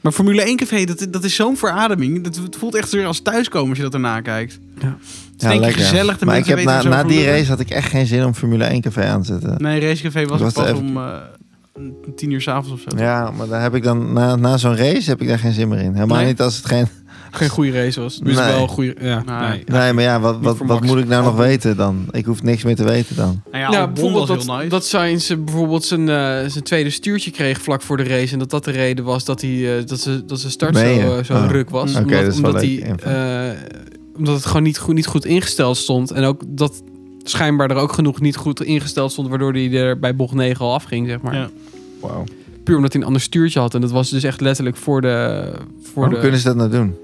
[SPEAKER 1] Maar Formule 1 café, dat, dat is zo'n verademing. Dat, het voelt echt weer als thuiskomen als je dat erna kijkt. Het is denk ik gezellig. De
[SPEAKER 2] maar ik
[SPEAKER 1] mensen
[SPEAKER 2] heb na,
[SPEAKER 1] weten er
[SPEAKER 2] na
[SPEAKER 1] zoveel
[SPEAKER 2] die
[SPEAKER 1] van.
[SPEAKER 2] race had ik echt geen zin om Formule 1 café aan te zetten.
[SPEAKER 1] Nee, racecafé was,
[SPEAKER 2] Was
[SPEAKER 1] het pas
[SPEAKER 2] er even-
[SPEAKER 1] om eh, om tien uur s'avonds of zo.
[SPEAKER 2] Ja, maar daar heb ik dan, na, na zo'n race heb ik daar geen zin meer in. Helemaal
[SPEAKER 3] Nee?
[SPEAKER 2] niet als het geen...
[SPEAKER 3] Geen goede race was. Dus
[SPEAKER 2] Nee.
[SPEAKER 3] wel een goede. Ja,
[SPEAKER 1] Nee.
[SPEAKER 3] nee.
[SPEAKER 2] Nee, maar ja, wat,
[SPEAKER 3] Niet
[SPEAKER 2] wat,
[SPEAKER 3] voor
[SPEAKER 2] wat
[SPEAKER 3] Max.
[SPEAKER 2] moet ik nou nog
[SPEAKER 1] Oh.
[SPEAKER 3] Albon.
[SPEAKER 2] weten dan? Ik hoef niks meer te weten dan.
[SPEAKER 1] Nou ja,
[SPEAKER 3] Ja,
[SPEAKER 1] Albon
[SPEAKER 3] bijvoorbeeld
[SPEAKER 1] was
[SPEAKER 3] dat,
[SPEAKER 1] heel nice.
[SPEAKER 3] dat Sainz eh, bijvoorbeeld zijn, eh, zijn tweede stuurtje kreeg vlak voor de race. En dat dat de reden was dat, hij, eh, dat, ze, dat zijn start zo,
[SPEAKER 2] Meen je?
[SPEAKER 3] eh, zo
[SPEAKER 2] Oh.
[SPEAKER 3] ruk was.
[SPEAKER 1] Oké,
[SPEAKER 3] omdat,
[SPEAKER 2] dat is wel
[SPEAKER 3] omdat,
[SPEAKER 2] leuk
[SPEAKER 3] hij, eh, omdat het gewoon niet goed, niet goed ingesteld stond. En ook dat schijnbaar er ook genoeg niet goed ingesteld stond. Waardoor hij er bij bocht 9 al afging, zeg maar.
[SPEAKER 1] Ja.
[SPEAKER 2] Wauw.
[SPEAKER 3] Puur omdat hij een ander stuurtje had. En dat was dus echt letterlijk voor de... Voor
[SPEAKER 2] Hoe
[SPEAKER 3] de
[SPEAKER 2] kunnen ze dat nou doen?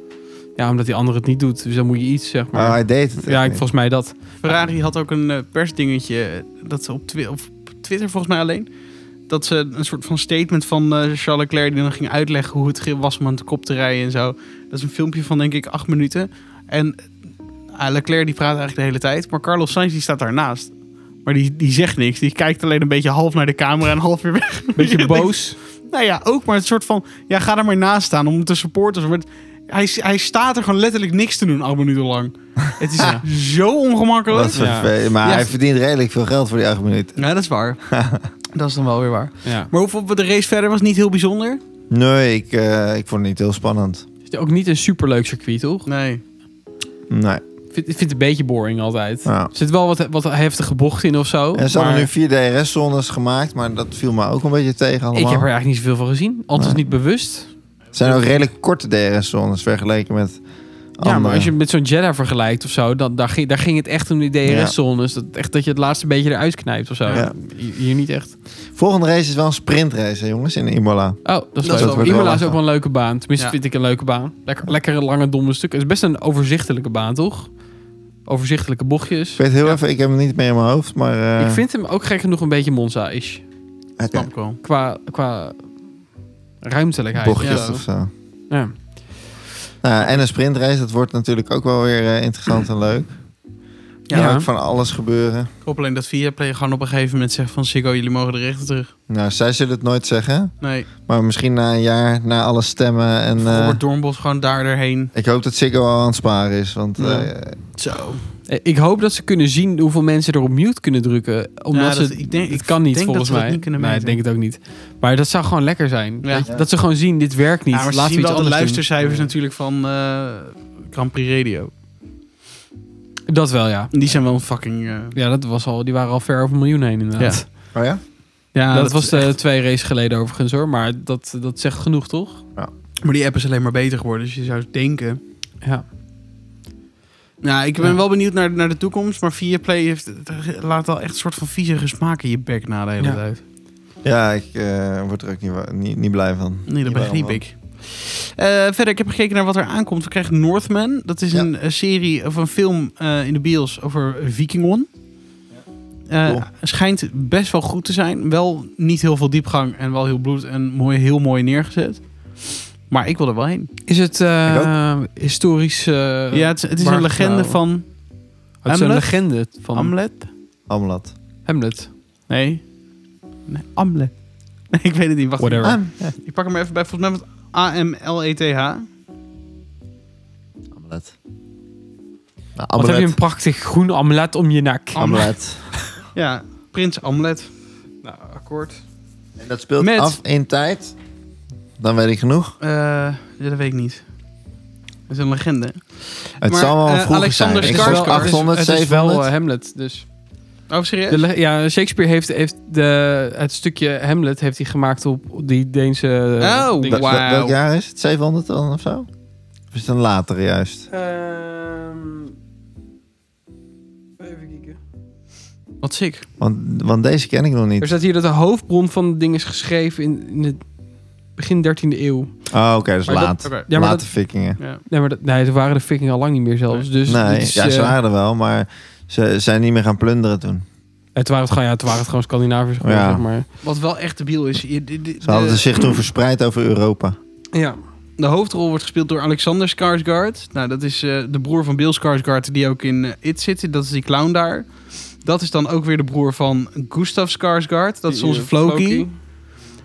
[SPEAKER 3] Ja, omdat die ander het niet doet. Dus dan moet je iets, zeg
[SPEAKER 2] Maar
[SPEAKER 3] maar.
[SPEAKER 2] Ah, hij deed het.
[SPEAKER 3] ja,
[SPEAKER 2] echt
[SPEAKER 3] ik,
[SPEAKER 2] niet.
[SPEAKER 3] volgens mij dat.
[SPEAKER 1] Ferrari had ook een eh, persdingetje eh, dat ze op, Twi- op Twitter volgens mij alleen dat ze een soort van statement van eh, Charles Leclerc die dan ging uitleggen hoe het ge- was om aan de kop te rijden en zo. Dat is een filmpje van denk ik acht minuten en eh, Leclerc die praat eigenlijk de hele tijd, maar Carlos Sainz die staat daarnaast. Maar die, die zegt niks. Die kijkt alleen een beetje half naar de camera en half weer weg.
[SPEAKER 3] Beetje
[SPEAKER 1] Ja,
[SPEAKER 3] boos.
[SPEAKER 1] Nou ja, ook maar een soort van... Ja, ga er maar naast staan om te supporten. Maar het- hij, hij staat er gewoon letterlijk niks te doen acht minuten lang. Het is
[SPEAKER 3] Ja.
[SPEAKER 1] zo ongemakkelijk.
[SPEAKER 2] Wat
[SPEAKER 3] Ja.
[SPEAKER 2] vervelend. Maar
[SPEAKER 1] Ja.
[SPEAKER 2] hij verdient redelijk veel geld voor die acht minuten.
[SPEAKER 1] Ja, dat is waar. dat is dan wel weer waar.
[SPEAKER 3] Ja.
[SPEAKER 1] Maar hoeveel de race verder was niet heel bijzonder?
[SPEAKER 2] Nee, ik, eh, ik vond het niet heel spannend.
[SPEAKER 3] Het is ook niet een superleuk circuit, toch?
[SPEAKER 1] Nee.
[SPEAKER 2] Nee.
[SPEAKER 3] Ik vind, ik vind het een beetje boring altijd.
[SPEAKER 2] Nou.
[SPEAKER 3] Er zit wel wat, wat heftige bochten in of zo.
[SPEAKER 2] Er zijn
[SPEAKER 3] Oh, maar
[SPEAKER 2] nu vier DRS-zones gemaakt, maar dat viel me ook een beetje tegen
[SPEAKER 3] ik
[SPEAKER 2] allemaal.
[SPEAKER 3] heb er eigenlijk niet zoveel van gezien. Althans
[SPEAKER 2] Nee.
[SPEAKER 3] niet bewust.
[SPEAKER 2] Het zijn ook redelijk korte DRS-zones vergeleken met andere.
[SPEAKER 3] Ja, maar als je het met zo'n Jedi vergelijkt of zo, dan, daar, ging, daar ging het echt om die DRS-zones. Dus Dat, echt dat je het laatste beetje eruit knijpt of zo.
[SPEAKER 2] Ja.
[SPEAKER 3] Hier hier niet echt.
[SPEAKER 2] Volgende race is wel een sprintrace, hè, jongens, in Imola.
[SPEAKER 3] Oh, dat is
[SPEAKER 1] Dat
[SPEAKER 3] leuk.
[SPEAKER 1] wordt wel
[SPEAKER 3] Imola is
[SPEAKER 2] lachen.
[SPEAKER 3] ook wel een leuke baan. Tenminste
[SPEAKER 1] Ja.
[SPEAKER 3] vind ik een leuke baan. Lekker, lekker lange, domme stukken. Het is best een overzichtelijke baan, toch? Overzichtelijke bochtjes.
[SPEAKER 2] Ik weet heel even, ik heb hem niet meer in mijn hoofd, maar... eh,
[SPEAKER 3] Ik vind hem ook gek genoeg een beetje Monza-ish.
[SPEAKER 2] oké,
[SPEAKER 1] Snap ik wel.
[SPEAKER 3] Qua, qua ruimtelijkheid.
[SPEAKER 2] bochtjes
[SPEAKER 1] ja.
[SPEAKER 2] of zo.
[SPEAKER 3] Ja.
[SPEAKER 2] Nou, en een sprintrace, dat wordt natuurlijk ook wel weer eh, interessant en leuk.
[SPEAKER 1] Ja.
[SPEAKER 2] Ja.
[SPEAKER 3] Ja.
[SPEAKER 2] Kan ook van alles gebeuren.
[SPEAKER 1] Ik hoop alleen dat Viaplay gewoon op een gegeven moment zegt van... Siggo, jullie mogen de rechten terug.
[SPEAKER 2] Nou, zij zullen het nooit zeggen.
[SPEAKER 1] Nee,
[SPEAKER 2] Maar misschien na een jaar, na alle stemmen en... eh,
[SPEAKER 1] Robert Dornbos gewoon daar erheen.
[SPEAKER 2] ik hoop dat Ziggo al aan het sparen is, want...
[SPEAKER 1] Ja.
[SPEAKER 2] eh,
[SPEAKER 1] Zo.
[SPEAKER 3] Eh, Ik hoop dat ze kunnen zien hoeveel mensen er op mute kunnen drukken. Omdat
[SPEAKER 1] Ja, dat-
[SPEAKER 3] ze,
[SPEAKER 1] ik denk-
[SPEAKER 3] het
[SPEAKER 1] ik
[SPEAKER 3] kan niet
[SPEAKER 1] denk
[SPEAKER 3] volgens
[SPEAKER 1] dat we dat
[SPEAKER 3] mij.
[SPEAKER 1] niet kunnen
[SPEAKER 3] nee, ik
[SPEAKER 1] meten.
[SPEAKER 3] denk het ook niet. Maar dat zou gewoon lekker zijn.
[SPEAKER 1] Ja.
[SPEAKER 3] Dat, dat ze gewoon zien, dit werkt niet.
[SPEAKER 1] Ja, maar ze
[SPEAKER 3] Laten
[SPEAKER 1] zien
[SPEAKER 3] we iets
[SPEAKER 1] wel de
[SPEAKER 3] anders
[SPEAKER 1] luistercijfers
[SPEAKER 3] doen.
[SPEAKER 1] natuurlijk van eh Grand Prix Radio.
[SPEAKER 3] Dat wel, ja.
[SPEAKER 1] Die zijn wel een fucking... eh,
[SPEAKER 3] Ja, dat was al, die waren al ver over een miljoen heen inderdaad.
[SPEAKER 2] Oh ja?
[SPEAKER 1] ja,
[SPEAKER 3] dat, was
[SPEAKER 1] is
[SPEAKER 3] de
[SPEAKER 1] echt-
[SPEAKER 3] twee races geleden overigens hoor. Maar dat, dat zegt genoeg, toch?
[SPEAKER 1] Maar die app is alleen maar beter geworden, dus je zou denken...
[SPEAKER 3] Ja.
[SPEAKER 1] Nou, ik ben
[SPEAKER 3] Ja.
[SPEAKER 1] wel benieuwd naar, naar de toekomst, maar Viaplay heeft, laat al echt een soort van vieze smaak in je bek na de hele
[SPEAKER 3] Ja.
[SPEAKER 1] tijd.
[SPEAKER 2] Ja, ik eh, word er ook niet, wa- niet, niet blij van.
[SPEAKER 1] Nee, dat
[SPEAKER 2] Niet
[SPEAKER 1] begreep
[SPEAKER 2] waarom,
[SPEAKER 1] ik. Eh, verder, ik heb gekeken naar wat er aankomt. We krijgen Northman. Dat is
[SPEAKER 2] Ja.
[SPEAKER 1] een eh, serie of een film eh, in de bios over Vikingon. Eh,
[SPEAKER 2] Cool.
[SPEAKER 1] Schijnt best wel goed te zijn. Wel niet heel veel diepgang en wel heel bloed en mooi, heel mooi neergezet. Maar ik wil er wel heen.
[SPEAKER 3] Is het eh, historisch... eh,
[SPEAKER 1] ja, het, is- het is
[SPEAKER 3] waar
[SPEAKER 1] een legende
[SPEAKER 3] nou?
[SPEAKER 1] van
[SPEAKER 3] het is een
[SPEAKER 1] Hamlet?
[SPEAKER 3] legende van
[SPEAKER 1] Hamlet.
[SPEAKER 2] Amlat.
[SPEAKER 3] Hamlet.
[SPEAKER 1] Nee. Nee, Amlet. Nee, ik weet het niet. Wacht
[SPEAKER 3] Whatever.
[SPEAKER 2] Am- ja,
[SPEAKER 1] Ik pak hem even bij. Volgens mij was het A-M-L-E-T-H.
[SPEAKER 2] Amlet. Nou,
[SPEAKER 3] Wat heb je een
[SPEAKER 2] Amlet.
[SPEAKER 3] prachtig groen amulet om je nek.
[SPEAKER 1] Ah,
[SPEAKER 2] Amlet.
[SPEAKER 1] Ja, Prins Amlet.
[SPEAKER 3] Nou, akkoord.
[SPEAKER 2] En dat speelt
[SPEAKER 1] Met-
[SPEAKER 2] af in tijd. Dan weet ik genoeg.
[SPEAKER 1] Eh, ja, dat weet ik niet. Dat is een legende.
[SPEAKER 2] Het
[SPEAKER 1] Maar,
[SPEAKER 2] zal wel
[SPEAKER 1] eh,
[SPEAKER 2] een vroeger
[SPEAKER 1] Alexander
[SPEAKER 2] zijn. Ik
[SPEAKER 1] Skarsgård
[SPEAKER 2] zal
[SPEAKER 1] is- eh,
[SPEAKER 2] 800,
[SPEAKER 3] het is
[SPEAKER 2] 700.
[SPEAKER 3] wel eh, Hamlet, dus.
[SPEAKER 1] Oh, serieus?
[SPEAKER 3] De le- ja, Shakespeare heeft, heeft de, het stukje Hamlet heeft hij gemaakt op die Deense... eh,
[SPEAKER 1] Oh,
[SPEAKER 3] ding.
[SPEAKER 2] Dat- dat-
[SPEAKER 1] wauw.
[SPEAKER 2] Welk jaar is het? 700 dan of zo? Of is het een latere juist?
[SPEAKER 3] Ehm even kijken. Wat sick.
[SPEAKER 2] Want, want deze ken ik nog
[SPEAKER 3] Er
[SPEAKER 2] niet.
[SPEAKER 3] staat hier dat de hoofdbron van het ding is geschreven in, in het begin 13e eeuw.
[SPEAKER 2] Oh, oké, dus
[SPEAKER 3] Maar dat-
[SPEAKER 2] laat.
[SPEAKER 1] Oké.
[SPEAKER 3] Ja, maar
[SPEAKER 2] Late vikingen.
[SPEAKER 1] Ja.
[SPEAKER 3] Nee, maar dat, nee, toen waren de vikingen al lang niet meer zelfs. Dus
[SPEAKER 2] nee,
[SPEAKER 3] dit is,
[SPEAKER 2] ja, ze
[SPEAKER 3] eh,
[SPEAKER 2] waren er wel, maar ze zijn niet meer gaan plunderen toen.
[SPEAKER 3] het waren het gewoon, ja, het waren het gewoon Scandinaviërs. Gewoon,
[SPEAKER 2] Ja.
[SPEAKER 3] zeg maar.
[SPEAKER 1] Wat wel echt debiel is. je- de- de-
[SPEAKER 2] Ze hadden dus-
[SPEAKER 1] de-
[SPEAKER 2] zich toen verspreid over Europa.
[SPEAKER 3] ja.
[SPEAKER 1] De hoofdrol wordt gespeeld door Alexander Skarsgård. Nou, dat is eh, de broer van Bill Skarsgård die ook in eh, It zit. Dat is die clown daar. Dat is dan ook weer de broer van Gustav Skarsgård. Dat is
[SPEAKER 3] Die,
[SPEAKER 1] onze
[SPEAKER 3] eh,
[SPEAKER 1] Floki.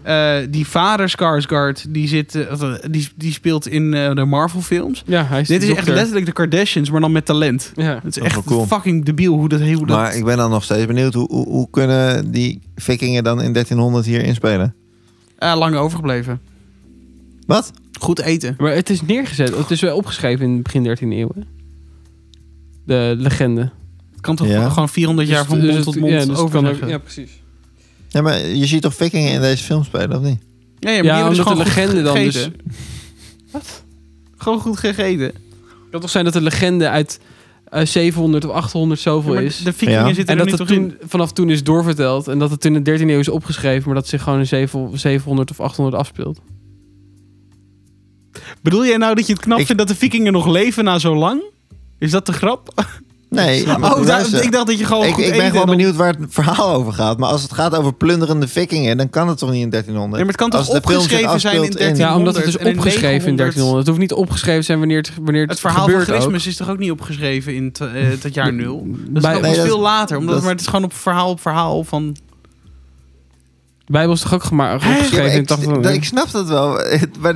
[SPEAKER 1] Eh, die vader Skarsgård, die, zit, eh, of, eh, die, die speelt in eh, de Marvel films.
[SPEAKER 3] Ja, hij is
[SPEAKER 1] Dit
[SPEAKER 3] de
[SPEAKER 1] is echt
[SPEAKER 3] dokter.
[SPEAKER 1] letterlijk de Kardashians, maar dan met talent.
[SPEAKER 3] Ja.
[SPEAKER 1] Het is
[SPEAKER 2] Dat is
[SPEAKER 1] echt
[SPEAKER 2] wel cool.
[SPEAKER 1] fucking debiel hoe dat... Hoe dat
[SPEAKER 2] Maar ik ben dan nog steeds benieuwd, hoe, hoe, hoe kunnen die vikingen dan in 1300 hier inspelen?
[SPEAKER 1] Eh, lang overgebleven.
[SPEAKER 2] Wat?
[SPEAKER 1] Goed eten.
[SPEAKER 3] Maar het is neergezet, het is wel opgeschreven in het begin 13e eeuw. hè? De legende.
[SPEAKER 1] Het kan toch
[SPEAKER 2] Ja.
[SPEAKER 1] gewoon 400 jaar van mond tot mond
[SPEAKER 3] ja, dus het
[SPEAKER 1] over
[SPEAKER 3] kan ook-
[SPEAKER 1] zeggen.
[SPEAKER 3] Ja, precies.
[SPEAKER 2] Ja, maar je ziet toch vikingen in deze film spelen, of niet?
[SPEAKER 1] Ja, ja, maar
[SPEAKER 3] Ja,
[SPEAKER 1] die hebben dus
[SPEAKER 3] omdat
[SPEAKER 1] gewoon
[SPEAKER 3] de legende dan dus...
[SPEAKER 1] Wat? Gewoon goed gegeten.
[SPEAKER 3] Het kan toch zijn dat de legende uit eh, 700 of 800 zoveel
[SPEAKER 1] maar
[SPEAKER 3] is.
[SPEAKER 1] de vikingen
[SPEAKER 2] Ja.
[SPEAKER 1] zitten
[SPEAKER 3] En
[SPEAKER 1] er
[SPEAKER 3] dat
[SPEAKER 1] nu
[SPEAKER 3] het
[SPEAKER 1] toch in.
[SPEAKER 3] toen, vanaf toen is doorverteld. En dat het toen in de 13e eeuw is opgeschreven. Maar dat het zich gewoon in 700 700 of 800 afspeelt.
[SPEAKER 1] Bedoel jij nou dat je het knap
[SPEAKER 2] Ik-
[SPEAKER 1] vindt dat de vikingen nog leven na zo lang? Is dat de grap?
[SPEAKER 2] Nee. maar
[SPEAKER 1] Oh, daar-
[SPEAKER 2] luister.
[SPEAKER 1] ik dacht dat je gewoon
[SPEAKER 2] ik,
[SPEAKER 1] goed
[SPEAKER 2] ik
[SPEAKER 1] eten
[SPEAKER 2] ben
[SPEAKER 1] en
[SPEAKER 2] gewoon
[SPEAKER 1] dan-
[SPEAKER 2] benieuwd waar het verhaal over gaat. Maar als het gaat over plunderende vikingen, dan kan het toch niet in 1300?
[SPEAKER 1] Nee, maar het kan toch
[SPEAKER 2] Als de film zich
[SPEAKER 1] opgeschreven zijn in
[SPEAKER 2] afspeelt
[SPEAKER 1] 1300?
[SPEAKER 3] Ja, omdat het is
[SPEAKER 1] en in
[SPEAKER 3] opgeschreven in 1300.
[SPEAKER 1] 900.
[SPEAKER 3] Het hoeft niet opgeschreven te zijn wanneer het, wanneer het,
[SPEAKER 1] Het verhaal van
[SPEAKER 3] gebeurt ook.
[SPEAKER 1] Christmas is toch ook niet opgeschreven in t- eh, het jaar nul? Dat is
[SPEAKER 3] Bij-
[SPEAKER 1] nog
[SPEAKER 2] Nee,
[SPEAKER 1] eens
[SPEAKER 2] dat-
[SPEAKER 1] veel later. Omdat,
[SPEAKER 2] dat-
[SPEAKER 1] maar het is gewoon op verhaal op verhaal van...
[SPEAKER 3] De Bijbel is toch ook gema-
[SPEAKER 2] Ja, maar
[SPEAKER 3] opgeschreven in
[SPEAKER 2] ik,
[SPEAKER 3] het
[SPEAKER 2] ik, ik snap dat wel. Maar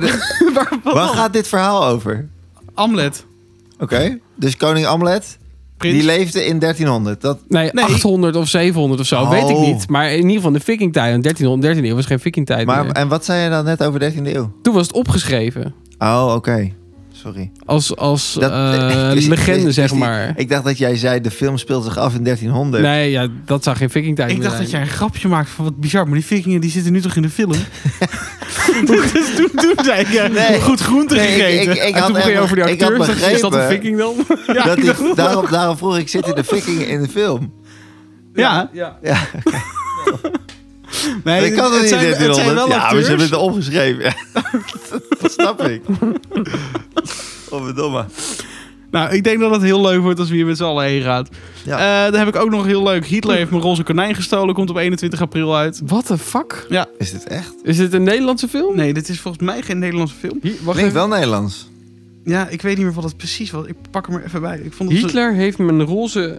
[SPEAKER 2] de, waar gaat dit verhaal over?
[SPEAKER 1] Amlet.
[SPEAKER 2] Oké, dus koning Amlet,
[SPEAKER 1] Prins.
[SPEAKER 2] die leefde in 1300. Dat,
[SPEAKER 3] Nee,
[SPEAKER 1] Nee.
[SPEAKER 3] 800 of 700 of zo,
[SPEAKER 2] Oh.
[SPEAKER 3] weet ik niet. Maar in ieder geval de vikingtijd. want 1300, 13e eeuw was geen vikingtijd
[SPEAKER 2] maar,
[SPEAKER 3] meer.
[SPEAKER 2] en wat zei je dan net over 13e eeuw?
[SPEAKER 3] Toen was het opgeschreven.
[SPEAKER 2] Oh, oké. Sorry.
[SPEAKER 3] Als, als
[SPEAKER 2] Dat-
[SPEAKER 3] eh,
[SPEAKER 2] is- is-
[SPEAKER 3] legende,
[SPEAKER 2] is
[SPEAKER 3] zeg
[SPEAKER 2] die-
[SPEAKER 3] maar.
[SPEAKER 2] Ik dacht dat jij zei, de film speelt zich af in 1300.
[SPEAKER 3] Nee, ja, dat zou geen vikingtijd
[SPEAKER 1] Ik
[SPEAKER 3] meer
[SPEAKER 1] dacht dat jij
[SPEAKER 3] zijn.
[SPEAKER 1] een grapje maakte van wat bizar. Maar die vikingen die zitten nu toch in de film? dus toen, toen zei ik ja,
[SPEAKER 2] Nee.
[SPEAKER 1] goed groente
[SPEAKER 2] Nee, ik-
[SPEAKER 1] gegeten.
[SPEAKER 2] ik- ik
[SPEAKER 3] en
[SPEAKER 2] had
[SPEAKER 3] toen begon je
[SPEAKER 2] echt-
[SPEAKER 3] over die
[SPEAKER 2] ik had
[SPEAKER 3] acteur. dacht je, Is dat een
[SPEAKER 2] begrepen-
[SPEAKER 3] viking dan?
[SPEAKER 1] ja,
[SPEAKER 2] dat
[SPEAKER 1] ik dacht-
[SPEAKER 2] die, daarom, daarom vroeg ik, zitten de vikingen in de film?
[SPEAKER 1] ja.
[SPEAKER 3] ja.
[SPEAKER 2] Ja,
[SPEAKER 1] Nee,
[SPEAKER 2] dat kan
[SPEAKER 1] het
[SPEAKER 2] toch niet in
[SPEAKER 1] zijn- het
[SPEAKER 2] 1300?
[SPEAKER 1] zijn wel
[SPEAKER 2] ja, maar
[SPEAKER 1] acteurs.
[SPEAKER 2] ze hebben het opgeschreven. dat snap ik. Oh, verdomme.
[SPEAKER 1] Nou, ik denk dat het heel leuk wordt als we hier met z'n allen heen gaan.
[SPEAKER 2] Ja.
[SPEAKER 1] Eh, dan heb ik ook nog heel leuk. Hitler heeft mijn roze konijn gestolen. Komt op 21 april uit.
[SPEAKER 3] What the fuck?
[SPEAKER 2] Is dit echt?
[SPEAKER 3] Is dit een Nederlandse film?
[SPEAKER 1] Nee, dit is volgens mij geen Nederlandse film.
[SPEAKER 3] Hi- wacht
[SPEAKER 2] Klinkt
[SPEAKER 3] even.
[SPEAKER 2] wel Nederlands.
[SPEAKER 1] Ja, ik weet niet meer wat het precies was. Ik pak hem er even bij. Ik vond het
[SPEAKER 3] Hitler heeft mijn roze...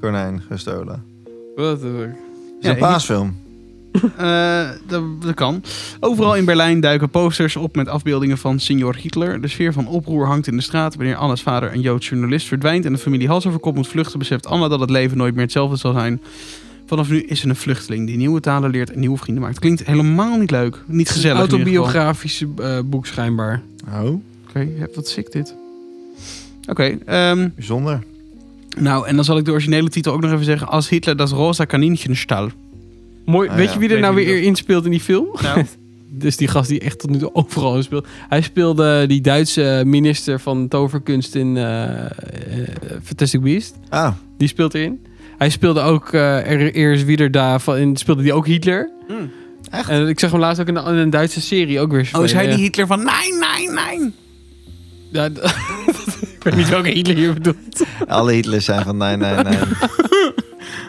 [SPEAKER 2] Konijn gestolen.
[SPEAKER 3] What the fuck?
[SPEAKER 2] Het is
[SPEAKER 1] Ja,
[SPEAKER 2] een paasfilm.
[SPEAKER 1] Eh, dat, dat kan. Overal in Berlijn duiken posters op met afbeeldingen van Signor Hitler. De sfeer van oproer hangt in de straat. Wanneer Anna's vader, een Joods journalist, verdwijnt en de familie hals over kop moet vluchten, beseft Anna dat het leven nooit meer hetzelfde zal zijn. Vanaf nu is ze een vluchteling die nieuwe talen leert en nieuwe vrienden maakt. Klinkt helemaal niet leuk. Niet
[SPEAKER 3] Het is een
[SPEAKER 1] gezellig. in ieder geval.
[SPEAKER 3] autobiografische eh, boek schijnbaar.
[SPEAKER 2] Oh,
[SPEAKER 1] Oké, ja, wat sick dit. Oké, ehm,
[SPEAKER 2] bijzonder.
[SPEAKER 1] nou en dan zal ik de originele titel ook nog even zeggen. Als Hitler das rosa Kaninchen stahl.
[SPEAKER 3] Mooi,
[SPEAKER 2] Ah,
[SPEAKER 3] weet
[SPEAKER 2] ja.
[SPEAKER 3] je wie er
[SPEAKER 1] Weet
[SPEAKER 3] nou
[SPEAKER 1] ik niet
[SPEAKER 3] weer in speelt in die film?
[SPEAKER 1] Nou,
[SPEAKER 3] Dus die gast die echt tot nu toe overal in speelt. Hij speelde die Duitse minister van toverkunst in eh, eh, Fantastic Beast.
[SPEAKER 2] Ah,
[SPEAKER 3] Die speelt erin. Hij speelde ook eh er, Eers Wiederda van, in, speelde die ook Hitler.
[SPEAKER 1] hmm.
[SPEAKER 3] En ik zag hem laatst ook in een, in een Duitse serie ook weer
[SPEAKER 1] Oh,
[SPEAKER 3] spelen.
[SPEAKER 1] is hij
[SPEAKER 3] ja.
[SPEAKER 1] die Hitler van nee, nee, nee?
[SPEAKER 3] Ja, d- ik weet niet welke Hitler je bedoelt.
[SPEAKER 2] alle Hitlers zijn van nee, nee, nee.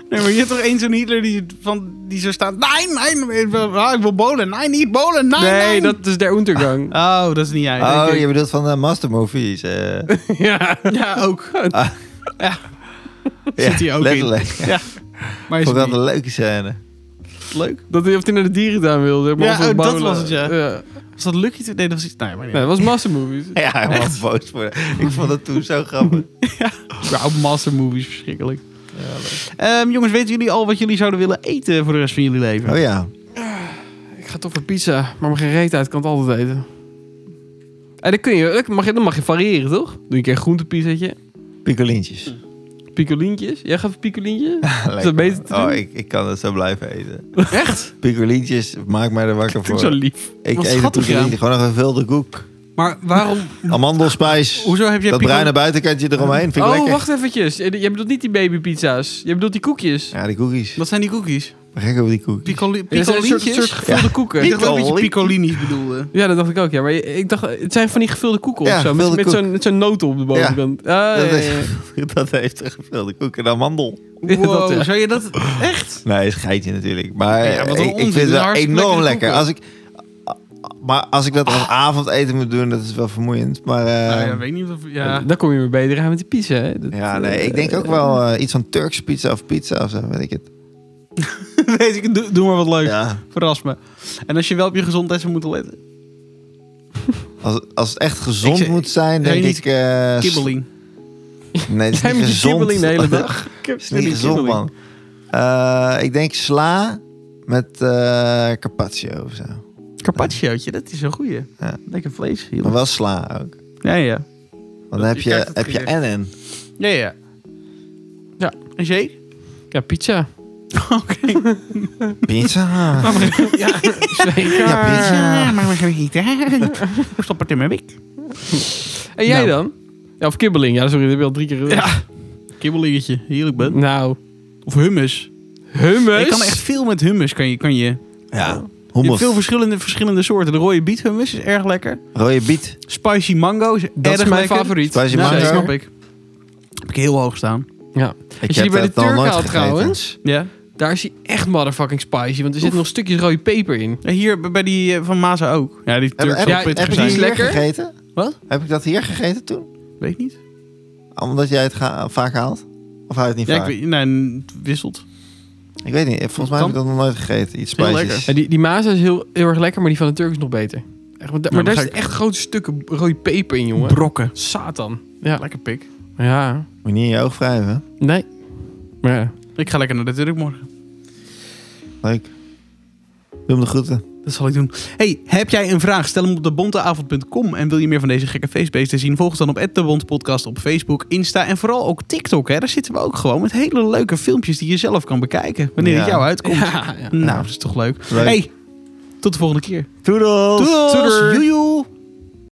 [SPEAKER 1] Nee, maar je hebt toch één zo'n Hitler die, van, die zo staat... Nee, nee, ik wil- ah, ik wil bolen. Nee, niet bolen. Nee,
[SPEAKER 3] Nee, dat is Der Untergang.
[SPEAKER 1] Oh, dat is niet hij.
[SPEAKER 2] Oh,
[SPEAKER 1] denk ik.
[SPEAKER 2] je bedoelt van de Master Movies. eh.
[SPEAKER 3] ja.
[SPEAKER 1] Ja, ook.
[SPEAKER 2] Ah.
[SPEAKER 1] Ja,
[SPEAKER 2] Ja,
[SPEAKER 1] hij ook in.
[SPEAKER 2] letterlijk. in.
[SPEAKER 1] maar is
[SPEAKER 2] Vond
[SPEAKER 1] het
[SPEAKER 2] ik
[SPEAKER 1] niet.
[SPEAKER 2] wel een leuke scène.
[SPEAKER 1] leuk?
[SPEAKER 3] Dat hij, of hij naar de dierentuin wilde. maar
[SPEAKER 1] Ja,
[SPEAKER 3] of het
[SPEAKER 1] oh, dat
[SPEAKER 3] bouwen.
[SPEAKER 1] was het, ja.
[SPEAKER 3] ja.
[SPEAKER 1] Was dat Lucky? te- Nee, dat was iets... Nee, maar niet.
[SPEAKER 3] Nee, dat was Mastermovies.
[SPEAKER 2] Ja, hij was boos voor Ik vond dat toen zo grappig.
[SPEAKER 1] Ja, master movies, verschrikkelijk. Ehm, jongens, weten jullie al wat jullie zouden willen eten voor de rest van jullie leven?
[SPEAKER 2] Oh ja.
[SPEAKER 3] Ik ga toch voor pizza, maar mijn gereed uit kan het altijd eten. En dan, kun je, dan, mag je, dan mag je variëren, toch? Doe je een keer een groentepizzaatje.
[SPEAKER 2] Picolintjes.
[SPEAKER 3] Picolientjes. Jij gaat voor picolientje?
[SPEAKER 2] Lekker.
[SPEAKER 3] dat beter te
[SPEAKER 2] Oh,
[SPEAKER 3] doen?
[SPEAKER 2] ik, ik kan dat zo blijven eten.
[SPEAKER 3] Echt?
[SPEAKER 2] Picolintjes, maak mij er wakker
[SPEAKER 3] Toen
[SPEAKER 2] voor.
[SPEAKER 3] zo lief.
[SPEAKER 2] ik
[SPEAKER 1] Wat
[SPEAKER 2] eet een
[SPEAKER 1] schattig, ja.
[SPEAKER 2] picolintje, gewoon een gevulde koek.
[SPEAKER 3] Maar waarom...
[SPEAKER 2] Amandelspijs.
[SPEAKER 1] Hoezo heb jij
[SPEAKER 2] Dat
[SPEAKER 1] pico-
[SPEAKER 2] bruine buitenkantje eromheen vind ik
[SPEAKER 3] oh,
[SPEAKER 2] lekker.
[SPEAKER 3] wacht eventjes. Je je bedoelt niet die babypizza's. Je bedoelt die koekjes.
[SPEAKER 2] Ja, die cookies.
[SPEAKER 1] Wat zijn die cookies?
[SPEAKER 2] Maar gek over die cookies.
[SPEAKER 1] Picoli
[SPEAKER 3] Ja, dat zijn een soort,
[SPEAKER 1] picolientjes?
[SPEAKER 3] soort gevulde koeken.
[SPEAKER 1] Ik dacht wel dat je
[SPEAKER 2] Picoli-
[SPEAKER 1] picolini's bedoelde.
[SPEAKER 3] Ja, dat dacht ik ook. Ja, maar ik dacht, het zijn van die gevulde koeken
[SPEAKER 2] Ja,
[SPEAKER 3] of zo. Met,
[SPEAKER 2] gevulde
[SPEAKER 3] met
[SPEAKER 2] koek.
[SPEAKER 3] zo'n met zo'n noot op de bovenkant. Ah,
[SPEAKER 2] Dat
[SPEAKER 3] ja,
[SPEAKER 2] is-
[SPEAKER 3] ja, ja.
[SPEAKER 2] Dat heeft een gevulde koek en amandel.
[SPEAKER 3] Ja, dat,
[SPEAKER 1] Wow,
[SPEAKER 3] ja.
[SPEAKER 1] zou je dat... Echt?
[SPEAKER 2] Nee, is geitje natuurlijk. Maar
[SPEAKER 1] Ja, wat een
[SPEAKER 2] ik- ik,
[SPEAKER 1] onzin.
[SPEAKER 2] vind het
[SPEAKER 1] Dat is
[SPEAKER 2] wel
[SPEAKER 1] hartstikke
[SPEAKER 2] enorm
[SPEAKER 1] lekkere
[SPEAKER 2] lekker. Als ik, maar als ik dat als avondeten moet doen, dat is wel vermoeiend. Maar eh,
[SPEAKER 1] nou, ja,
[SPEAKER 2] ja,
[SPEAKER 1] weet niet of... Ja.
[SPEAKER 3] Dan kom je weer beter aan met die pizza. Hè? Dat,
[SPEAKER 2] nee,
[SPEAKER 3] eh,
[SPEAKER 2] ik denk ook wel eh, iets van Turks pizza of pizza of zo, weet ik het.
[SPEAKER 1] weet ik, doe, doe maar wat leuk.
[SPEAKER 2] Ja.
[SPEAKER 1] Verras me. En als je wel op je gezondheid zou moeten letten.
[SPEAKER 2] Als, als het echt gezond
[SPEAKER 1] Ik zeg-
[SPEAKER 2] moet zijn,
[SPEAKER 1] Nee,
[SPEAKER 2] denk
[SPEAKER 1] niet
[SPEAKER 2] ik... eh, s-
[SPEAKER 1] Kibbeling.
[SPEAKER 2] Nee, het is
[SPEAKER 3] Jij
[SPEAKER 2] niet
[SPEAKER 3] met die
[SPEAKER 2] gezond.
[SPEAKER 3] kibbeling de hele dag. Ik heb
[SPEAKER 2] Het is niet gezond,
[SPEAKER 3] kibbeling.
[SPEAKER 2] man. Eh, ik denk sla met eh carpaccio of zo.
[SPEAKER 1] Carpacciootje, dat is een goeie.
[SPEAKER 2] Ja.
[SPEAKER 1] Lekker vlees. heel.
[SPEAKER 2] Maar wel sla ook.
[SPEAKER 1] Ja, ja.
[SPEAKER 2] Want dan heb
[SPEAKER 3] Je
[SPEAKER 2] je,
[SPEAKER 3] krijgt het
[SPEAKER 2] heb je
[SPEAKER 3] gerecht.
[SPEAKER 2] NN.
[SPEAKER 1] Ja, ja.
[SPEAKER 3] Ja.
[SPEAKER 1] En jij?
[SPEAKER 3] Ja, pizza.
[SPEAKER 1] Oké.
[SPEAKER 2] Pizza.
[SPEAKER 3] Ja, zeker.
[SPEAKER 2] Ja, pizza.
[SPEAKER 1] maar we gaan eten. Stop het in mijn wik.
[SPEAKER 3] En jij
[SPEAKER 1] Nou.
[SPEAKER 3] dan? Ja, of kibbeling. Ja, sorry, dat heb je al drie keer gezegd.
[SPEAKER 1] Ja. Kibbelingetje, heerlijk ben.
[SPEAKER 3] Nou,
[SPEAKER 1] Of hummus.
[SPEAKER 3] hummus.
[SPEAKER 1] Ik kan echt veel met hummus. Kan je, kan je. je
[SPEAKER 2] Ja.
[SPEAKER 1] hebt
[SPEAKER 2] Hummus.
[SPEAKER 1] veel verschillende, verschillende soorten. De rode biet hummus is erg lekker.
[SPEAKER 2] Rode biet.
[SPEAKER 1] Spicy mango is
[SPEAKER 3] Dat
[SPEAKER 1] erg
[SPEAKER 3] is mijn
[SPEAKER 1] lekker.
[SPEAKER 3] favoriet. Nou,
[SPEAKER 2] Spicy
[SPEAKER 1] Ja,
[SPEAKER 2] mango.
[SPEAKER 1] dat snap ik. Heb ik heel hoog staan.
[SPEAKER 3] Ja.
[SPEAKER 2] Ik
[SPEAKER 3] Als je die bij de
[SPEAKER 2] het nog
[SPEAKER 3] Turk
[SPEAKER 2] nooit
[SPEAKER 3] haalt
[SPEAKER 2] gegeten.
[SPEAKER 3] trouwens,
[SPEAKER 1] Ja.
[SPEAKER 3] daar is hij echt motherfucking spicy. Want er zitten
[SPEAKER 1] Oef.
[SPEAKER 3] nog stukjes rode peper in.
[SPEAKER 1] Ja, Hier bij- bij die eh, van Maza ook. Ja, die
[SPEAKER 2] Heb,
[SPEAKER 1] Turks
[SPEAKER 2] heb,
[SPEAKER 1] ja,
[SPEAKER 3] Ja,
[SPEAKER 2] heb
[SPEAKER 1] pittig
[SPEAKER 2] ik
[SPEAKER 3] precies.
[SPEAKER 2] die
[SPEAKER 1] zijn.
[SPEAKER 2] hier
[SPEAKER 3] Lekker.
[SPEAKER 2] gegeten?
[SPEAKER 1] Wat?
[SPEAKER 2] Heb ik dat hier gegeten toen?
[SPEAKER 1] Weet niet.
[SPEAKER 2] Omdat jij het ga- vaak haalt? Of haal je het niet
[SPEAKER 1] Ja, ik
[SPEAKER 2] vaak?
[SPEAKER 1] weet, nee, het wisselt.
[SPEAKER 2] Ik weet niet. Volgens mij heb ik dat nog nooit gegeten. Iets
[SPEAKER 1] Heel
[SPEAKER 2] spices.
[SPEAKER 3] Ja, die, die maza is heel, heel erg lekker, maar die van de Turk is nog beter. Echt, want da-
[SPEAKER 1] maar
[SPEAKER 3] maar daar
[SPEAKER 1] ga
[SPEAKER 3] zitten echt grote stukken rode peper in, jongen.
[SPEAKER 1] Brokken.
[SPEAKER 3] Satan.
[SPEAKER 1] Ja, lekker pik.
[SPEAKER 3] Ja.
[SPEAKER 2] Moet je niet in je oog wrijven.
[SPEAKER 3] Nee. Maar ja.
[SPEAKER 1] Ik ga lekker naar de Turk morgen.
[SPEAKER 2] Leuk. Doe hem de groeten.
[SPEAKER 1] Dat zal ik doen. Hey, heb jij een vraag? Stel hem op debonteavond.com. En wil je meer van deze gekke feestbeesten zien? Volg ons dan op @debontpodcast op Facebook, Insta en vooral ook TikTok. Hè? Daar zitten we ook gewoon met hele leuke filmpjes die je zelf kan bekijken. Wanneer
[SPEAKER 2] Ja.
[SPEAKER 1] het jou uitkomt.
[SPEAKER 3] ja, ja.
[SPEAKER 1] Nou, dat is toch leuk.
[SPEAKER 2] Leuk.
[SPEAKER 1] Hey, tot de volgende keer.
[SPEAKER 2] Toedels.
[SPEAKER 1] Doei.
[SPEAKER 3] Toeders.
[SPEAKER 1] Joejoe.